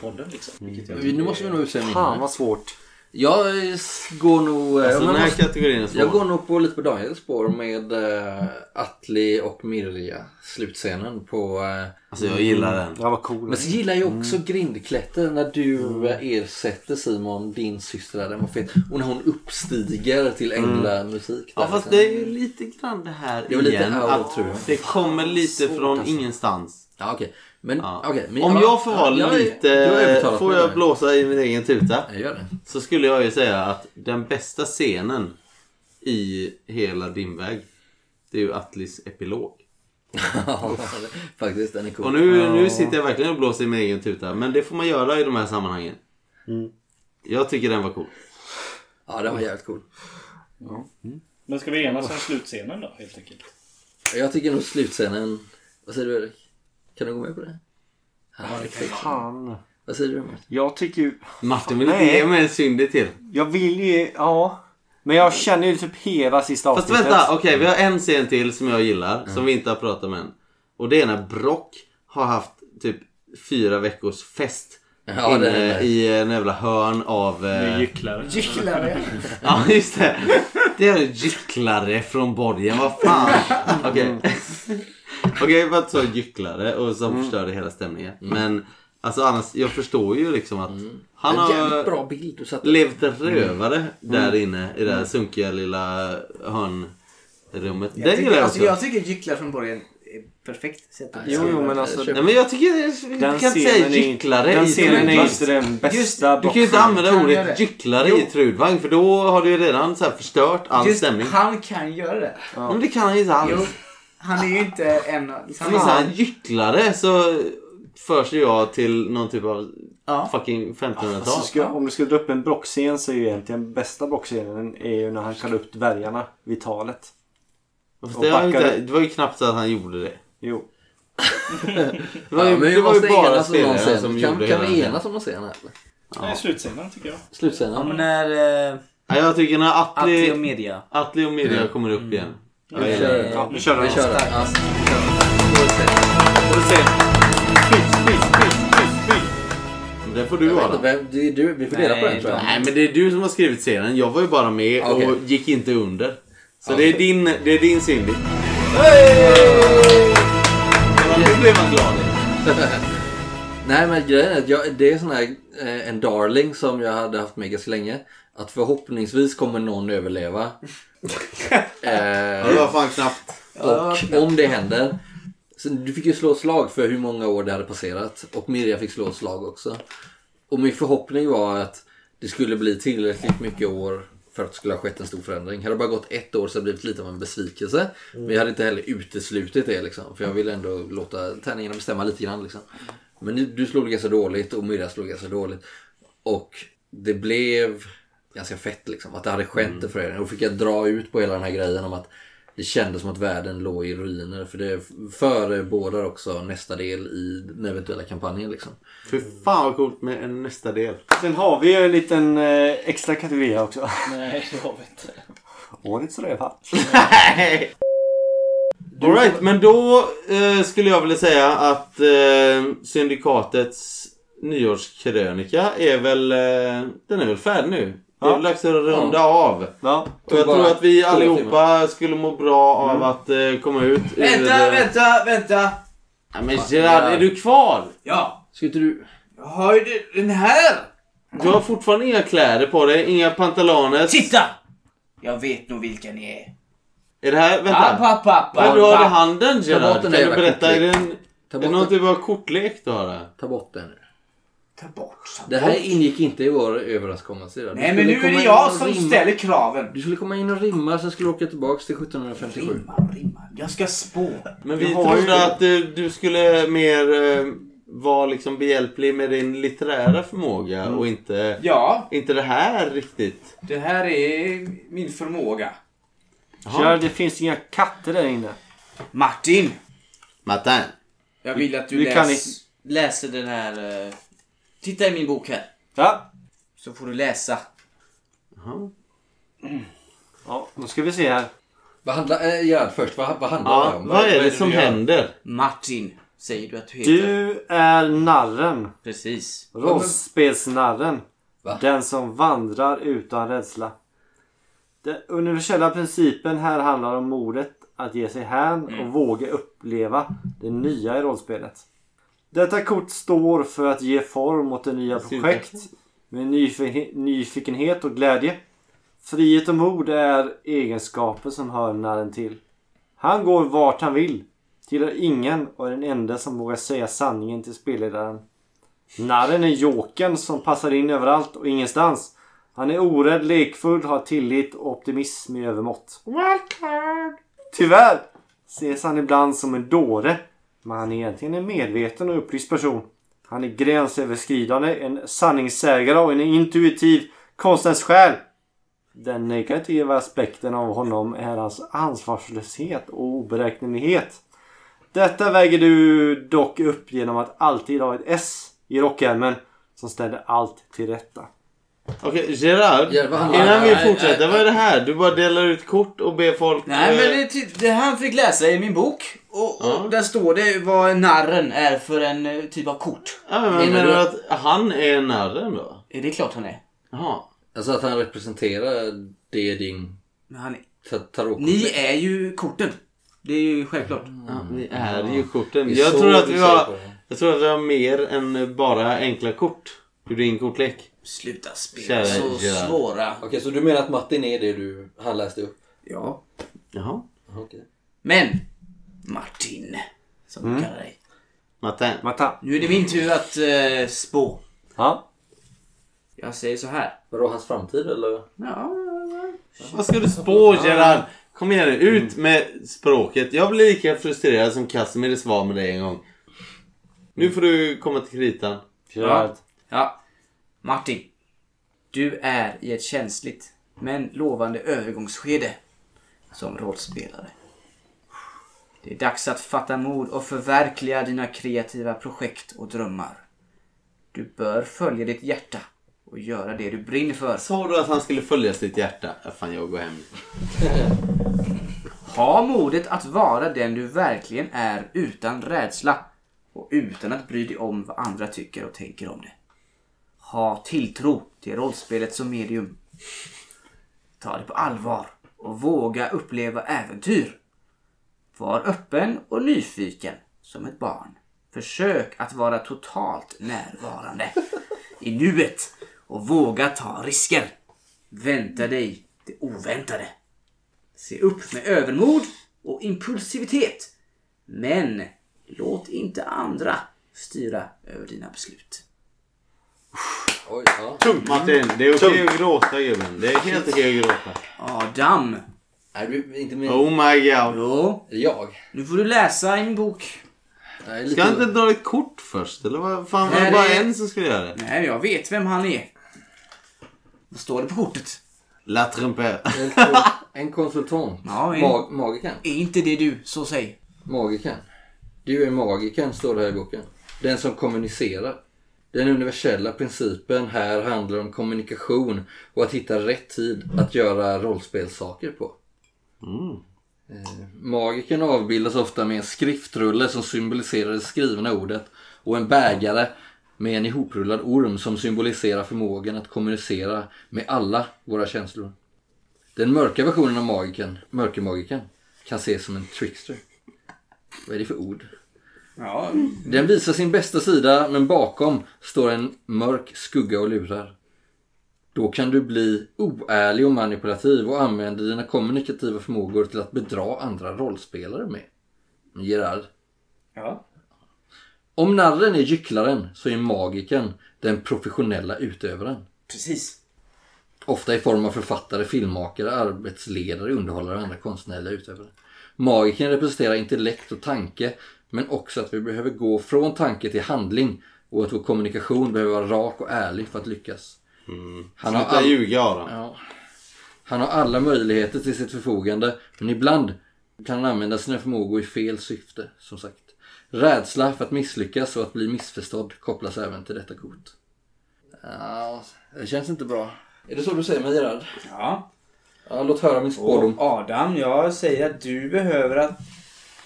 S10: podden. Liksom, vilket jag
S3: Nu måste vi nog utse en vinnare.
S2: Fan vad svårt.
S3: Jag eh, s- går nog... eh,
S1: Alltså,
S3: om jag
S1: den här
S3: måste-
S1: kategorin är svår.
S3: Jag går nog på, lite på Daniels spår med eh, Atli och Mirja. Slutscenen på... eh,
S1: Alltså, jag gillar den.
S2: Ja, vad cool.
S3: Men så gillar jag också grindklätten när du eh, ersätter Simon, din syster. Den var fet. Och när hon uppstiger till
S1: Mm.
S3: änglamusik.
S1: Ja
S3: där,
S1: fast
S3: liksom.
S1: det är ju lite grann det här
S3: Det var lite
S1: igen.
S3: out,
S1: att
S3: tror jag.
S1: Det kommer lite
S3: Svårt,
S1: från
S3: alltså.
S1: ingenstans.
S3: Ja, okej. Men, okej, men-
S1: Om
S3: ja,
S1: jag får vara
S3: ja, jag är- du har
S1: lite...
S3: övertalat
S1: Får
S3: mig
S1: jag
S3: där.
S1: blåsa i min egen tuta?
S3: Jag gör det. <laughs>
S1: Så skulle jag ju säga att den bästa scenen i hela din väg. Det är ju Atlis epilog.
S3: Ja, Faktiskt, den är cool.
S1: Och nu, nu sitter jag verkligen och blåser i min egen tuta. Men det får man göra i de här sammanhangen.
S3: Mm.
S1: Jag tycker den var cool.
S3: Ja, den var jävligt cool.
S10: Men ska vi enas om slutscenen då helt enkelt?
S3: Jag tycker nog slutscenen... Vad säger du Erik? Kan du gå med på det?
S2: Ja, det kan jag.
S3: Vad säger du Martin?
S2: Jag tycker ju...
S1: Martin vill inte ge mig en syndig till.
S2: Jag vill ju... Ja. Men jag känner ju typ hela sista
S1: Fast
S2: avsnittet.
S1: vänta, okej vi har en scen till som jag gillar som vi inte har pratat om än. Och det är när Brock har haft typ fyra veckors fest.
S3: Ja,
S1: inne
S3: det är nice.
S1: I en jävla hörn av... eh,
S16: Gycklare.
S1: Ja just det. Det är gycklare från Borgen, vad fan. Okej. Okej, jag var inte så gycklare och som förstörde hela stämningen. Men alltså annars, jag förstår ju liksom att han
S3: En
S1: har
S3: jävligt bra bild du satte.
S1: levt en rövare
S3: Mm.
S1: där
S3: Mm.
S1: inne i det här sunkiga lilla hörnrummet.
S7: Jag
S1: Den
S7: tycker,
S1: gillar jag
S7: alltså,
S1: också.
S7: jag tycker gycklar från början är perfekt sätt att
S2: Jo, jo, men alltså-
S1: Nej men jag tycker, du kan inte säga gycklare
S2: Den
S1: i
S2: scenen är
S1: Trudvang.
S2: inte den bästa
S1: Just- Du kan ju inte
S2: boxen.
S1: använda
S7: Kan jag göra
S1: ordet
S7: det?
S1: gycklare
S7: Jo.
S1: i Trudvang för då har du ju redan så här förstört all
S7: Just
S1: stämning.
S7: han kan göra det.
S1: Ja. Men det kan han ju inte alls.
S7: Jo, han är ju inte en av...
S1: Han är såhär gycklare så förs ju jag till någon typ av fucking 1500-tal.
S2: Alltså, ska, om du skulle dra upp en brockscen så är ju egentligen bästa brockscenen är ju när han kallar upp dvärgarna vid talet.
S1: Fast
S2: Och
S1: det, var ju
S2: backade.
S1: inte, det var ju knappt så att han gjorde det.
S2: Jo.
S1: det var ju,
S3: Ja, men vi
S1: det var ju
S3: måste
S1: bara
S3: enas om någon
S1: spelarna
S3: scen.
S1: som
S3: Kan-
S1: gjorde
S3: kan
S1: hela
S3: vi
S1: den.
S3: enas om någon scen här, eller?
S10: Nej, slutscenen tycker jag.
S3: Slutscenen.
S7: Ja, men när... Eh,
S1: Ja, jag tycker när Atli,
S7: Atli och Media.
S1: Atli och Media
S3: Mm.
S1: kommer upp igen.
S3: Mm.
S1: Jag gillar det.
S3: Ja, vi kör den. Vi kör den. Ja.
S1: Får vi se. Men Det får du
S3: Jag vet
S1: vara.
S3: inte vem- det är du, vi får dela på den tror jag.
S1: Nej, men det är du som har skrivit scenen. Jag var ju bara med
S3: Okej.
S1: och gick inte under. Så det är din, det är din Cindy. Nu blev man glad.
S3: Nej men grejen är att jag, det är sån här, eh, en darling som jag hade haft med ganska länge. Att förhoppningsvis kommer
S1: <laughs>
S3: någon överleva. eh,
S1: Ja, det var fan knappt. Ja, det var
S3: Och om det händer. Så du fick ju slå ett slag för hur många år det hade passerat. Och Mirja fick slå ett slag också. Och min förhoppning var att det skulle bli tillräckligt mycket år för att det skulle ha skett en stor förändring. Hade det bara gått ett år så hade det blivit lite av en besvikelse. Men jag hade inte heller uteslutit det liksom. För jag ville ändå låta tärningarna bestämma lite grann liksom. Men nu- du slog ganska dåligt och Mirja slog ganska dåligt. Och det blev ganska fett liksom. Att det hade skett
S1: Mm.
S3: en förändring. Och då fick jag dra ut på hela den här grejen om att det kändes som att världen låg i ruiner. För det förebådar också nästa del i den eventuella kampanjen liksom.
S1: Fy fan vad coolt med en nästa del.
S2: Sen har vi ju en liten eh, extra kategori här <laughs> också.
S10: Nej, det har vi inte.
S2: Årets rövhatt.
S1: Alright, men då eh, skulle jag vilja säga att eh, Syndikatets nyårskrönika är väl... Eh, den är väl färdig nu? Det är väl dags att runda av. Och jag
S7: Tog
S1: tror
S7: bara
S1: att vi
S7: två Mm.
S1: allihopa skulle må bra av att eh, komma ut ur... eh,
S7: Vänta, vänta, vänta!
S1: Ja, men Gerard, är du kvar?
S7: Ja!
S3: Ska inte du...
S7: Jag har ju det- den här!
S1: Du har fortfarande inga kläder på dig, inga pantaloner.
S7: Titta! Jag vet nog vilka ni är. Ah,
S1: Är det här... Vänta.
S7: App, app, app,
S1: Vad du har
S7: app.
S1: i handen
S7: Ta bort
S1: Gerard? Kan
S7: den där
S1: du
S7: jävla
S1: berätta? Är det, en, är
S3: bort
S1: det någon
S3: den.
S1: typ av kortlek du har där?
S3: Ta bort den nu.
S7: Ta bort.
S3: Det här ingick inte i vår överenskommelse idag. Du
S7: Nej, men nu
S3: skulle
S7: är
S3: komma
S7: det
S3: in
S7: jag
S3: och
S7: som ställer kraven.
S3: Du skulle komma in och rimma, sen skulle du åka tillbaks till 1757.
S7: Jag ska spå.
S1: Men
S7: Du
S1: vi
S7: har ju-
S1: trodde att eh, du skulle mer eh, vara liksom behjälplig med din litterära förmåga och inte,
S5: Ja.
S1: inte det här riktigt.
S5: Det här är min förmåga.
S2: Kör, det finns inga katter där inne.
S5: Martin!
S1: Martin!
S5: Jag vill att du
S2: Vi kan
S5: läs, läser den här... eh, Titta i min bok här.
S2: Ja.
S5: Så får du läsa.
S2: Ja, nu ska vi se här.
S3: Vad handlar... Äh, Gerd först, vad, vad handlar det om? du gör?
S5: Martin, säger du att du heter?
S2: Du är narren.
S5: Precis.
S2: Rollspelsnarren. Den som vandrar utan rädsla. Den universella principen här handlar om modet att ge sig hän och
S22: Mm.
S2: våga uppleva det nya i rollspelet. Detta kort står för att ge form åt det nya projekt med nyfi- nyfikenhet och glädje. Frihet och mod är egenskaper som hör narren till. Han går vart han vill, tillhör ingen och är den enda som vågar säga sanningen till spelledaren. Narren är jokern som passar in överallt och ingenstans. Han är orädd, lekfull, har tillit och optimism i övermått.
S4: Wildcard!
S2: Tyvärr ses han ibland som en dåre. Men han är egentligen en medveten och upplyst person. Han är gränsöverskridande, en sanningssägare och en intuitiv konstnärssjäl. Den negativa aspekten av honom är hans ansvarslöshet och oberäknelighet. Detta väger du dock upp genom att alltid ha ett S i rockärmen som ställer allt till rätta.
S1: Okej, Gerard.
S2: Ja, vad handlar-
S1: innan vi
S2: nej,
S1: fortsätter.
S2: nej,
S1: vad är det här? Du bara delar ut kort och ber folk...
S7: Nej
S1: eh,
S7: men det, ty- det han fick läsa i min bok. Och, och där står det vad narren är för en eh, typ av kort.
S1: Ja, men menar du att han är narren då?
S7: Är det är klart han är.
S1: Jaha.
S3: Alltså att han representerar det din...
S7: Men han är...
S3: Ta- tarotkort.
S7: Ni är ju korten. Det är ju självklart.
S1: Ja, vi är ju
S3: Det
S1: korten.
S3: är
S1: Jag
S3: så
S1: tror, att
S3: vi
S1: vi
S3: ser
S1: har,
S3: på det.
S1: jag tror att vi har mer än bara enkla kort. Hur din kortlek.
S7: Sluta
S1: spela så Gerard.
S7: svåra.
S3: Okej, så du menar att Martin är det du, han läste upp?
S7: Ja.
S1: Jaha.
S3: Okej.
S7: Men! Martin, som du
S1: Mm.
S7: kallar dig.
S1: Matin.
S7: Nu är det min tur att eh, spå.
S2: Ja.
S7: Jag säger så här.
S3: Vadå, hans framtid eller?
S7: Ja.
S1: Vad ska du spå Gerard? Kom igen nu, ut med språket. Jag blir lika frustrerad som Casimiris var med dig en gång. Nu får du komma till kritan.
S7: Ja. ja. Martin. Du är i ett känsligt men lovande övergångsskede som rollspelare. Det är dags att fatta mod och förverkliga dina kreativa projekt och drömmar. Du bör följa ditt hjärta och göra det du brinner för.
S1: Sa du att han skulle följa sitt hjärta? Ja, Fan, jag går hem
S7: Ha modet att vara den du verkligen är utan rädsla och utan att bry dig om vad andra tycker och tänker om det. Ha tilltro till rollspelet som medium. Ta det på allvar och våga uppleva äventyr. Var öppen och nyfiken som ett barn. Försök att vara totalt närvarande i nuet och våga ta risker. Vänta dig det oväntade. Se upp med övermod och impulsivitet. Men låt inte andra styra över dina beslut.
S3: Oj, ja.
S1: Tungt Martin, det är okej att gråta gubben. Det är helt okej att gråta.
S7: Adam.
S3: Nej, det är inte min...
S1: Oh my god.
S7: Jo.
S3: Jag.
S7: Nu får du läsa i min bok.
S1: Ska han inte dra ett kort först? Eller vad fan, var
S7: Nej,
S1: det bara
S7: det är-
S1: en som skulle göra det?
S7: Nej, jag vet vem han är. Vad står det på kortet?
S1: La <laughs> Trumpeur.
S3: En, kon- en konsultant.
S7: Ja, en-
S3: Mag- magiken.
S7: Är inte det du, så säg.
S3: Magiken. Du är magiken, står det här i boken. Den som kommunicerar. Den universella principen här handlar om kommunikation och att hitta rätt tid att göra rollspelssaker på. Eh, Magiken avbildas ofta med en skriftrulle som symboliserar det skrivna ordet och en bägare med en ihoprullad orm som symboliserar förmågan att kommunicera med alla våra känslor. Den mörka versionen av magiken, mörkermagiken, kan ses som en trickster. Vad är det för ord?
S7: Ja.
S3: Den visar sin bästa sida men bakom står en mörk skugga och lurar. Då kan du bli oärlig och manipulativ och använda dina kommunikativa förmågor till att bedra andra rollspelare med. Gerard.
S7: Ja.
S3: Om narren är gycklaren så är magiken den professionella utövaren.
S7: Precis.
S3: Ofta i form av författare, filmmakare, arbetsledare, underhållare och andra konstnärliga utövare. Magiken representerar intellekt och tanke men också att vi behöver gå från tanke till handling och att vår kommunikation behöver vara rak och ärlig för att lyckas.
S1: Sluta ljuga, Aron.
S3: Ja. Han har alla möjligheter till sitt förfogande men ibland kan han använda sina förmågor i fel syfte, som sagt. Rädsla för att misslyckas och att bli missförstådd kopplas även till detta kort. Ja, det känns inte bra. Är det så du säger mig Gerard?
S7: Ja.
S3: ja låt höra min spådom.
S7: Och Adam, jag säger att du behöver att...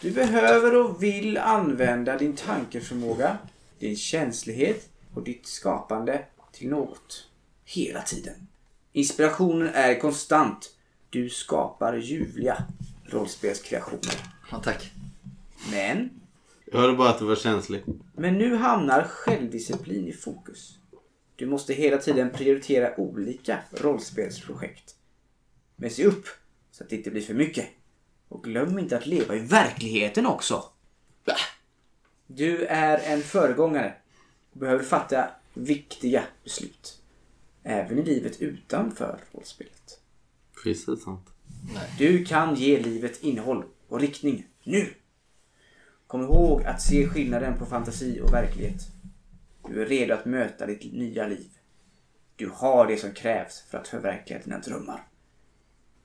S7: Du behöver och vill använda din tankeförmåga, din känslighet och ditt skapande till något. hela tiden. Inspirationen är konstant. Du skapar ljuvliga rollspelskreationer.
S3: Ja, tack.
S7: Men
S1: Jag hörde bara att du var känslig.
S7: men nu hamnar självdisciplin i fokus. Du måste hela tiden prioritera olika rollspelsprojekt. Men se upp så att det inte blir för mycket. Och glöm inte att leva i verkligheten också. Bah. Du är en föregångare och behöver fatta viktiga beslut. Även i livet utanför rollspelet.
S1: Finns det sånt?
S7: Du kan ge livet innehåll och riktning nu. Kom ihåg att se skillnaden på fantasi och verklighet. Du är redo att möta ditt nya liv. Du har det som krävs för att förverkliga dina drömmar.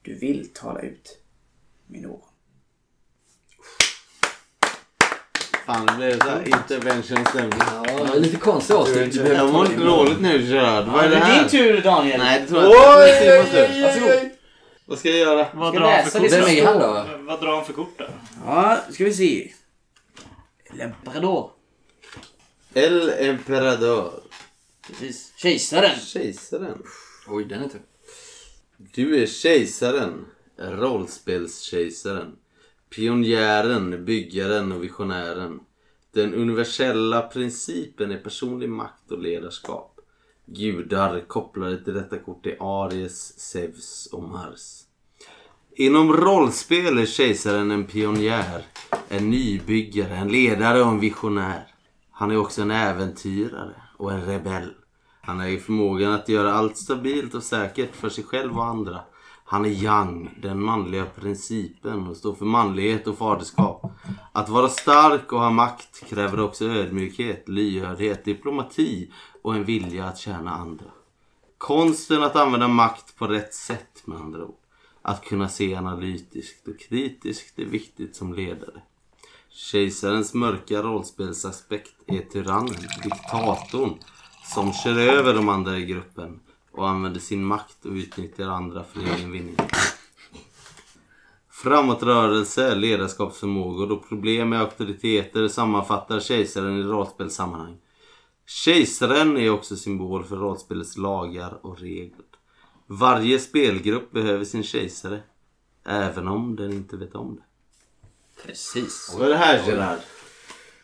S7: Du vill tala ut med någon.
S1: Fan, det blev så här intervention-stämning.
S3: Ja, det är lite konstigt avsnitt. Du behöver
S1: Jag mår
S3: ta
S1: lite
S3: in någon.
S1: dåligt nu, Gerard. Vad är
S3: Ja,
S1: det
S3: det är
S1: här?
S3: din tur, Daniel.
S1: Nej, det tror jag inte.
S3: Oj,
S1: Det är Simons
S3: oj,
S1: tur.
S3: oj, oj.
S1: Vad ska jag göra?
S10: Vad drar han för kort? Vad drar han för kort där?
S7: Ja, ska vi se. Lämprador.
S1: El Emperador.
S7: Precis. Kejsaren.
S1: Kejsaren.
S3: Oj, den är tur.
S1: Du är kejsaren. Rollspelskejsaren. Pionjären, byggaren och visionären. Den universella principen är personlig makt och ledarskap. Gudar kopplade till detta kort är Aries, Zeus och Mars. Inom rollspel är kejsaren en pionjär, en nybyggare, en ledare och en visionär. Han är också en äventyrare och en rebell. Han äger förmågan att göra allt stabilt och säkert för sig själv och andra. Han är yang, den manliga principen och står för manlighet och faderskap. Att vara stark och ha makt kräver också ödmjukhet, lyhördhet, diplomati och en vilja att tjäna andra. Konsten att använda makt på rätt sätt med andra ord. Att kunna se analytiskt och kritiskt är viktigt som ledare. Kejsarens mörka rollspelsaspekt är tyrannen, diktatorn, som kör över de andra i gruppen och använder sin makt och utnyttjar andra för egen vinning. Framåtrörelse, ledarskapsförmågor och problem med auktoriteter sammanfattar kejsaren i rollspelssammanhang. Kejsaren är också symbol för rollspelets lagar och regler. Varje spelgrupp behöver sin kejsare. Även om den inte vet om det.
S7: Precis.
S1: Vad är det här Gerard?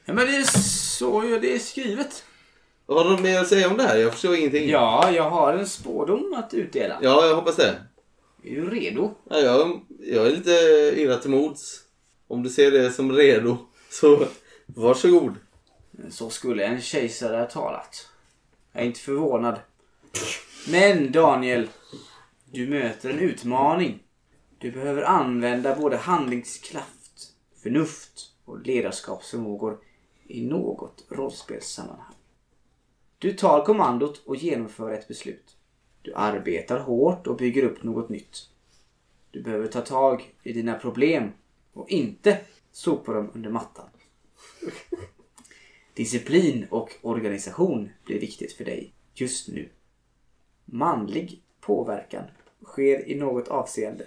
S7: Ja, men det är så ju det är skrivet.
S1: Har du mer att säga om det här? Jag förstår ingenting.
S7: Ja, jag har en spådom att utdela.
S1: Ja, jag hoppas det.
S7: Är du redo?
S1: Ja, jag, jag är lite illa till mods. Om du ser det som redo, så varsågod.
S7: Så skulle en kejsare ha talat. Jag är inte förvånad. Men Daniel, du möter en utmaning. Du behöver använda både handlingskraft, förnuft och ledarskapsförmågor i något rollspelssammanhang. Du tar kommandot och genomför ett beslut. Du arbetar hårt och bygger upp något nytt. Du behöver ta tag i dina problem och inte sopa dem under mattan. Disciplin och organisation blir viktigt för dig just nu. Manlig påverkan sker i något avseende.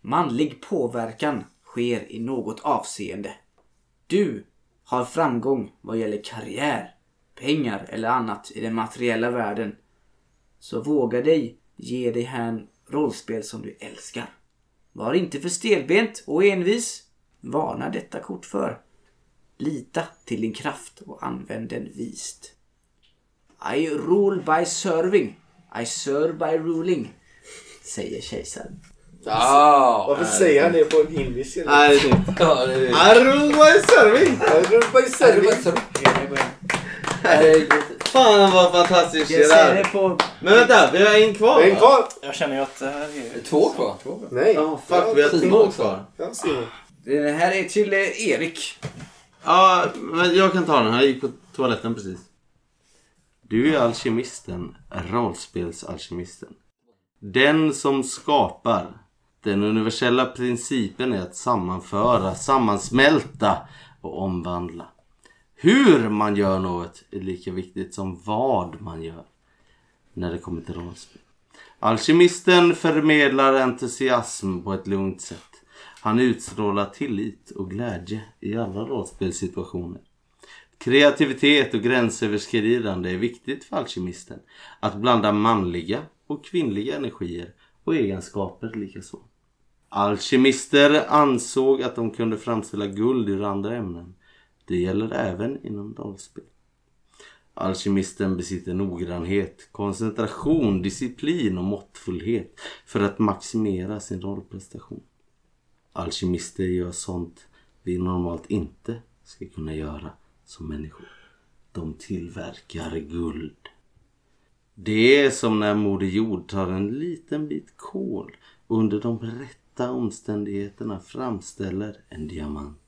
S7: Manlig påverkan sker i något avseende. Du har framgång vad gäller karriär, pengar eller annat i den materiella världen. Så våga dig ge dig här rollspel som du älskar. Var inte för stelbent och envis. Varna detta kort för. Lita till din kraft och använd den vist. I rule by serving. I serve by ruling. Säger kejsaren.
S19: Varför säger han det på en indisk? eller?
S1: Nej, det är nytt.
S3: Ja, det är-
S1: Arul by serving!
S19: Arul by serving!
S1: Fan vad fantastiskt
S19: Jag ser
S1: Gerard.
S19: det på-
S1: Men vänta, vi har en kvar
S19: En
S1: va?
S19: kvar.
S10: Jag känner ju att det här är...
S3: Två kvar. Två kvar.
S19: Nej.
S1: Ja, fuck, vi har Simon kvar.
S19: Ja, Simon.
S7: Den här är till eh, Erik.
S1: Ja, men jag kan ta den. Han gick på toaletten precis. Du är alkemisten, rollspelsalkemisten. Den som skapar. Den universella principen är att sammanföra, sammansmälta och omvandla. Hur man gör något är lika viktigt som vad man gör när det kommer till rollspel. Alkemisten förmedlar entusiasm på ett lugnt sätt. Han utstrålar tillit och glädje i alla rollspelssituationer. Kreativitet och gränsöverskridande är viktigt för alkemisten. Att blanda manliga och kvinnliga energier och egenskaper likaså. Alkemister ansåg att de kunde framställa guld ur andra ämnen. Det gäller även inom dalspel. Alkemisten besitter noggrannhet, koncentration, disciplin och måttfullhet för att maximera sin rollprestation. Alkemister gör sånt vi normalt inte ska kunna göra som människor. De tillverkar guld. Det är som när Moder Jord tar en liten bit kol och under de rätta omständigheterna framställer en diamant.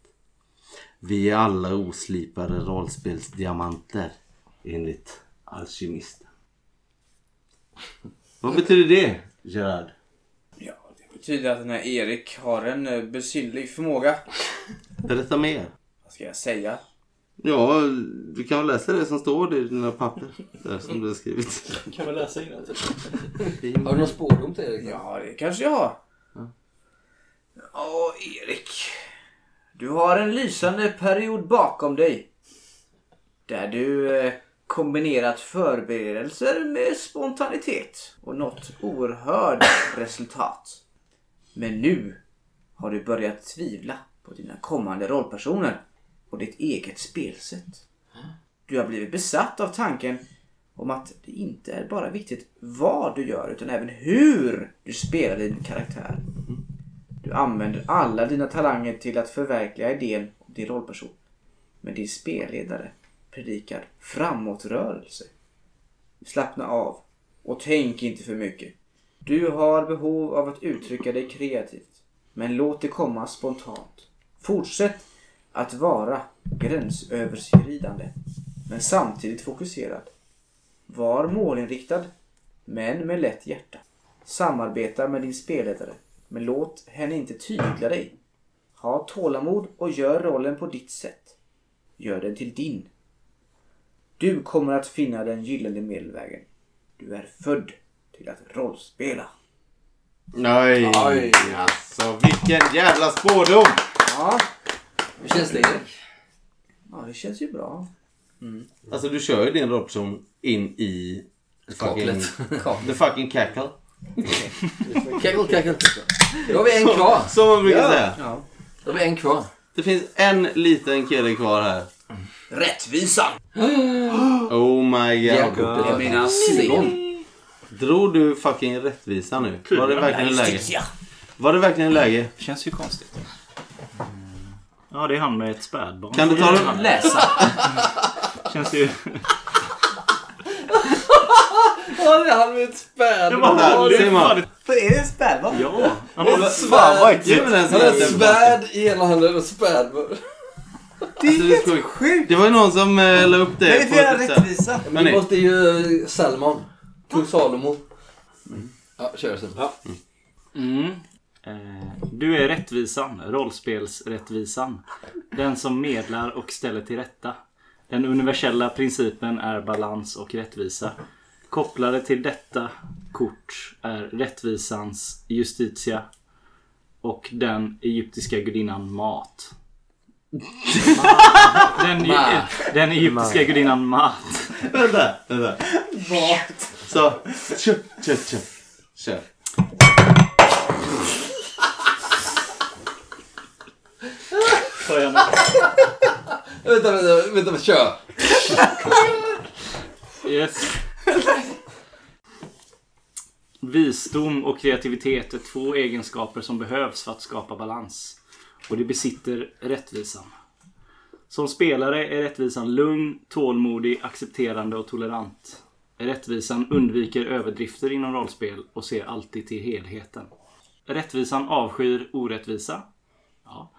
S1: Vi är alla oslipade rollspelsdiamanter enligt alkemisten. Vad betyder det, Gerard?
S23: Det betyder att den här Erik har en eh, besynnerlig förmåga.
S1: Berätta mer.
S23: Vad ska jag säga?
S1: Ja, du kan väl läsa det som står i dina papper där som du har skrivit.
S10: Kan man läsa innantill?
S3: Har du någon spårdom till Erik?
S23: Ja, det kanske jag har.
S7: Ja, Erik. Du har en lysande period bakom dig. Där du eh, kombinerat förberedelser med spontanitet och nått oerhörda resultat. Men nu har du börjat tvivla på dina kommande rollpersoner och ditt eget spelsätt. Du har blivit besatt av tanken om att det inte är bara viktigt vad du gör utan även hur du spelar din karaktär. Du använder alla dina talanger till att förverkliga idén om din rollperson. Men din spelledare predikar framåtrörelse. Slappna av och tänk inte för mycket. Du har behov av att uttrycka dig kreativt. Men låt det komma spontant. Fortsätt att vara gränsöverskridande. Men samtidigt fokuserad. Var målinriktad. Men med lätt hjärta. Samarbeta med din spelledare. Men låt henne inte tygla dig. Ha tålamod och gör rollen på ditt sätt. Gör den till din. Du kommer att finna den gyllene medelvägen. Du är född till att rollspela.
S1: Nej,
S7: Oj.
S1: alltså vilken jävla spårdom!
S7: Ja.
S3: Hur känns det Erik?
S7: Ja, det känns ju bra.
S1: Alltså du kör ju din rollperson in i...
S3: Kaklet. <laughs>
S1: Fucking, the fucking cackle.
S3: Kackle, kackle. Då har vi en kvar.
S1: Som- Som man brukar
S3: Ja.
S1: säga.
S3: Ja. Då har vi en kvar.
S1: Det finns en liten kille kvar här.
S7: Rättvisan!
S1: Oh my god.
S3: Jakob, det är mina syskon.
S1: Drog du fucking rättvisa nu? Var det verkligen
S10: Ja,
S1: läge?
S10: justitia.
S1: Var det verkligen läge?
S10: Känns ju konstigt. Ja, det är han med ett spädbarn.
S1: Kan du ta den?
S7: Läsa.
S10: Känns ju...
S3: Ja, det är han med ett spädbarn.
S10: Det var han, det är fan-
S7: För är det en spädbarn?
S10: Ja.
S3: Han har ett
S1: Fan, vad äckligt.
S3: svärd. Han har ett svärd i ena handen och ett spädbarn.
S1: Alltså, Det är helt sjukt! Det var ju någon som eh, la upp det.
S3: Nej,
S1: på
S3: det är
S1: ett sätt.
S3: rättvisa.
S1: Men
S3: Vi
S1: nej.
S3: måste ju Salmon. Kung Salomo. Ja, kör sen.
S10: Mm. Eh, Du är rättvisan, rollspelsrättvisan. Den som medlar och ställer till rätta. Den universella principen är balans och rättvisa. Kopplade till detta kort är rättvisans justitia och den egyptiska
S1: <laughs>
S10: gudinnan Mat. Den,
S1: Ma.
S10: den egyptiska
S1: Ma.
S10: gudinnan Mat.
S1: Vänta, vänta. Så, kör, kör, kör. Kör.
S3: vänta, vänta, vänta, kör.
S10: Yes. Visdom och kreativitet är två egenskaper som behövs för att skapa balans. Och det besitter rättvisan. Som spelare är rättvisan lugn, tålmodig, accepterande och tolerant. Rättvisan undviker överdrifter inom rollspel och ser alltid till helheten. Rättvisan avskyr orättvisa. Ja.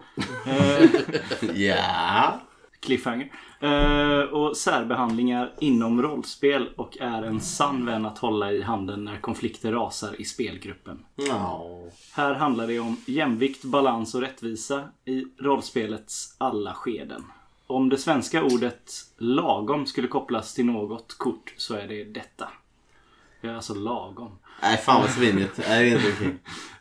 S1: Ja.
S10: Cliffhanger. Eh, och särbehandlingar inom rollspel och är en sann vän att hålla i handen när konflikter rasar i spelgruppen.
S1: Ja.
S10: Här handlar det om jämvikt, balans och rättvisa i rollspelets alla skeden. Om det svenska ordet lagom skulle kopplas till något kort så är det detta. Det är alltså lagom.
S1: Nej, fan vad svinigt. Nej, det är inte okej.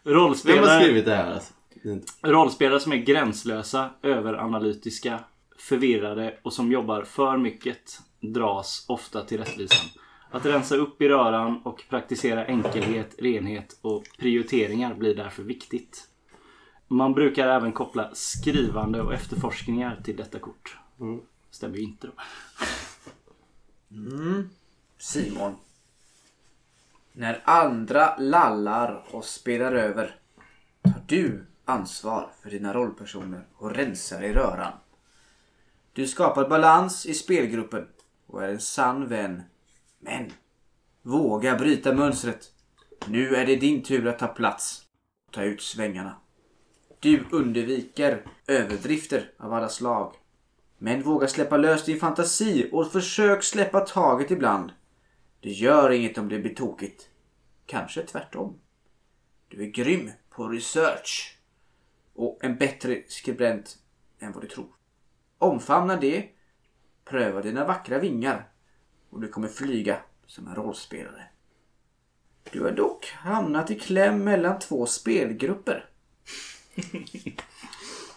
S10: Rollspelare...
S1: Vem har skrivit det här alltså? Det är inte-
S10: Rollspelare som är gränslösa, överanalytiska,
S6: förvirrade och som jobbar för mycket dras ofta till rättvisan. Att rensa upp i röran och praktisera enkelhet, renhet och prioriteringar blir därför viktigt. Man brukar även koppla skrivande och efterforskningar till detta kort.
S10: Mm.
S6: Stämmer ju inte då.
S7: Mm. Simon. När andra lallar och spelar över tar du ansvar för dina rollpersoner och rensar i röran. Du skapar balans i spelgruppen och är en sann vän. Men våga bryta mönstret. Nu är det din tur att ta plats och ta ut svängarna. Du undviker överdrifter av alla slag. Men våga släppa lös din fantasi och försök släppa taget ibland. Det gör inget om det blir tokigt. Kanske tvärtom. Du är grym på research och en bättre skribent än vad du tror. Omfamna det, pröva dina vackra vingar och du kommer flyga som en rollspelare. Du har dock hamnat i kläm mellan två spelgrupper.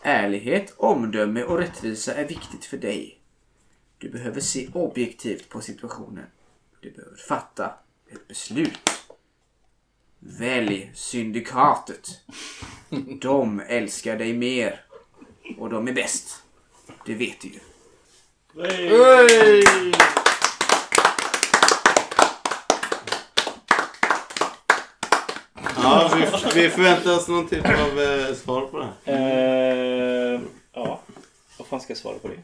S7: Ärlighet, omdöme och rättvisa är viktigt för dig. Du behöver se objektivt på situationen. Du behöver fatta ett beslut. Välj Syndikatet. De älskar dig mer. Och de är bäst. Det vet du ju.
S1: Ja, vi, vi förväntar oss någon typ av eh, svar på det här.
S10: Eh, ja, vad fan ska jag svara på det?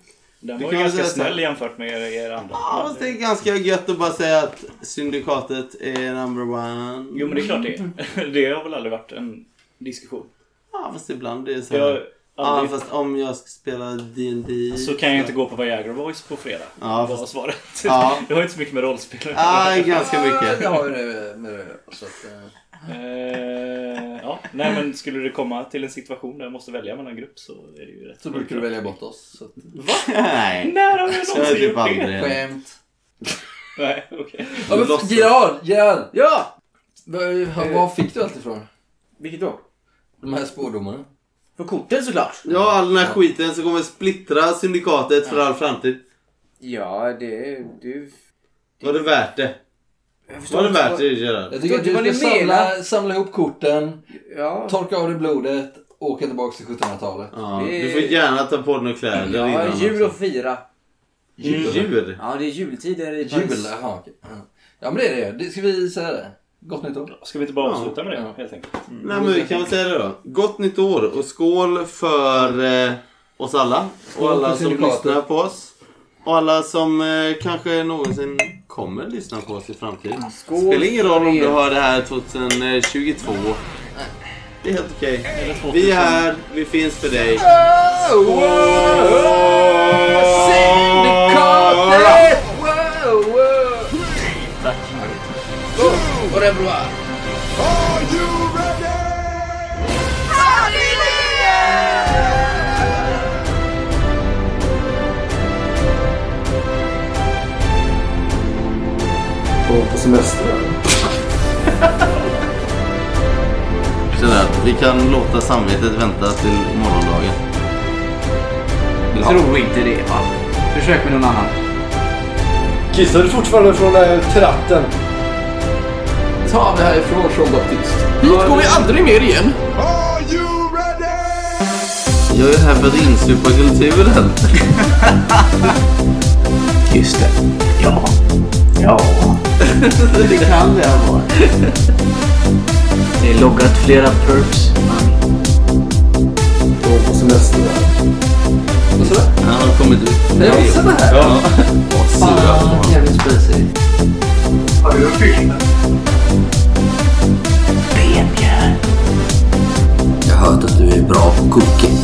S10: Den
S1: Du
S10: var
S1: kan
S10: ju
S1: väl
S10: ganska
S1: säga så här.
S10: snäll jämfört med er, er andra.
S1: Ja, fast det är ganska gött att bara säga att Syndikatet är number one.
S10: Jo men det är klart det är. <laughs> Det har väl aldrig varit en diskussion.
S1: Ja, fast ibland är det så här.
S10: Jag-
S1: Ja,
S10: aldrig-
S1: fast om jag ska spela D&D
S10: Så kan jag inte gå på Viagra Voice på fredag.
S1: Ja,
S10: var
S1: fast-
S10: svaret. <laughs>
S1: Ja.
S10: Det har inte så mycket med rollspel
S1: Ah, ganska
S10: <laughs>
S1: mycket.
S3: Ja, det har ju det med det så att, eh,
S10: Eh, ja, nej men skulle det komma till en situation där jag måste välja mellan grupp så är det ju rätt.
S3: Så brukar du välja bort oss. Så att...
S10: Va?
S1: Nej.
S10: När har jag
S1: Så
S10: någonsin
S1: är det
S10: gjort
S1: bara
S10: det?
S1: aldrig.
S3: <laughs> Skämt.
S10: Nej, okej.
S3: Ja, men
S10: Låtsas.
S3: Gerard! Gerard!
S7: Ja!
S3: Var, var fick du allt ifrån?
S7: Vilket då?
S3: De här spådomarna.
S7: För korten såklart.
S1: Ja, all den här skiten som kommer splittra Syndikatet för
S7: Ja.
S1: all framtid.
S7: Ja, det... Du...
S1: Var det värt det? Var det värt det, Gerard?
S3: Jag tycker att
S7: Förstår inte
S3: du ska
S7: vad ni
S3: samla,
S7: menar.
S3: samla ihop korten,
S7: Ja.
S3: torka av dig blodet, åka tillbaka till 1700-talet.
S1: Ja, du får gärna ta på dig några kläder
S7: Ja,
S1: innan.
S7: jul och fira.
S1: Jul. Jul?
S7: Ja, det är jultider i
S3: Jul,
S7: Paris.
S3: jaha. okej. Ja. Ja, men det är det. det. Ska vi säga det? Gott nytt år.
S10: Ska vi inte bara avsluta med det helt enkelt?
S1: Nej men vi kan väl säga det då. Gott nytt år och skål för eh, oss alla.
S3: Skål
S1: Och alla
S3: för
S1: som
S3: syndikatet.
S1: lyssnar på oss. Och alla som eh, kanske någonsin kommer lyssna på oss i framtiden.
S7: Skål
S1: Spelar ingen roll om
S7: för er.
S1: du hör det här 2022. Det är helt okej. Vi är här, vi finns för dig.
S3: Syndikatet!
S7: Wow, wow!
S6: Tack.
S7: Boom! Och det är bra.
S1: På <laughs> semester. Sådär, vi kan låta samvetet vänta till morgondagen. Vill ha.
S7: Tro inte det va? Försök med någon annan.
S11: Kissar du fortfarande från den här tratten?
S3: Ta det härifrån, Sean Baptist. Hit går vi aldrig mer igen.
S1: Jag är här för att insupa kulturen.
S12: Just det. Ja. Ja.
S1: det kan det ha varit.
S12: Det är loggat flera perps.
S11: Gå på semester.
S3: Vad sa du?
S1: Han har kommit ut.
S3: Det är också det här.
S1: Ja.
S3: Fan, jävligt spacey.
S11: Har du filmen?
S4: Jag har hört att du är bra på cooking.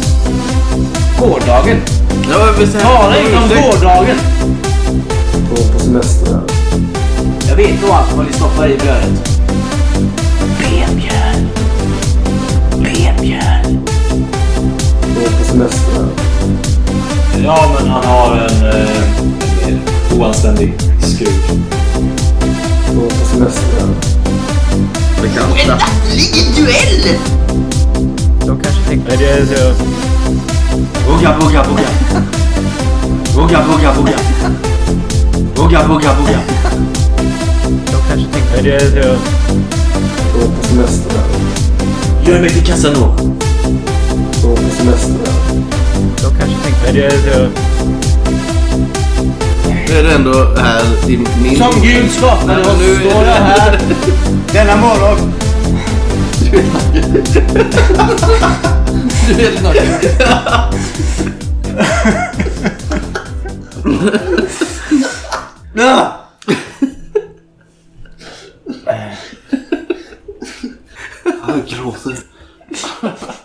S7: Gårdagen.
S1: Ja, men så här-
S7: Tala inte om gårdagen.
S11: Gå på semester.
S7: Jag vet nog allt vad ni stoppar i brödet. Benmjöl. Benmjöl.
S11: Gå på semester.
S22: Ja, men han har en, eh, en mer oanständig skrud.
S11: Gå på semester.
S4: En nattlig duell!
S22: De kanske tänkte... Det är så... Bugga, bugga, bugga.
S24: Booga, booga, booga. Booga, booga, booga.
S25: De kanske
S26: tänkte... Det är det jag...
S27: Gå på semester där.
S24: Gör mig till Casanova.
S27: Gå på semester där.
S25: De kanske
S26: tänkte... Det är det jag...
S28: Nu är det ändå här i min...
S10: Som Gud skapade
S28: Ja,
S10: oss
S28: nu är
S10: står jag här denna morgon.
S29: Du är helt naken.
S10: Ja.
S24: Han gråter.